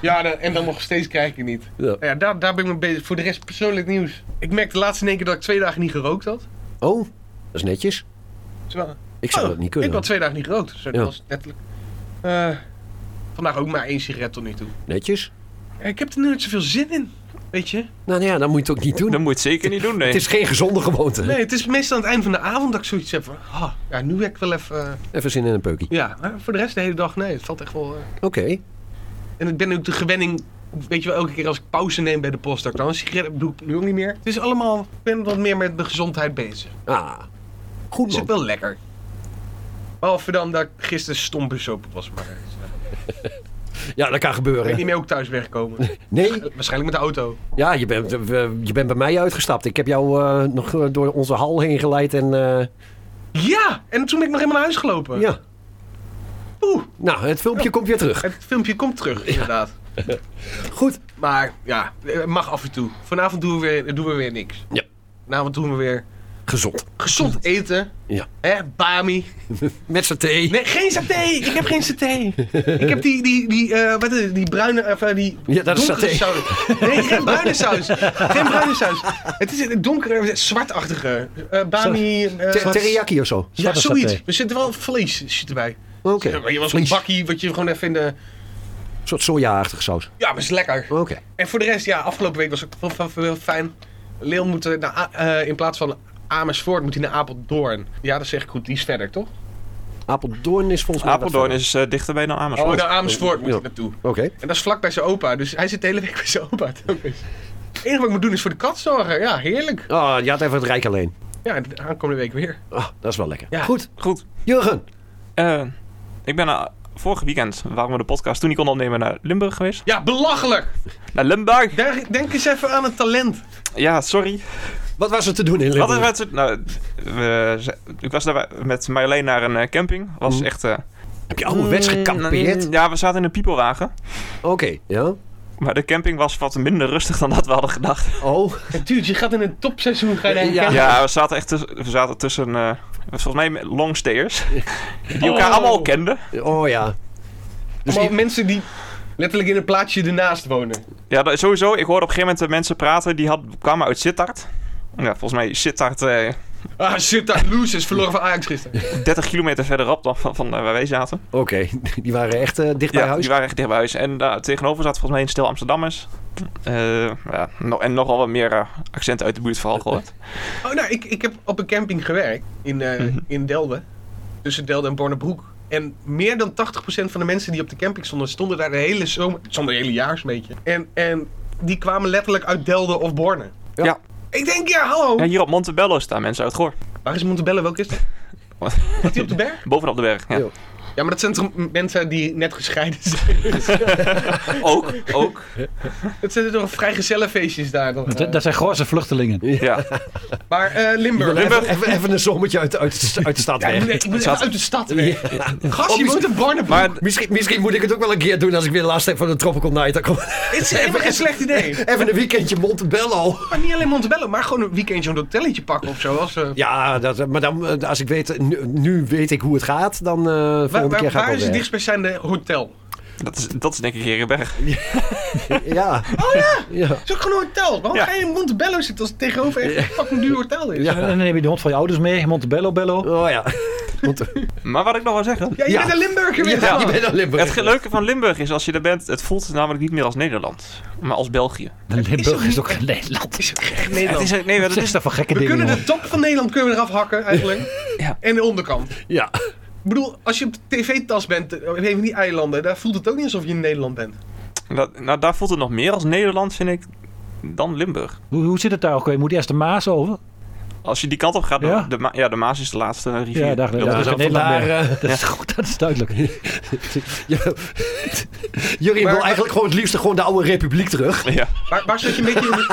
Speaker 5: ja, dan- en dan nog steeds krijg ik het niet.
Speaker 4: Ja.
Speaker 5: Nou Ja, daar, daar ben ik mee bezig. Voor de rest persoonlijk nieuws. Ik merkte laatst in één keer dat ik twee dagen niet gerookt had.
Speaker 4: Oh, dat is netjes.
Speaker 5: Terwijl-
Speaker 4: Ik zou
Speaker 5: Oh,
Speaker 4: dat niet
Speaker 5: Ik had
Speaker 4: kunnen.
Speaker 5: twee dagen niet gerookt. Zo,
Speaker 4: Ja.
Speaker 5: dat was letterlijk. Eh, vandaag ook maar één sigaret tot nu toe.
Speaker 4: Netjes.
Speaker 5: Ja, ik heb er nu niet zoveel zin in. Weet je?
Speaker 4: Nou ja, dan moet je het ook niet doen.
Speaker 3: Dat moet je het zeker niet doen, nee.
Speaker 4: Het is geen gezonde gewoonte.
Speaker 5: Nee, het is meestal aan het eind van de avond dat ik zoiets heb van... ah, ja, nu heb ik wel even... eh,
Speaker 4: Even zin in een peukie.
Speaker 5: ja, maar voor de rest de hele dag, nee. Het valt echt wel... eh.
Speaker 4: Oké.
Speaker 5: En ik ben ook de gewenning, weet je wel, elke keer als ik pauze neem bij de post, dat ik dan een sigaret heb, doe ik nu ook niet meer. Het is allemaal, ik ben wat meer met mijn gezondheid bezig.
Speaker 4: Ah, goed
Speaker 5: Dat is ook
Speaker 4: man.
Speaker 5: wel lekker. Behalve dan dat ik gisteren stom bezopen was, maar eh,
Speaker 4: Ja, dat kan
Speaker 5: ik weet niet
Speaker 4: gebeuren.
Speaker 5: meer ook thuis wegkomen.
Speaker 4: Nee,
Speaker 5: Waarschijnlijk met de auto.
Speaker 4: ja, je bent, eh, je bent bij mij uitgestapt. Ik heb jou eh, nog eh, door onze hal heen geleid en eh,
Speaker 5: Ja! En toen ben ik nog helemaal naar huis gelopen.
Speaker 4: ja.
Speaker 5: Oeh,
Speaker 4: Nou, het filmpje komt weer terug.
Speaker 5: het filmpje komt terug, inderdaad. eh,
Speaker 4: Goed.
Speaker 5: Maar ja, het mag af en toe. Vanavond doen we weer, doen we weer niks.
Speaker 4: Ja.
Speaker 5: Vanavond doen we weer
Speaker 4: Gezond.
Speaker 9: Gezond eten.
Speaker 4: Ja.
Speaker 9: Hè, bami.
Speaker 4: Met z'n thee.
Speaker 9: Nee, geen saté. Ik heb geen saté. Ik heb die, die, die, eh, wat is het? die bruine, of eh, die
Speaker 4: Ja, dat is
Speaker 9: donkere
Speaker 4: saté.
Speaker 9: saus. Nee, geen bruine saus. Geen bruine saus. Het is een donkere, zwartachtige. eh, bami. eh,
Speaker 4: Ter- Teriyaki of zo.
Speaker 9: ja,
Speaker 6: Zwarte saté.
Speaker 9: zoiets. Er zit wel vlees zit erbij.
Speaker 4: Oké.
Speaker 9: Maar je was een
Speaker 4: Vlees.
Speaker 9: bakkie wat je gewoon even in de...
Speaker 4: Een soort soja-achtige saus.
Speaker 9: Ja, maar is lekker.
Speaker 4: Oké.
Speaker 9: En voor de rest, ja, afgelopen week was ik wel, wel- wel fijn. Leeuw moet eh, naar, A- eh, in plaats van Amersfoort moet hij naar Apeldoorn. Ja, dat zeg ik goed. Die is verder, toch?
Speaker 4: Apeldoorn is volgens mij... wat
Speaker 3: Apeldoorn
Speaker 4: van-
Speaker 3: is eh, dichterbij dan
Speaker 9: Oh,
Speaker 3: Amersfoort.
Speaker 9: naar Amersfoort moet
Speaker 4: Ja.
Speaker 9: hij naartoe.
Speaker 4: Oké.
Speaker 9: En dat is vlak bij zijn opa, dus hij zit de hele week bij zijn opa. telkens. Het enige wat ik moet doen is voor de kat zorgen. Ja, heerlijk.
Speaker 4: Ah, je had even het rijk alleen.
Speaker 9: Ja, de aankomende week weer.
Speaker 4: Ah, dat is wel lekker.
Speaker 9: Ja.
Speaker 4: Goed.
Speaker 3: Goed.
Speaker 4: Jurgen.
Speaker 3: Eh, ik ben eh, vorig weekend, waar we de podcast toen niet konden opnemen, naar Limburg geweest.
Speaker 9: Ja, belachelijk.
Speaker 3: Naar Limburg!
Speaker 9: Daar- Denk eens even aan het talent.
Speaker 3: Ja, sorry.
Speaker 4: Wat was er te doen in
Speaker 3: Wat
Speaker 4: Limburg?
Speaker 3: is het? Nou, we, ze- ik was daar met Marjolein naar een eh, camping. Was
Speaker 4: Mm.
Speaker 3: echt... eh,
Speaker 4: Heb je ouderwets
Speaker 3: Mm,
Speaker 4: gekampeerd?
Speaker 3: Ja, we zaten in een piepelwagen.
Speaker 4: Oké. Ja.
Speaker 3: Maar de camping was wat minder rustig dan dat we hadden gedacht.
Speaker 4: Oh.
Speaker 9: En Tuurlijk, je gaat in een topseizoen. Ga je naar een
Speaker 4: Ja.
Speaker 9: camp-
Speaker 3: Ja, we zaten echt tussen, we zaten tussen eh, volgens mij longstayers. Die elkaar
Speaker 9: Oh.
Speaker 3: allemaal al kenden.
Speaker 4: Oh ja.
Speaker 9: Allemaal mensen die letterlijk in een plaatsje ernaast wonen.
Speaker 3: Ja, dat- sowieso. Ik hoorde op een gegeven moment de mensen praten. Die had, kwamen uit Sittard. Ja, volgens mij Sittard eh,
Speaker 9: Ah, shit, daar losers verloren van Ajax gisteren.
Speaker 3: 30 kilometer verderop dan van, van eh, waar wij zaten.
Speaker 4: Oké. Die waren echt eh, dicht bij huis.
Speaker 3: die waren echt dicht bij huis. En daar tegenover zat volgens mij een stil Amsterdammers. Eh, ja, no- en nogal wat meer eh, accenten uit de buurt vooral gehoord.
Speaker 9: Oh, nou, ik, ik heb op een camping gewerkt in, eh, in Delden. Tussen Delden en Bornebroek. En meer dan 80% van de mensen die op de camping stonden, stonden daar de hele zomer. Stonden de hele jaar zo'n beetje. En, en die kwamen letterlijk uit Delden of Borne.
Speaker 3: Ja.
Speaker 9: Ik denk, ja, hallo.
Speaker 3: En hier op Montebello staan mensen uit Goor.
Speaker 9: Waar is Montebello? Welk is dat?
Speaker 3: Wat?
Speaker 9: Zit die op de berg?
Speaker 3: Bovenop de berg. Ja.
Speaker 4: Ja.
Speaker 9: Ja, maar dat zijn toch mensen die net gescheiden zijn?
Speaker 3: Ook, ook.
Speaker 9: Dat zijn toch vrijgezellenfeestjes daar? Dan,
Speaker 6: eh, Dat, dat zijn Goorse vluchtelingen.
Speaker 3: Ja.
Speaker 9: Maar eh, Limburg.
Speaker 4: Even, even, even een sommetje uit, uit, uit de stad
Speaker 9: Ja, ik
Speaker 4: weg.
Speaker 9: moet, ik moet even uit de stad weer. Gast, je woont in Borne.
Speaker 3: Maar
Speaker 4: Misschien, misschien moet ik het ook wel een keer doen als ik weer last heb van een tropical night. Dan kom,
Speaker 9: Het is even geen slecht idee.
Speaker 4: even een weekendje Montebello.
Speaker 9: Maar niet alleen Montebello, maar gewoon een weekendje een hotelletje pakken of zo. Als, eh,
Speaker 4: Ja, dat, maar dan, eh, als ik weet, nu, nu weet ik hoe het gaat, dan eh volgende
Speaker 9: waar
Speaker 4: keer
Speaker 9: waar,
Speaker 4: ga ik wel
Speaker 9: waar is het
Speaker 4: weer.
Speaker 9: dichtstbijzijnde hotel?
Speaker 3: dat is, dat is denk ik Herenberg.
Speaker 4: Ja.
Speaker 9: Oh ja,
Speaker 4: ja.
Speaker 9: het is ook gewoon een hotel. Waarom
Speaker 3: Ja.
Speaker 9: ga je in Montebello zitten als het tegenover echt een fucking duur hotel is?
Speaker 4: Ja.
Speaker 9: Ja,
Speaker 6: En dan neem je de hond van je ouders mee, Montebello Bello.
Speaker 4: Oh ja. Want,
Speaker 3: Maar wat ik nog wil zeggen.
Speaker 9: je
Speaker 4: Ja.
Speaker 9: bent een Limburger weer.
Speaker 4: ja,
Speaker 9: Ja,
Speaker 4: je bent al Limburg.
Speaker 3: Het ge- leuke van Limburg is als je er bent, het voelt namelijk niet meer als Nederland, maar als België.
Speaker 6: Limburg is ook geen Nederland.
Speaker 9: Is ook echt
Speaker 3: Het
Speaker 9: Nederland.
Speaker 3: is, nee, dat
Speaker 6: Wat is
Speaker 3: is,
Speaker 6: dat voor gekke
Speaker 9: We
Speaker 6: dingen?
Speaker 9: kunnen de
Speaker 6: jongen?
Speaker 9: top van Nederland kunnen we eraf hakken eigenlijk.
Speaker 3: Ja.
Speaker 9: En de onderkant.
Speaker 4: Ja.
Speaker 9: Ik bedoel, als je op de tv-tas bent, eh, op een van die eilanden, daar voelt het ook niet alsof je in Nederland bent.
Speaker 3: dat, nou, daar voelt het nog meer als Nederland, vind ik, dan Limburg.
Speaker 6: Hoe, hoe zit het daar ook weer? Moet eerst de Maas over?
Speaker 3: Als je die kant op gaat, dan-
Speaker 6: Ja.
Speaker 3: De, Ma- ja, de Maas is de laatste rivier.
Speaker 6: Ja, daar,
Speaker 3: Dat
Speaker 6: daar
Speaker 3: is-
Speaker 6: is
Speaker 4: dan
Speaker 6: het Nederland
Speaker 4: vandaar,
Speaker 6: bij.
Speaker 4: eh,
Speaker 6: Dat is goed, dat is duidelijk.
Speaker 4: Jullie
Speaker 9: Maar-
Speaker 4: wil eigenlijk gewoon het liefst gewoon de oude republiek terug.
Speaker 3: ja.
Speaker 9: Waar, waar, zat je een beetje in de,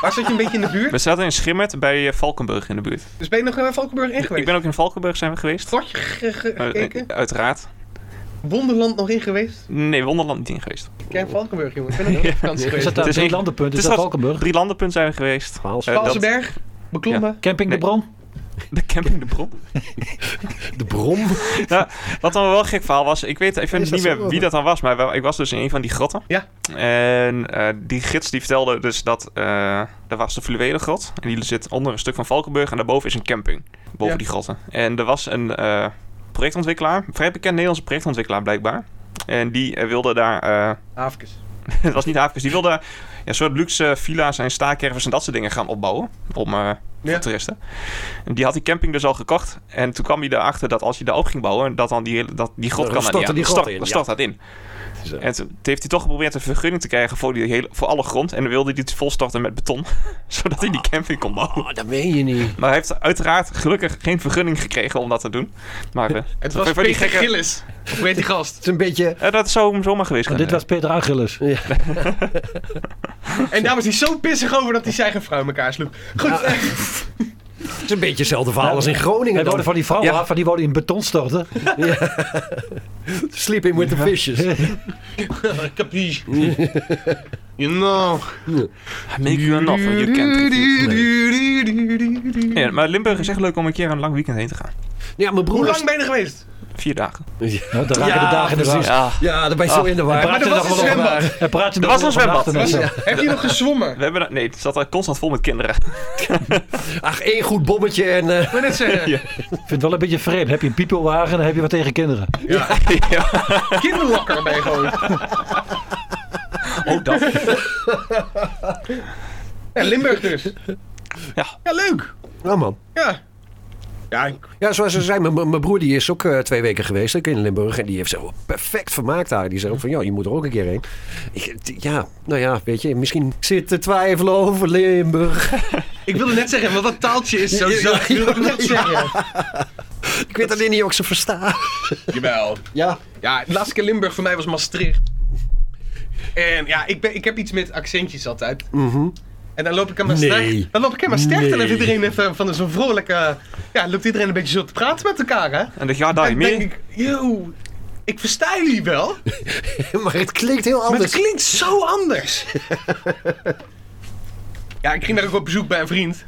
Speaker 9: waar zat je een beetje in de buurt?
Speaker 3: We zaten in Schimmert bij eh, Valkenburg in de buurt.
Speaker 9: Dus ben Oh, je nog in Valkenburg in geweest?
Speaker 3: Ik ben ook in Valkenburg zijn we geweest.
Speaker 9: Fortje ge- ge-
Speaker 3: Eh,
Speaker 9: gekeken?
Speaker 3: eh, uiteraard.
Speaker 9: Wonderland nog in geweest?
Speaker 3: Nee, Wonderland niet in geweest.
Speaker 9: Ik ken Valkenburg, jongen. Ik ben ook nog op vakantie
Speaker 6: Is
Speaker 9: geweest.
Speaker 6: dat daar
Speaker 3: is
Speaker 6: drie
Speaker 3: één-
Speaker 6: landenpunt? Is dat Valkenburg?
Speaker 3: Drie landenpunt zijn we geweest.
Speaker 4: Twaalf.
Speaker 3: Eh, dat-
Speaker 9: Valsenberg, beklommen.
Speaker 6: Camping de
Speaker 3: Nee.
Speaker 6: Bron?
Speaker 3: de camping de bron.
Speaker 4: De bron.
Speaker 3: Ja, wat dan wel een gek verhaal was, ik weet even
Speaker 4: Is dat
Speaker 3: niet meer
Speaker 4: zo?
Speaker 3: wie dat dan was, maar wel- ik was dus in een van die grotten.
Speaker 9: Ja.
Speaker 3: En eh, die gids die vertelde dus dat, eh er was de fluwelen grot en die zit onder een stuk van Valkenburg en daarboven is een camping, boven
Speaker 9: Ja.
Speaker 3: die grotten. En er was een eh, projectontwikkelaar, een vrij bekend Nederlandse projectontwikkelaar blijkbaar. En die eh, wilde daar, eh,
Speaker 9: Haafkes.
Speaker 3: het was niet Haafkes, die wilde ja, een soort luxe villa's en staakervers en dat soort dingen gaan opbouwen om... eh,
Speaker 9: Ja.
Speaker 3: voor toeristen. En die had die camping dus al gekocht. En toen kwam hij erachter dat als je daar op ging bouwen, dat dan die, hele- dat die grot
Speaker 4: Dan
Speaker 3: kan daar
Speaker 4: stortte
Speaker 3: niet aan.
Speaker 4: die
Speaker 3: Dan
Speaker 4: grot
Speaker 3: stort-
Speaker 4: in,
Speaker 3: dan
Speaker 4: ja.
Speaker 3: stort dat in.
Speaker 4: is, eh,
Speaker 3: En toen toen heeft hij toch geprobeerd een vergunning te krijgen voor, die hele, voor alle grond. En dan wilde hij het volstorten met beton, zodat hij die
Speaker 6: Ah.
Speaker 3: camping kon bouwen.
Speaker 4: Oh, dat meen je niet.
Speaker 3: Maar hij heeft uiteraard gelukkig geen vergunning gekregen om dat te doen. Maar eh,
Speaker 9: Het was
Speaker 3: van
Speaker 9: Peter
Speaker 3: die gekke-
Speaker 9: Gillis. Of weet die gast.
Speaker 4: Het is een beetje...
Speaker 3: eh, dat zou hem zomaar geweest
Speaker 6: Want
Speaker 3: kunnen
Speaker 6: dit was Peter Angelus.
Speaker 9: En daar was hij zo pissig over dat hij zijn eigen vrouw in elkaar sloeg. Goed, eh,
Speaker 4: Het is een beetje hetzelfde verhaal als in
Speaker 6: Hij
Speaker 4: Groningen.
Speaker 6: woonde
Speaker 4: Dan.
Speaker 6: van die vrouwen
Speaker 3: Ja.
Speaker 6: af, van die woonde in beton storten.
Speaker 4: Sleeping with the fishes.
Speaker 9: capiche. You
Speaker 4: nou.
Speaker 9: know.
Speaker 3: I make you an offer you can't refuse. Nee, maar Limburg is echt leuk om een keer een lang weekend heen te gaan.
Speaker 4: Ja, mijn broer...
Speaker 9: Hoe
Speaker 4: was-
Speaker 9: lang ben je er geweest?
Speaker 3: Vier dagen.
Speaker 6: Nou, daar raken de dagen in de war.
Speaker 3: Ja.
Speaker 4: Ja, daar ben je zo in de war.
Speaker 9: Maar er was een zwembad.
Speaker 6: Hij praat
Speaker 3: Er was een zwembad.
Speaker 9: Heb je nog gezwommen?
Speaker 3: We hebben, dat- nee, het zat daar constant vol met kinderen.
Speaker 4: Ach, één goed bommetje en... eh,
Speaker 9: Ik wil net zeggen,
Speaker 6: Ik vind het wel een beetje vreemd. Heb je een piepelwagen, dan heb je wat tegen kinderen.
Speaker 3: ja.
Speaker 9: kinderlokker ben je gewoon.
Speaker 6: Oh,
Speaker 3: Ook dat.
Speaker 9: Ja, Limburg dus.
Speaker 3: Ja.
Speaker 9: Ja, leuk.
Speaker 4: Nou man.
Speaker 9: Ja. Ja, ik-
Speaker 4: Ja, zoals ze zei, mijn- mijn mijn broer die is ook eh, twee weken geweest ook in Limburg. En die heeft zich wel perfect vermaakt daar. Die zei ook van, ja, je moet er ook een keer heen. Ik, t- ja, nou ja, weet je, misschien zit te twijfelen over Limburg.
Speaker 9: ik wilde net zeggen, want dat taaltje is zo
Speaker 4: Ja, ja,
Speaker 9: zacht. Ik wilde het net zeggen.
Speaker 4: Ik weet alleen niet of ik ze versta.
Speaker 9: Jawel.
Speaker 4: Ja.
Speaker 9: Ja, de laatste keer Limburg voor mij was Maastricht. En ja, ik, ben, ik heb iets met accentjes altijd. En dan loop ik aan Maastricht.
Speaker 4: Nee.
Speaker 9: Dan loop ik aan Maastricht en dan heeft
Speaker 4: Nee.
Speaker 9: iedereen even van zo'n vrolijke... Ja, loopt iedereen een beetje zo te praten met elkaar, hè?
Speaker 3: En de jaar daar
Speaker 9: en
Speaker 3: niet
Speaker 9: denk
Speaker 3: meer.
Speaker 9: ik, yo, ik versta jullie wel.
Speaker 4: maar het klinkt heel
Speaker 9: Maar het
Speaker 4: anders.
Speaker 9: klinkt zo anders. ja, ik ging daar ook op bezoek bij een vriend.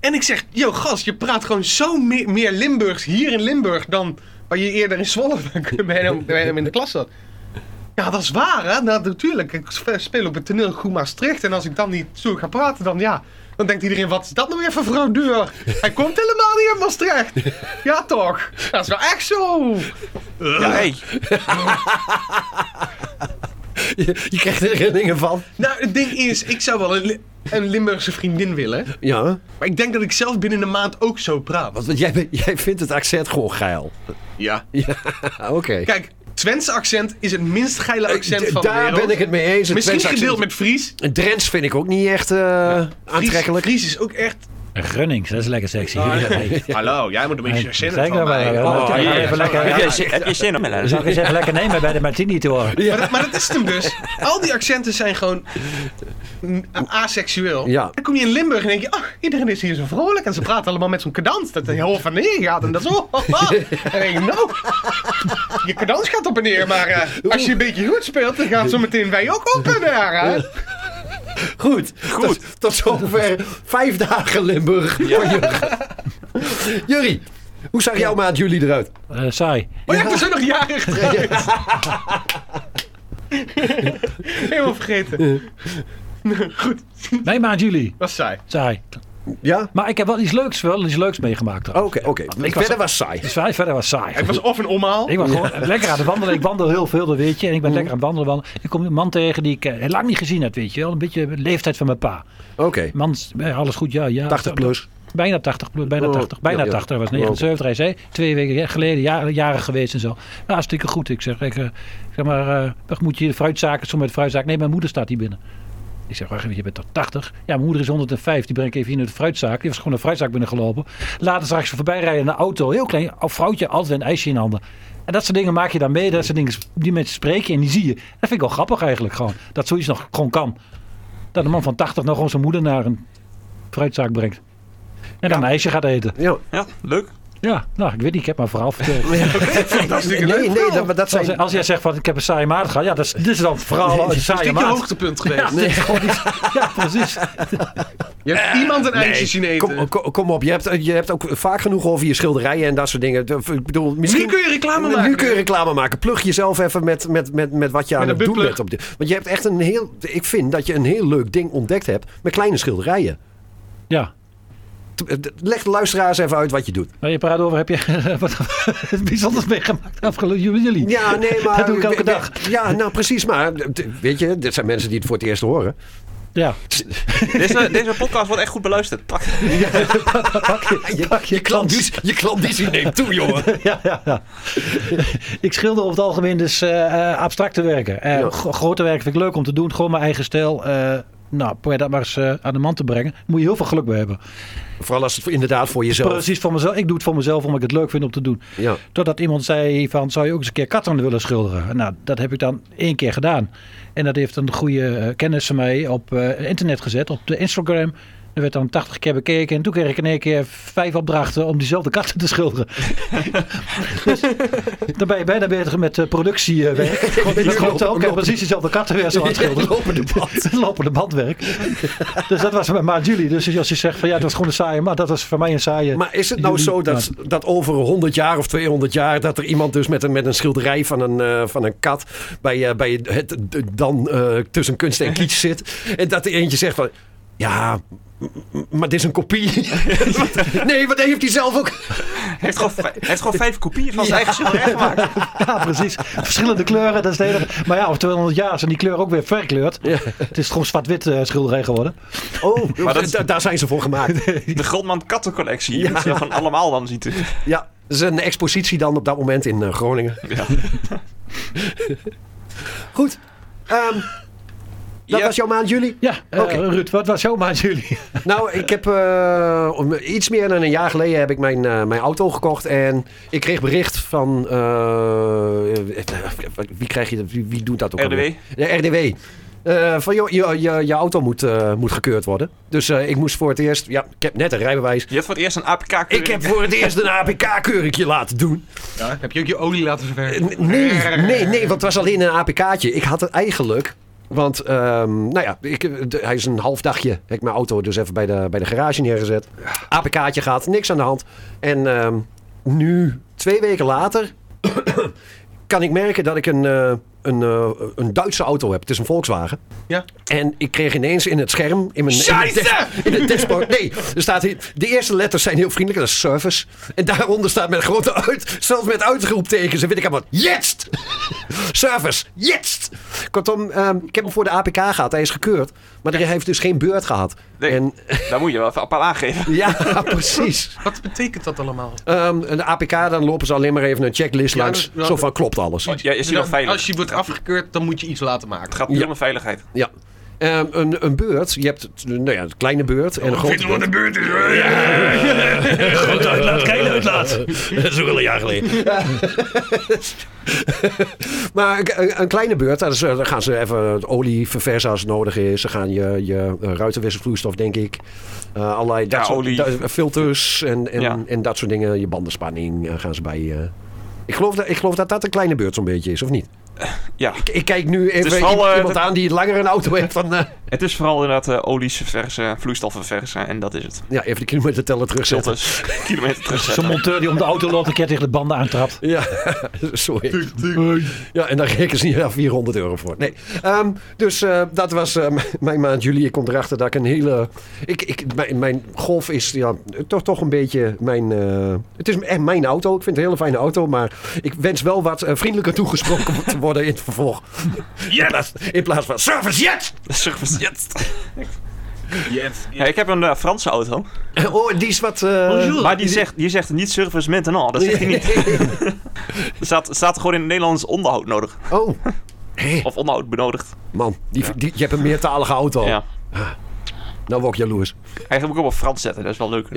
Speaker 9: En ik zeg, yo gast, je praat gewoon zo me- meer Limburgs hier in Limburg dan waar je eerder in Zwolle bij hem, bij hem in de klas zat. Ja, dat is waar, hè? Nou, natuurlijk. Ik spe- speel op het toneel Groen Maastricht. En als ik dan niet zo ga praten, dan ja... Dan denkt iedereen, wat is dat nou weer voor fraudeur? Hij komt helemaal niet uit Maastricht. Ja, toch? Dat is wel echt zo.
Speaker 3: Ja, hey.
Speaker 4: Je, je krijgt er dingen van.
Speaker 9: Nou, het ding is, ik zou wel een, Li- een Limburgse vriendin willen.
Speaker 4: Ja,
Speaker 9: Maar ik denk dat ik zelf binnen een maand ook zo praat.
Speaker 4: want jij, bent- jij vindt het accent gewoon geil.
Speaker 9: Ja.
Speaker 4: Ah, Oké.
Speaker 9: Kijk, Twentse accent is het minst geile accent
Speaker 4: Eh, D-
Speaker 9: van de
Speaker 4: Daar
Speaker 9: wereld.
Speaker 4: ben ik het mee eens. Het
Speaker 9: Misschien
Speaker 4: Twents accent-
Speaker 9: gedeeld met Fries. Fries-
Speaker 4: Drents vind ik ook niet echt eh, aantrekkelijk.
Speaker 9: Fries is ook echt...
Speaker 6: Grunnings, dat is lekker sexy.
Speaker 9: Hallo, jij moet een beetje zin
Speaker 6: Kijk nou maar.
Speaker 9: mij.
Speaker 6: ja.
Speaker 3: Oh,
Speaker 6: Ga Even
Speaker 3: Heb
Speaker 6: lekker...
Speaker 3: jij zin- heb je zin om
Speaker 6: Zou ik eens even lekker nemen bij de martini te horen?
Speaker 9: Maar, dat, maar dat is het hem dus. Al die accenten zijn gewoon n- a- aseksueel.
Speaker 4: Ja.
Speaker 9: Dan kom je in Limburg en denk je, ach, iedereen is hier zo vrolijk. En ze praten allemaal met zo'n kadans. Dat de heel van neer gaat en dat zo. En dan denk je, nou, je kadans gaat op en neer. Maar eh, als je een beetje goed speelt, dan gaan zometeen wij ook op en neer. Hè?
Speaker 4: Goed, goed. Tot, tot zover vijf dagen Limburg voor Jurgen. Jurrie, hoe zag jouw maand juli eruit?
Speaker 6: Eh, saai.
Speaker 9: Maar je hebt er zo nog jaren getrouwd. Helemaal vergeten. Goed,
Speaker 6: Mijn maand juli.
Speaker 9: was saai.
Speaker 6: Saai.
Speaker 4: Ja?
Speaker 6: Maar ik heb wel iets leuks, wel iets leuks meegemaakt.
Speaker 4: Oké,
Speaker 6: trouwens.
Speaker 4: oké. Verder
Speaker 6: was-
Speaker 4: was saai.
Speaker 6: Dus wij- verder was saai.
Speaker 9: Het was of een omhaal.
Speaker 6: Ik was gewoon lekker aan het wandelen. Ik wandel heel veel, dat weet je. En ik ben lekker aan het wandelen, wandelen. Ik kom een man tegen die ik eh, lang niet gezien heb, weet je wel. Een beetje de leeftijd van mijn pa.
Speaker 4: Oké,
Speaker 6: Man, eh, alles goed, ja, ja.
Speaker 4: 80 plus.
Speaker 6: Bijna 80, plus, bijna
Speaker 4: Oh,
Speaker 6: 80, bijna
Speaker 4: ja, ja.
Speaker 6: 80. Hij was 79, hij zei, twee weken geleden, jaren, jaren geweest en zo. Nou, hartstikke goed. Ik zeg, ik, eh, zeg maar, eh, wat moet je de fruitzaken, zo met fruitzaken? Nee, mijn moeder staat hier binnen. Ik zeg, wacht even, je bent toch 80? Ja, mijn moeder is 105, die breng ik even hier naar de fruitzaak. Die was gewoon een fruitzaak binnengelopen. Later zag ik ze voorbij rijden in een auto, heel klein, een vrouwtje, altijd een ijsje in handen. En dat soort dingen maak je dan mee, dat soort dingen, die mensen spreken en die zie je. Dat vind ik wel grappig eigenlijk gewoon, dat zoiets nog gewoon kan. Dat een man van 80 nog gewoon zijn moeder naar een fruitzaak brengt. En dan een ijsje gaat eten.
Speaker 4: Ja.
Speaker 3: Ja, leuk.
Speaker 6: Ja, nou, ik weet niet, ik heb maar verhaal verteld.
Speaker 4: Nee, nee, dat, maar dat
Speaker 6: Als,
Speaker 4: zijn...
Speaker 6: als jij zegt van ik heb een saaie maand gehad, ja, dat is, dit is dan het verhaal een
Speaker 9: Is
Speaker 6: saaie
Speaker 9: dit je
Speaker 6: maand.
Speaker 9: hoogtepunt
Speaker 6: Ja,
Speaker 9: geweest?
Speaker 6: dit is gewoon iets- ja, precies.
Speaker 9: Je hebt iemand een ijsje zien eten.
Speaker 4: Kom, kom, kom op, je hebt, je hebt ook vaak genoeg over je schilderijen en dat soort dingen. Ik bedoel, misschien...
Speaker 9: Nu kun je reclame
Speaker 4: Nu
Speaker 9: maken.
Speaker 4: kun je reclame maken. Plug jezelf even met, met, met, met wat je aan
Speaker 9: een
Speaker 4: het doen
Speaker 9: buttplug.
Speaker 4: bent. Op dit. Want je hebt echt een heel... Ik vind dat je een heel leuk ding ontdekt hebt met kleine schilderijen.
Speaker 6: Ja.
Speaker 4: T- eh, Leg de luisteraars even uit wat je doet.
Speaker 6: Maar je praat over, heb je wat bijzonders meegemaakt afgelopen jullie?
Speaker 4: Ja, nee, maar...
Speaker 6: Dat doe ik elke
Speaker 4: we- we-
Speaker 6: dag.
Speaker 4: Ja, nou precies, maar d- weet je, dit zijn mensen die het voor het eerst horen.
Speaker 6: Ja,
Speaker 3: Deze, deze podcast wordt echt goed beluisterd. Pak.
Speaker 6: pak je, pak je, klant.
Speaker 4: Je klandizie neemt toe, jongen.
Speaker 6: Ja, ja, ja. ik schilder over het algemeen dus eh, eh, abstracte werken. Eh,
Speaker 4: Ja.
Speaker 6: gro- grote werken vind ik leuk om te doen. Gewoon mijn eigen stijl. eh, nou, probeer dat maar eens eh, aan de man te brengen. Daar moet je heel veel geluk bij hebben.
Speaker 4: Vooral als het inderdaad voor jezelf...
Speaker 6: Precies, voor mezelf. Ik doe het voor mezelf omdat ik het leuk vind om te doen.
Speaker 4: Ja.
Speaker 6: Totdat iemand zei van, zou je ook eens een keer katten willen schilderen? Nou, dat heb ik dan één keer gedaan. En dat heeft een goede eh, kennis van mij op eh, internet gezet, op de Instagram. Er werd dan 80 keer bekeken en toen kreeg ik in één keer vijf opdrachten om diezelfde katten te schilderen. dus dan ben je bijna bezig met eh, productiewerk. Want dat komt ook, en precies dezelfde katten weer zo aan het schilderen. Lopende band. Lopende bandwerk. dus dat was mijn maand juli. Dus als je zegt van ja, dat was gewoon een saaie maand. Dat was voor mij een saaie
Speaker 4: Maar is het nou
Speaker 6: juli
Speaker 4: zo dat,
Speaker 6: maand.
Speaker 4: dat over 100 jaar of 200 jaar... dat er iemand dus met een, met een schilderij van een, eh, van een kat... bij, eh, bij het, het- dan eh, tussen kunst en kitsch zit... en dat er eentje zegt van... ja, m- m- maar dit is een kopie. Wat- nee, wat heeft hij zelf ook...
Speaker 3: Hij heeft gewoon, vij- hij heeft gewoon vijf kopieën van zijn eigen schilderij gemaakt.
Speaker 6: Ja, precies. Verschillende kleuren, dat is het hele... Maar ja, over 200 jaar zijn die kleuren ook weer verkleurd. Het is gewoon zwart-wit eh, schilderij geworden.
Speaker 4: Oh,
Speaker 3: dat-
Speaker 4: da- daar zijn ze voor gemaakt.
Speaker 3: De Grondman kattencollectie. Je moet ze gewoon allemaal dan zien. te-
Speaker 4: ja, dat is een expositie dan op dat moment in eh, Groningen.
Speaker 3: Ja.
Speaker 4: Goed. ehm, dat
Speaker 3: Ja.
Speaker 4: was jouw maand juli.
Speaker 6: Ja, eh,
Speaker 4: Oké.
Speaker 6: Ruud, wat was jouw maand juli?
Speaker 4: Nou, ik heb eh, om- iets meer dan een jaar geleden heb ik mijn, eh, mijn auto gekocht. En ik kreeg bericht van. eh, wie, krijg je, dat- wie, wie doet dat ook?
Speaker 3: RDW?
Speaker 4: alweer? Ja, RDW. Eh, van joh, je, je, je auto moet, eh, moet gekeurd worden. Dus eh, ik moest voor het eerst. Ja, ik heb net een rijbewijs.
Speaker 3: Je hebt voor het eerst een apk
Speaker 4: Ik heb voor het eerst een APK-keurikje laten doen.
Speaker 9: Ja, heb je ook je olie laten verven?
Speaker 4: Eh, Nee, nee, nee, want het was alleen een APK'tje. Ik had het eigenlijk. Want, ehm, nou ja, ik, de- hij is een half dagje. Heb ik mijn auto dus even bij de, bij de garage neergezet. APK'tje gehad, niks aan de hand. En ehm, nu, twee weken later, kan ik merken dat ik een, eh, een, eh, een Duitse auto heb. Het is een Volkswagen.
Speaker 9: Ja.
Speaker 4: En ik kreeg ineens in het scherm, in mijn, in mijn
Speaker 9: Scheisse!
Speaker 4: dash- in het dashboard, nee, er staat hier, de eerste letters zijn heel vriendelijk, dat is service. En daaronder staat met grote uit, zelfs met uitroeptekens, en weet ik allemaal, jetzt! service, jetzt! Kortom, ehm, ik heb hem voor de APK gehad, hij is gekeurd, maar hij heeft dus geen beurt gehad.
Speaker 3: Nee.
Speaker 4: En
Speaker 3: Daar moet je wel even een paar aangeven.
Speaker 4: ja, precies.
Speaker 9: Wat betekent dat allemaal?
Speaker 4: Ehm, een APK, dan lopen ze alleen maar even een checklist
Speaker 9: Ja,
Speaker 4: langs,
Speaker 9: dat- Oh,
Speaker 4: zo van klopt alles.
Speaker 3: Ja, is hij wel veilig?
Speaker 9: Als je wordt afgekeurd, dan moet je iets laten maken.
Speaker 3: Het gaat puur om de veiligheid.
Speaker 4: Ja. Ehm, een, een beurt, je hebt eh, nou ja, een kleine beurt
Speaker 3: Oh,
Speaker 4: en een grote beurt.
Speaker 9: buurt is. Ja.
Speaker 4: Grote uitlaat, kleine uitlaat. Dat is ook al een jaar geleden. maar een- een, een kleine beurt, daar is, eh, dan gaan ze even olie verversen als het nodig is. Ze gaan je, je eh, ruitenwisselvloeistof, denk ik. Eh, allerlei dat
Speaker 3: Ja,
Speaker 4: soort-
Speaker 3: olie.
Speaker 4: dat- filters en, en,
Speaker 3: Ja.
Speaker 4: en dat soort dingen. Je bandenspanning eh, gaan ze bij... eh. ik geloof, dat, ik geloof dat dat een kleine beurt zo'n beetje is, of niet?
Speaker 3: Eh, Ja.
Speaker 4: Ik, ik kijk nu even
Speaker 3: vooral,
Speaker 4: i-
Speaker 3: eh,
Speaker 4: iemand aan die langer een auto heeft van... eh,
Speaker 3: Het is vooral inderdaad eh, olies verversen, vloeistoffen verversen en dat is het.
Speaker 4: ja, even de kilometerteller terugzetten.
Speaker 3: Filters, kilometer
Speaker 6: Zo'n
Speaker 3: terugzetten.
Speaker 6: monteur die om de auto loopt een keer tegen de banden aantrapt.
Speaker 4: Ja, sorry. Ja, en daar rekenen ze niet aan 400 euro voor. Nee. Ehm, dus eh, dat was eh, m- mijn maand juli. Ik kom erachter dat ik een hele... Ik, ik, mijn, mijn golf is ja, toch, toch een beetje mijn... eh, het is echt mijn auto. Ik vind het een hele fijne auto. Maar ik wens wel wat eh, vriendelijker toegesproken te worden in het vervolg. In, plaats, in plaats van service jet!
Speaker 3: Service jet. Ja, ik heb een eh, Franse auto,
Speaker 4: Oh, die is wat... eh,
Speaker 3: maar die zegt, die zegt niet service maintenant, dat zegt hij niet. Er staat, staat gewoon in het Nederlands onderhoud nodig.
Speaker 4: Oh. Hé,
Speaker 3: Of onderhoud benodigd.
Speaker 4: man. Die, die, je hebt een meertalige auto.
Speaker 3: Ja.
Speaker 4: Nou word ik jaloers.
Speaker 3: Hij moet ik ook op Frans zetten, dat is wel leuk.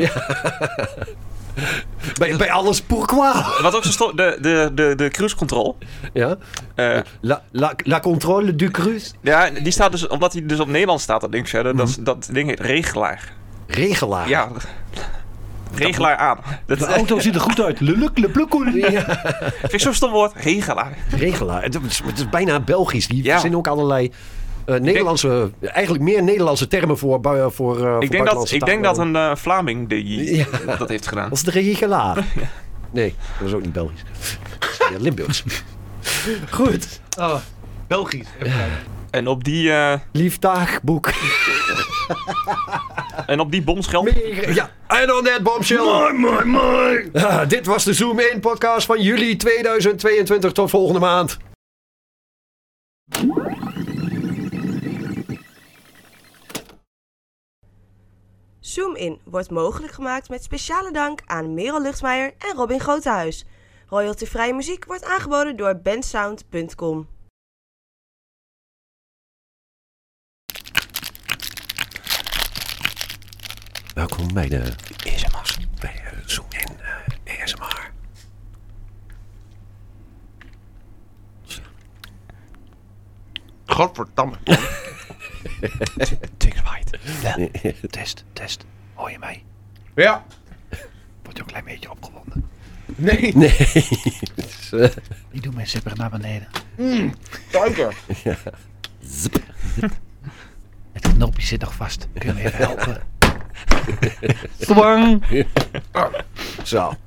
Speaker 4: Bij, bij alles pourquoi.
Speaker 3: Wat ook zo sto- de, de, de, de cruise control.
Speaker 4: Ja.
Speaker 3: eh,
Speaker 4: La, la, la contrôle du cruise.
Speaker 3: ja, die staat dus, omdat hij dus op Nederland staat, dat ding verder,
Speaker 4: Mhm.
Speaker 3: dat, is- dat ding heet regelaar.
Speaker 4: Regelaar.
Speaker 3: Ja. Regelaar aan. Dat
Speaker 6: De auto ziet er goed uit. Leluk, leblukoen.
Speaker 4: Ja,
Speaker 3: vind ik zo'n stom woord. Regelaar.
Speaker 4: regelaar. Het is, het is bijna Belgisch. Die
Speaker 3: Ja.
Speaker 4: verzinnen ook allerlei eh, Nederlandse, eigenlijk meer Nederlandse termen voor, bui- voor, eh, voor
Speaker 3: Ik denk, dat,
Speaker 4: buitenlandse
Speaker 3: ik denk
Speaker 4: talen.
Speaker 3: dat een eh, Vlaming die,
Speaker 4: Ja.
Speaker 3: dat heeft gedaan.
Speaker 4: Dat is de regelaar. Nee, dat is ook niet Belgisch. Dat is weer Limburgs. Goed.
Speaker 9: Oh, Belgisch.
Speaker 3: En op die, eh,
Speaker 4: Lief dagboek.
Speaker 3: en op die bomschel.
Speaker 4: Ja, en on that bombshell. Mooi, mooi, mooi. dit was de Zoom In podcast van juli 2022. Tot volgende maand.
Speaker 2: Zoom In wordt mogelijk gemaakt met speciale dank aan Merel Luchtmeijer en Robin Grotehuis. Royaltyvrije muziek wordt aangeboden door bandsound.com.
Speaker 4: Welkom bij de ASMR. Bij de Zoom in eh, ASMR.
Speaker 9: Godverdamme.
Speaker 3: Take a bite.
Speaker 1: Test, test. Hoor je mij?
Speaker 5: Ja.
Speaker 1: Word je een klein beetje opgewonden.
Speaker 5: Nee.
Speaker 4: Nee. Het is, eh,
Speaker 1: Ik doe mijn zipper naar beneden.
Speaker 5: Suiker.
Speaker 1: Het knoopje zit nog vast. Kun je me even helpen? Twang!
Speaker 4: Zo.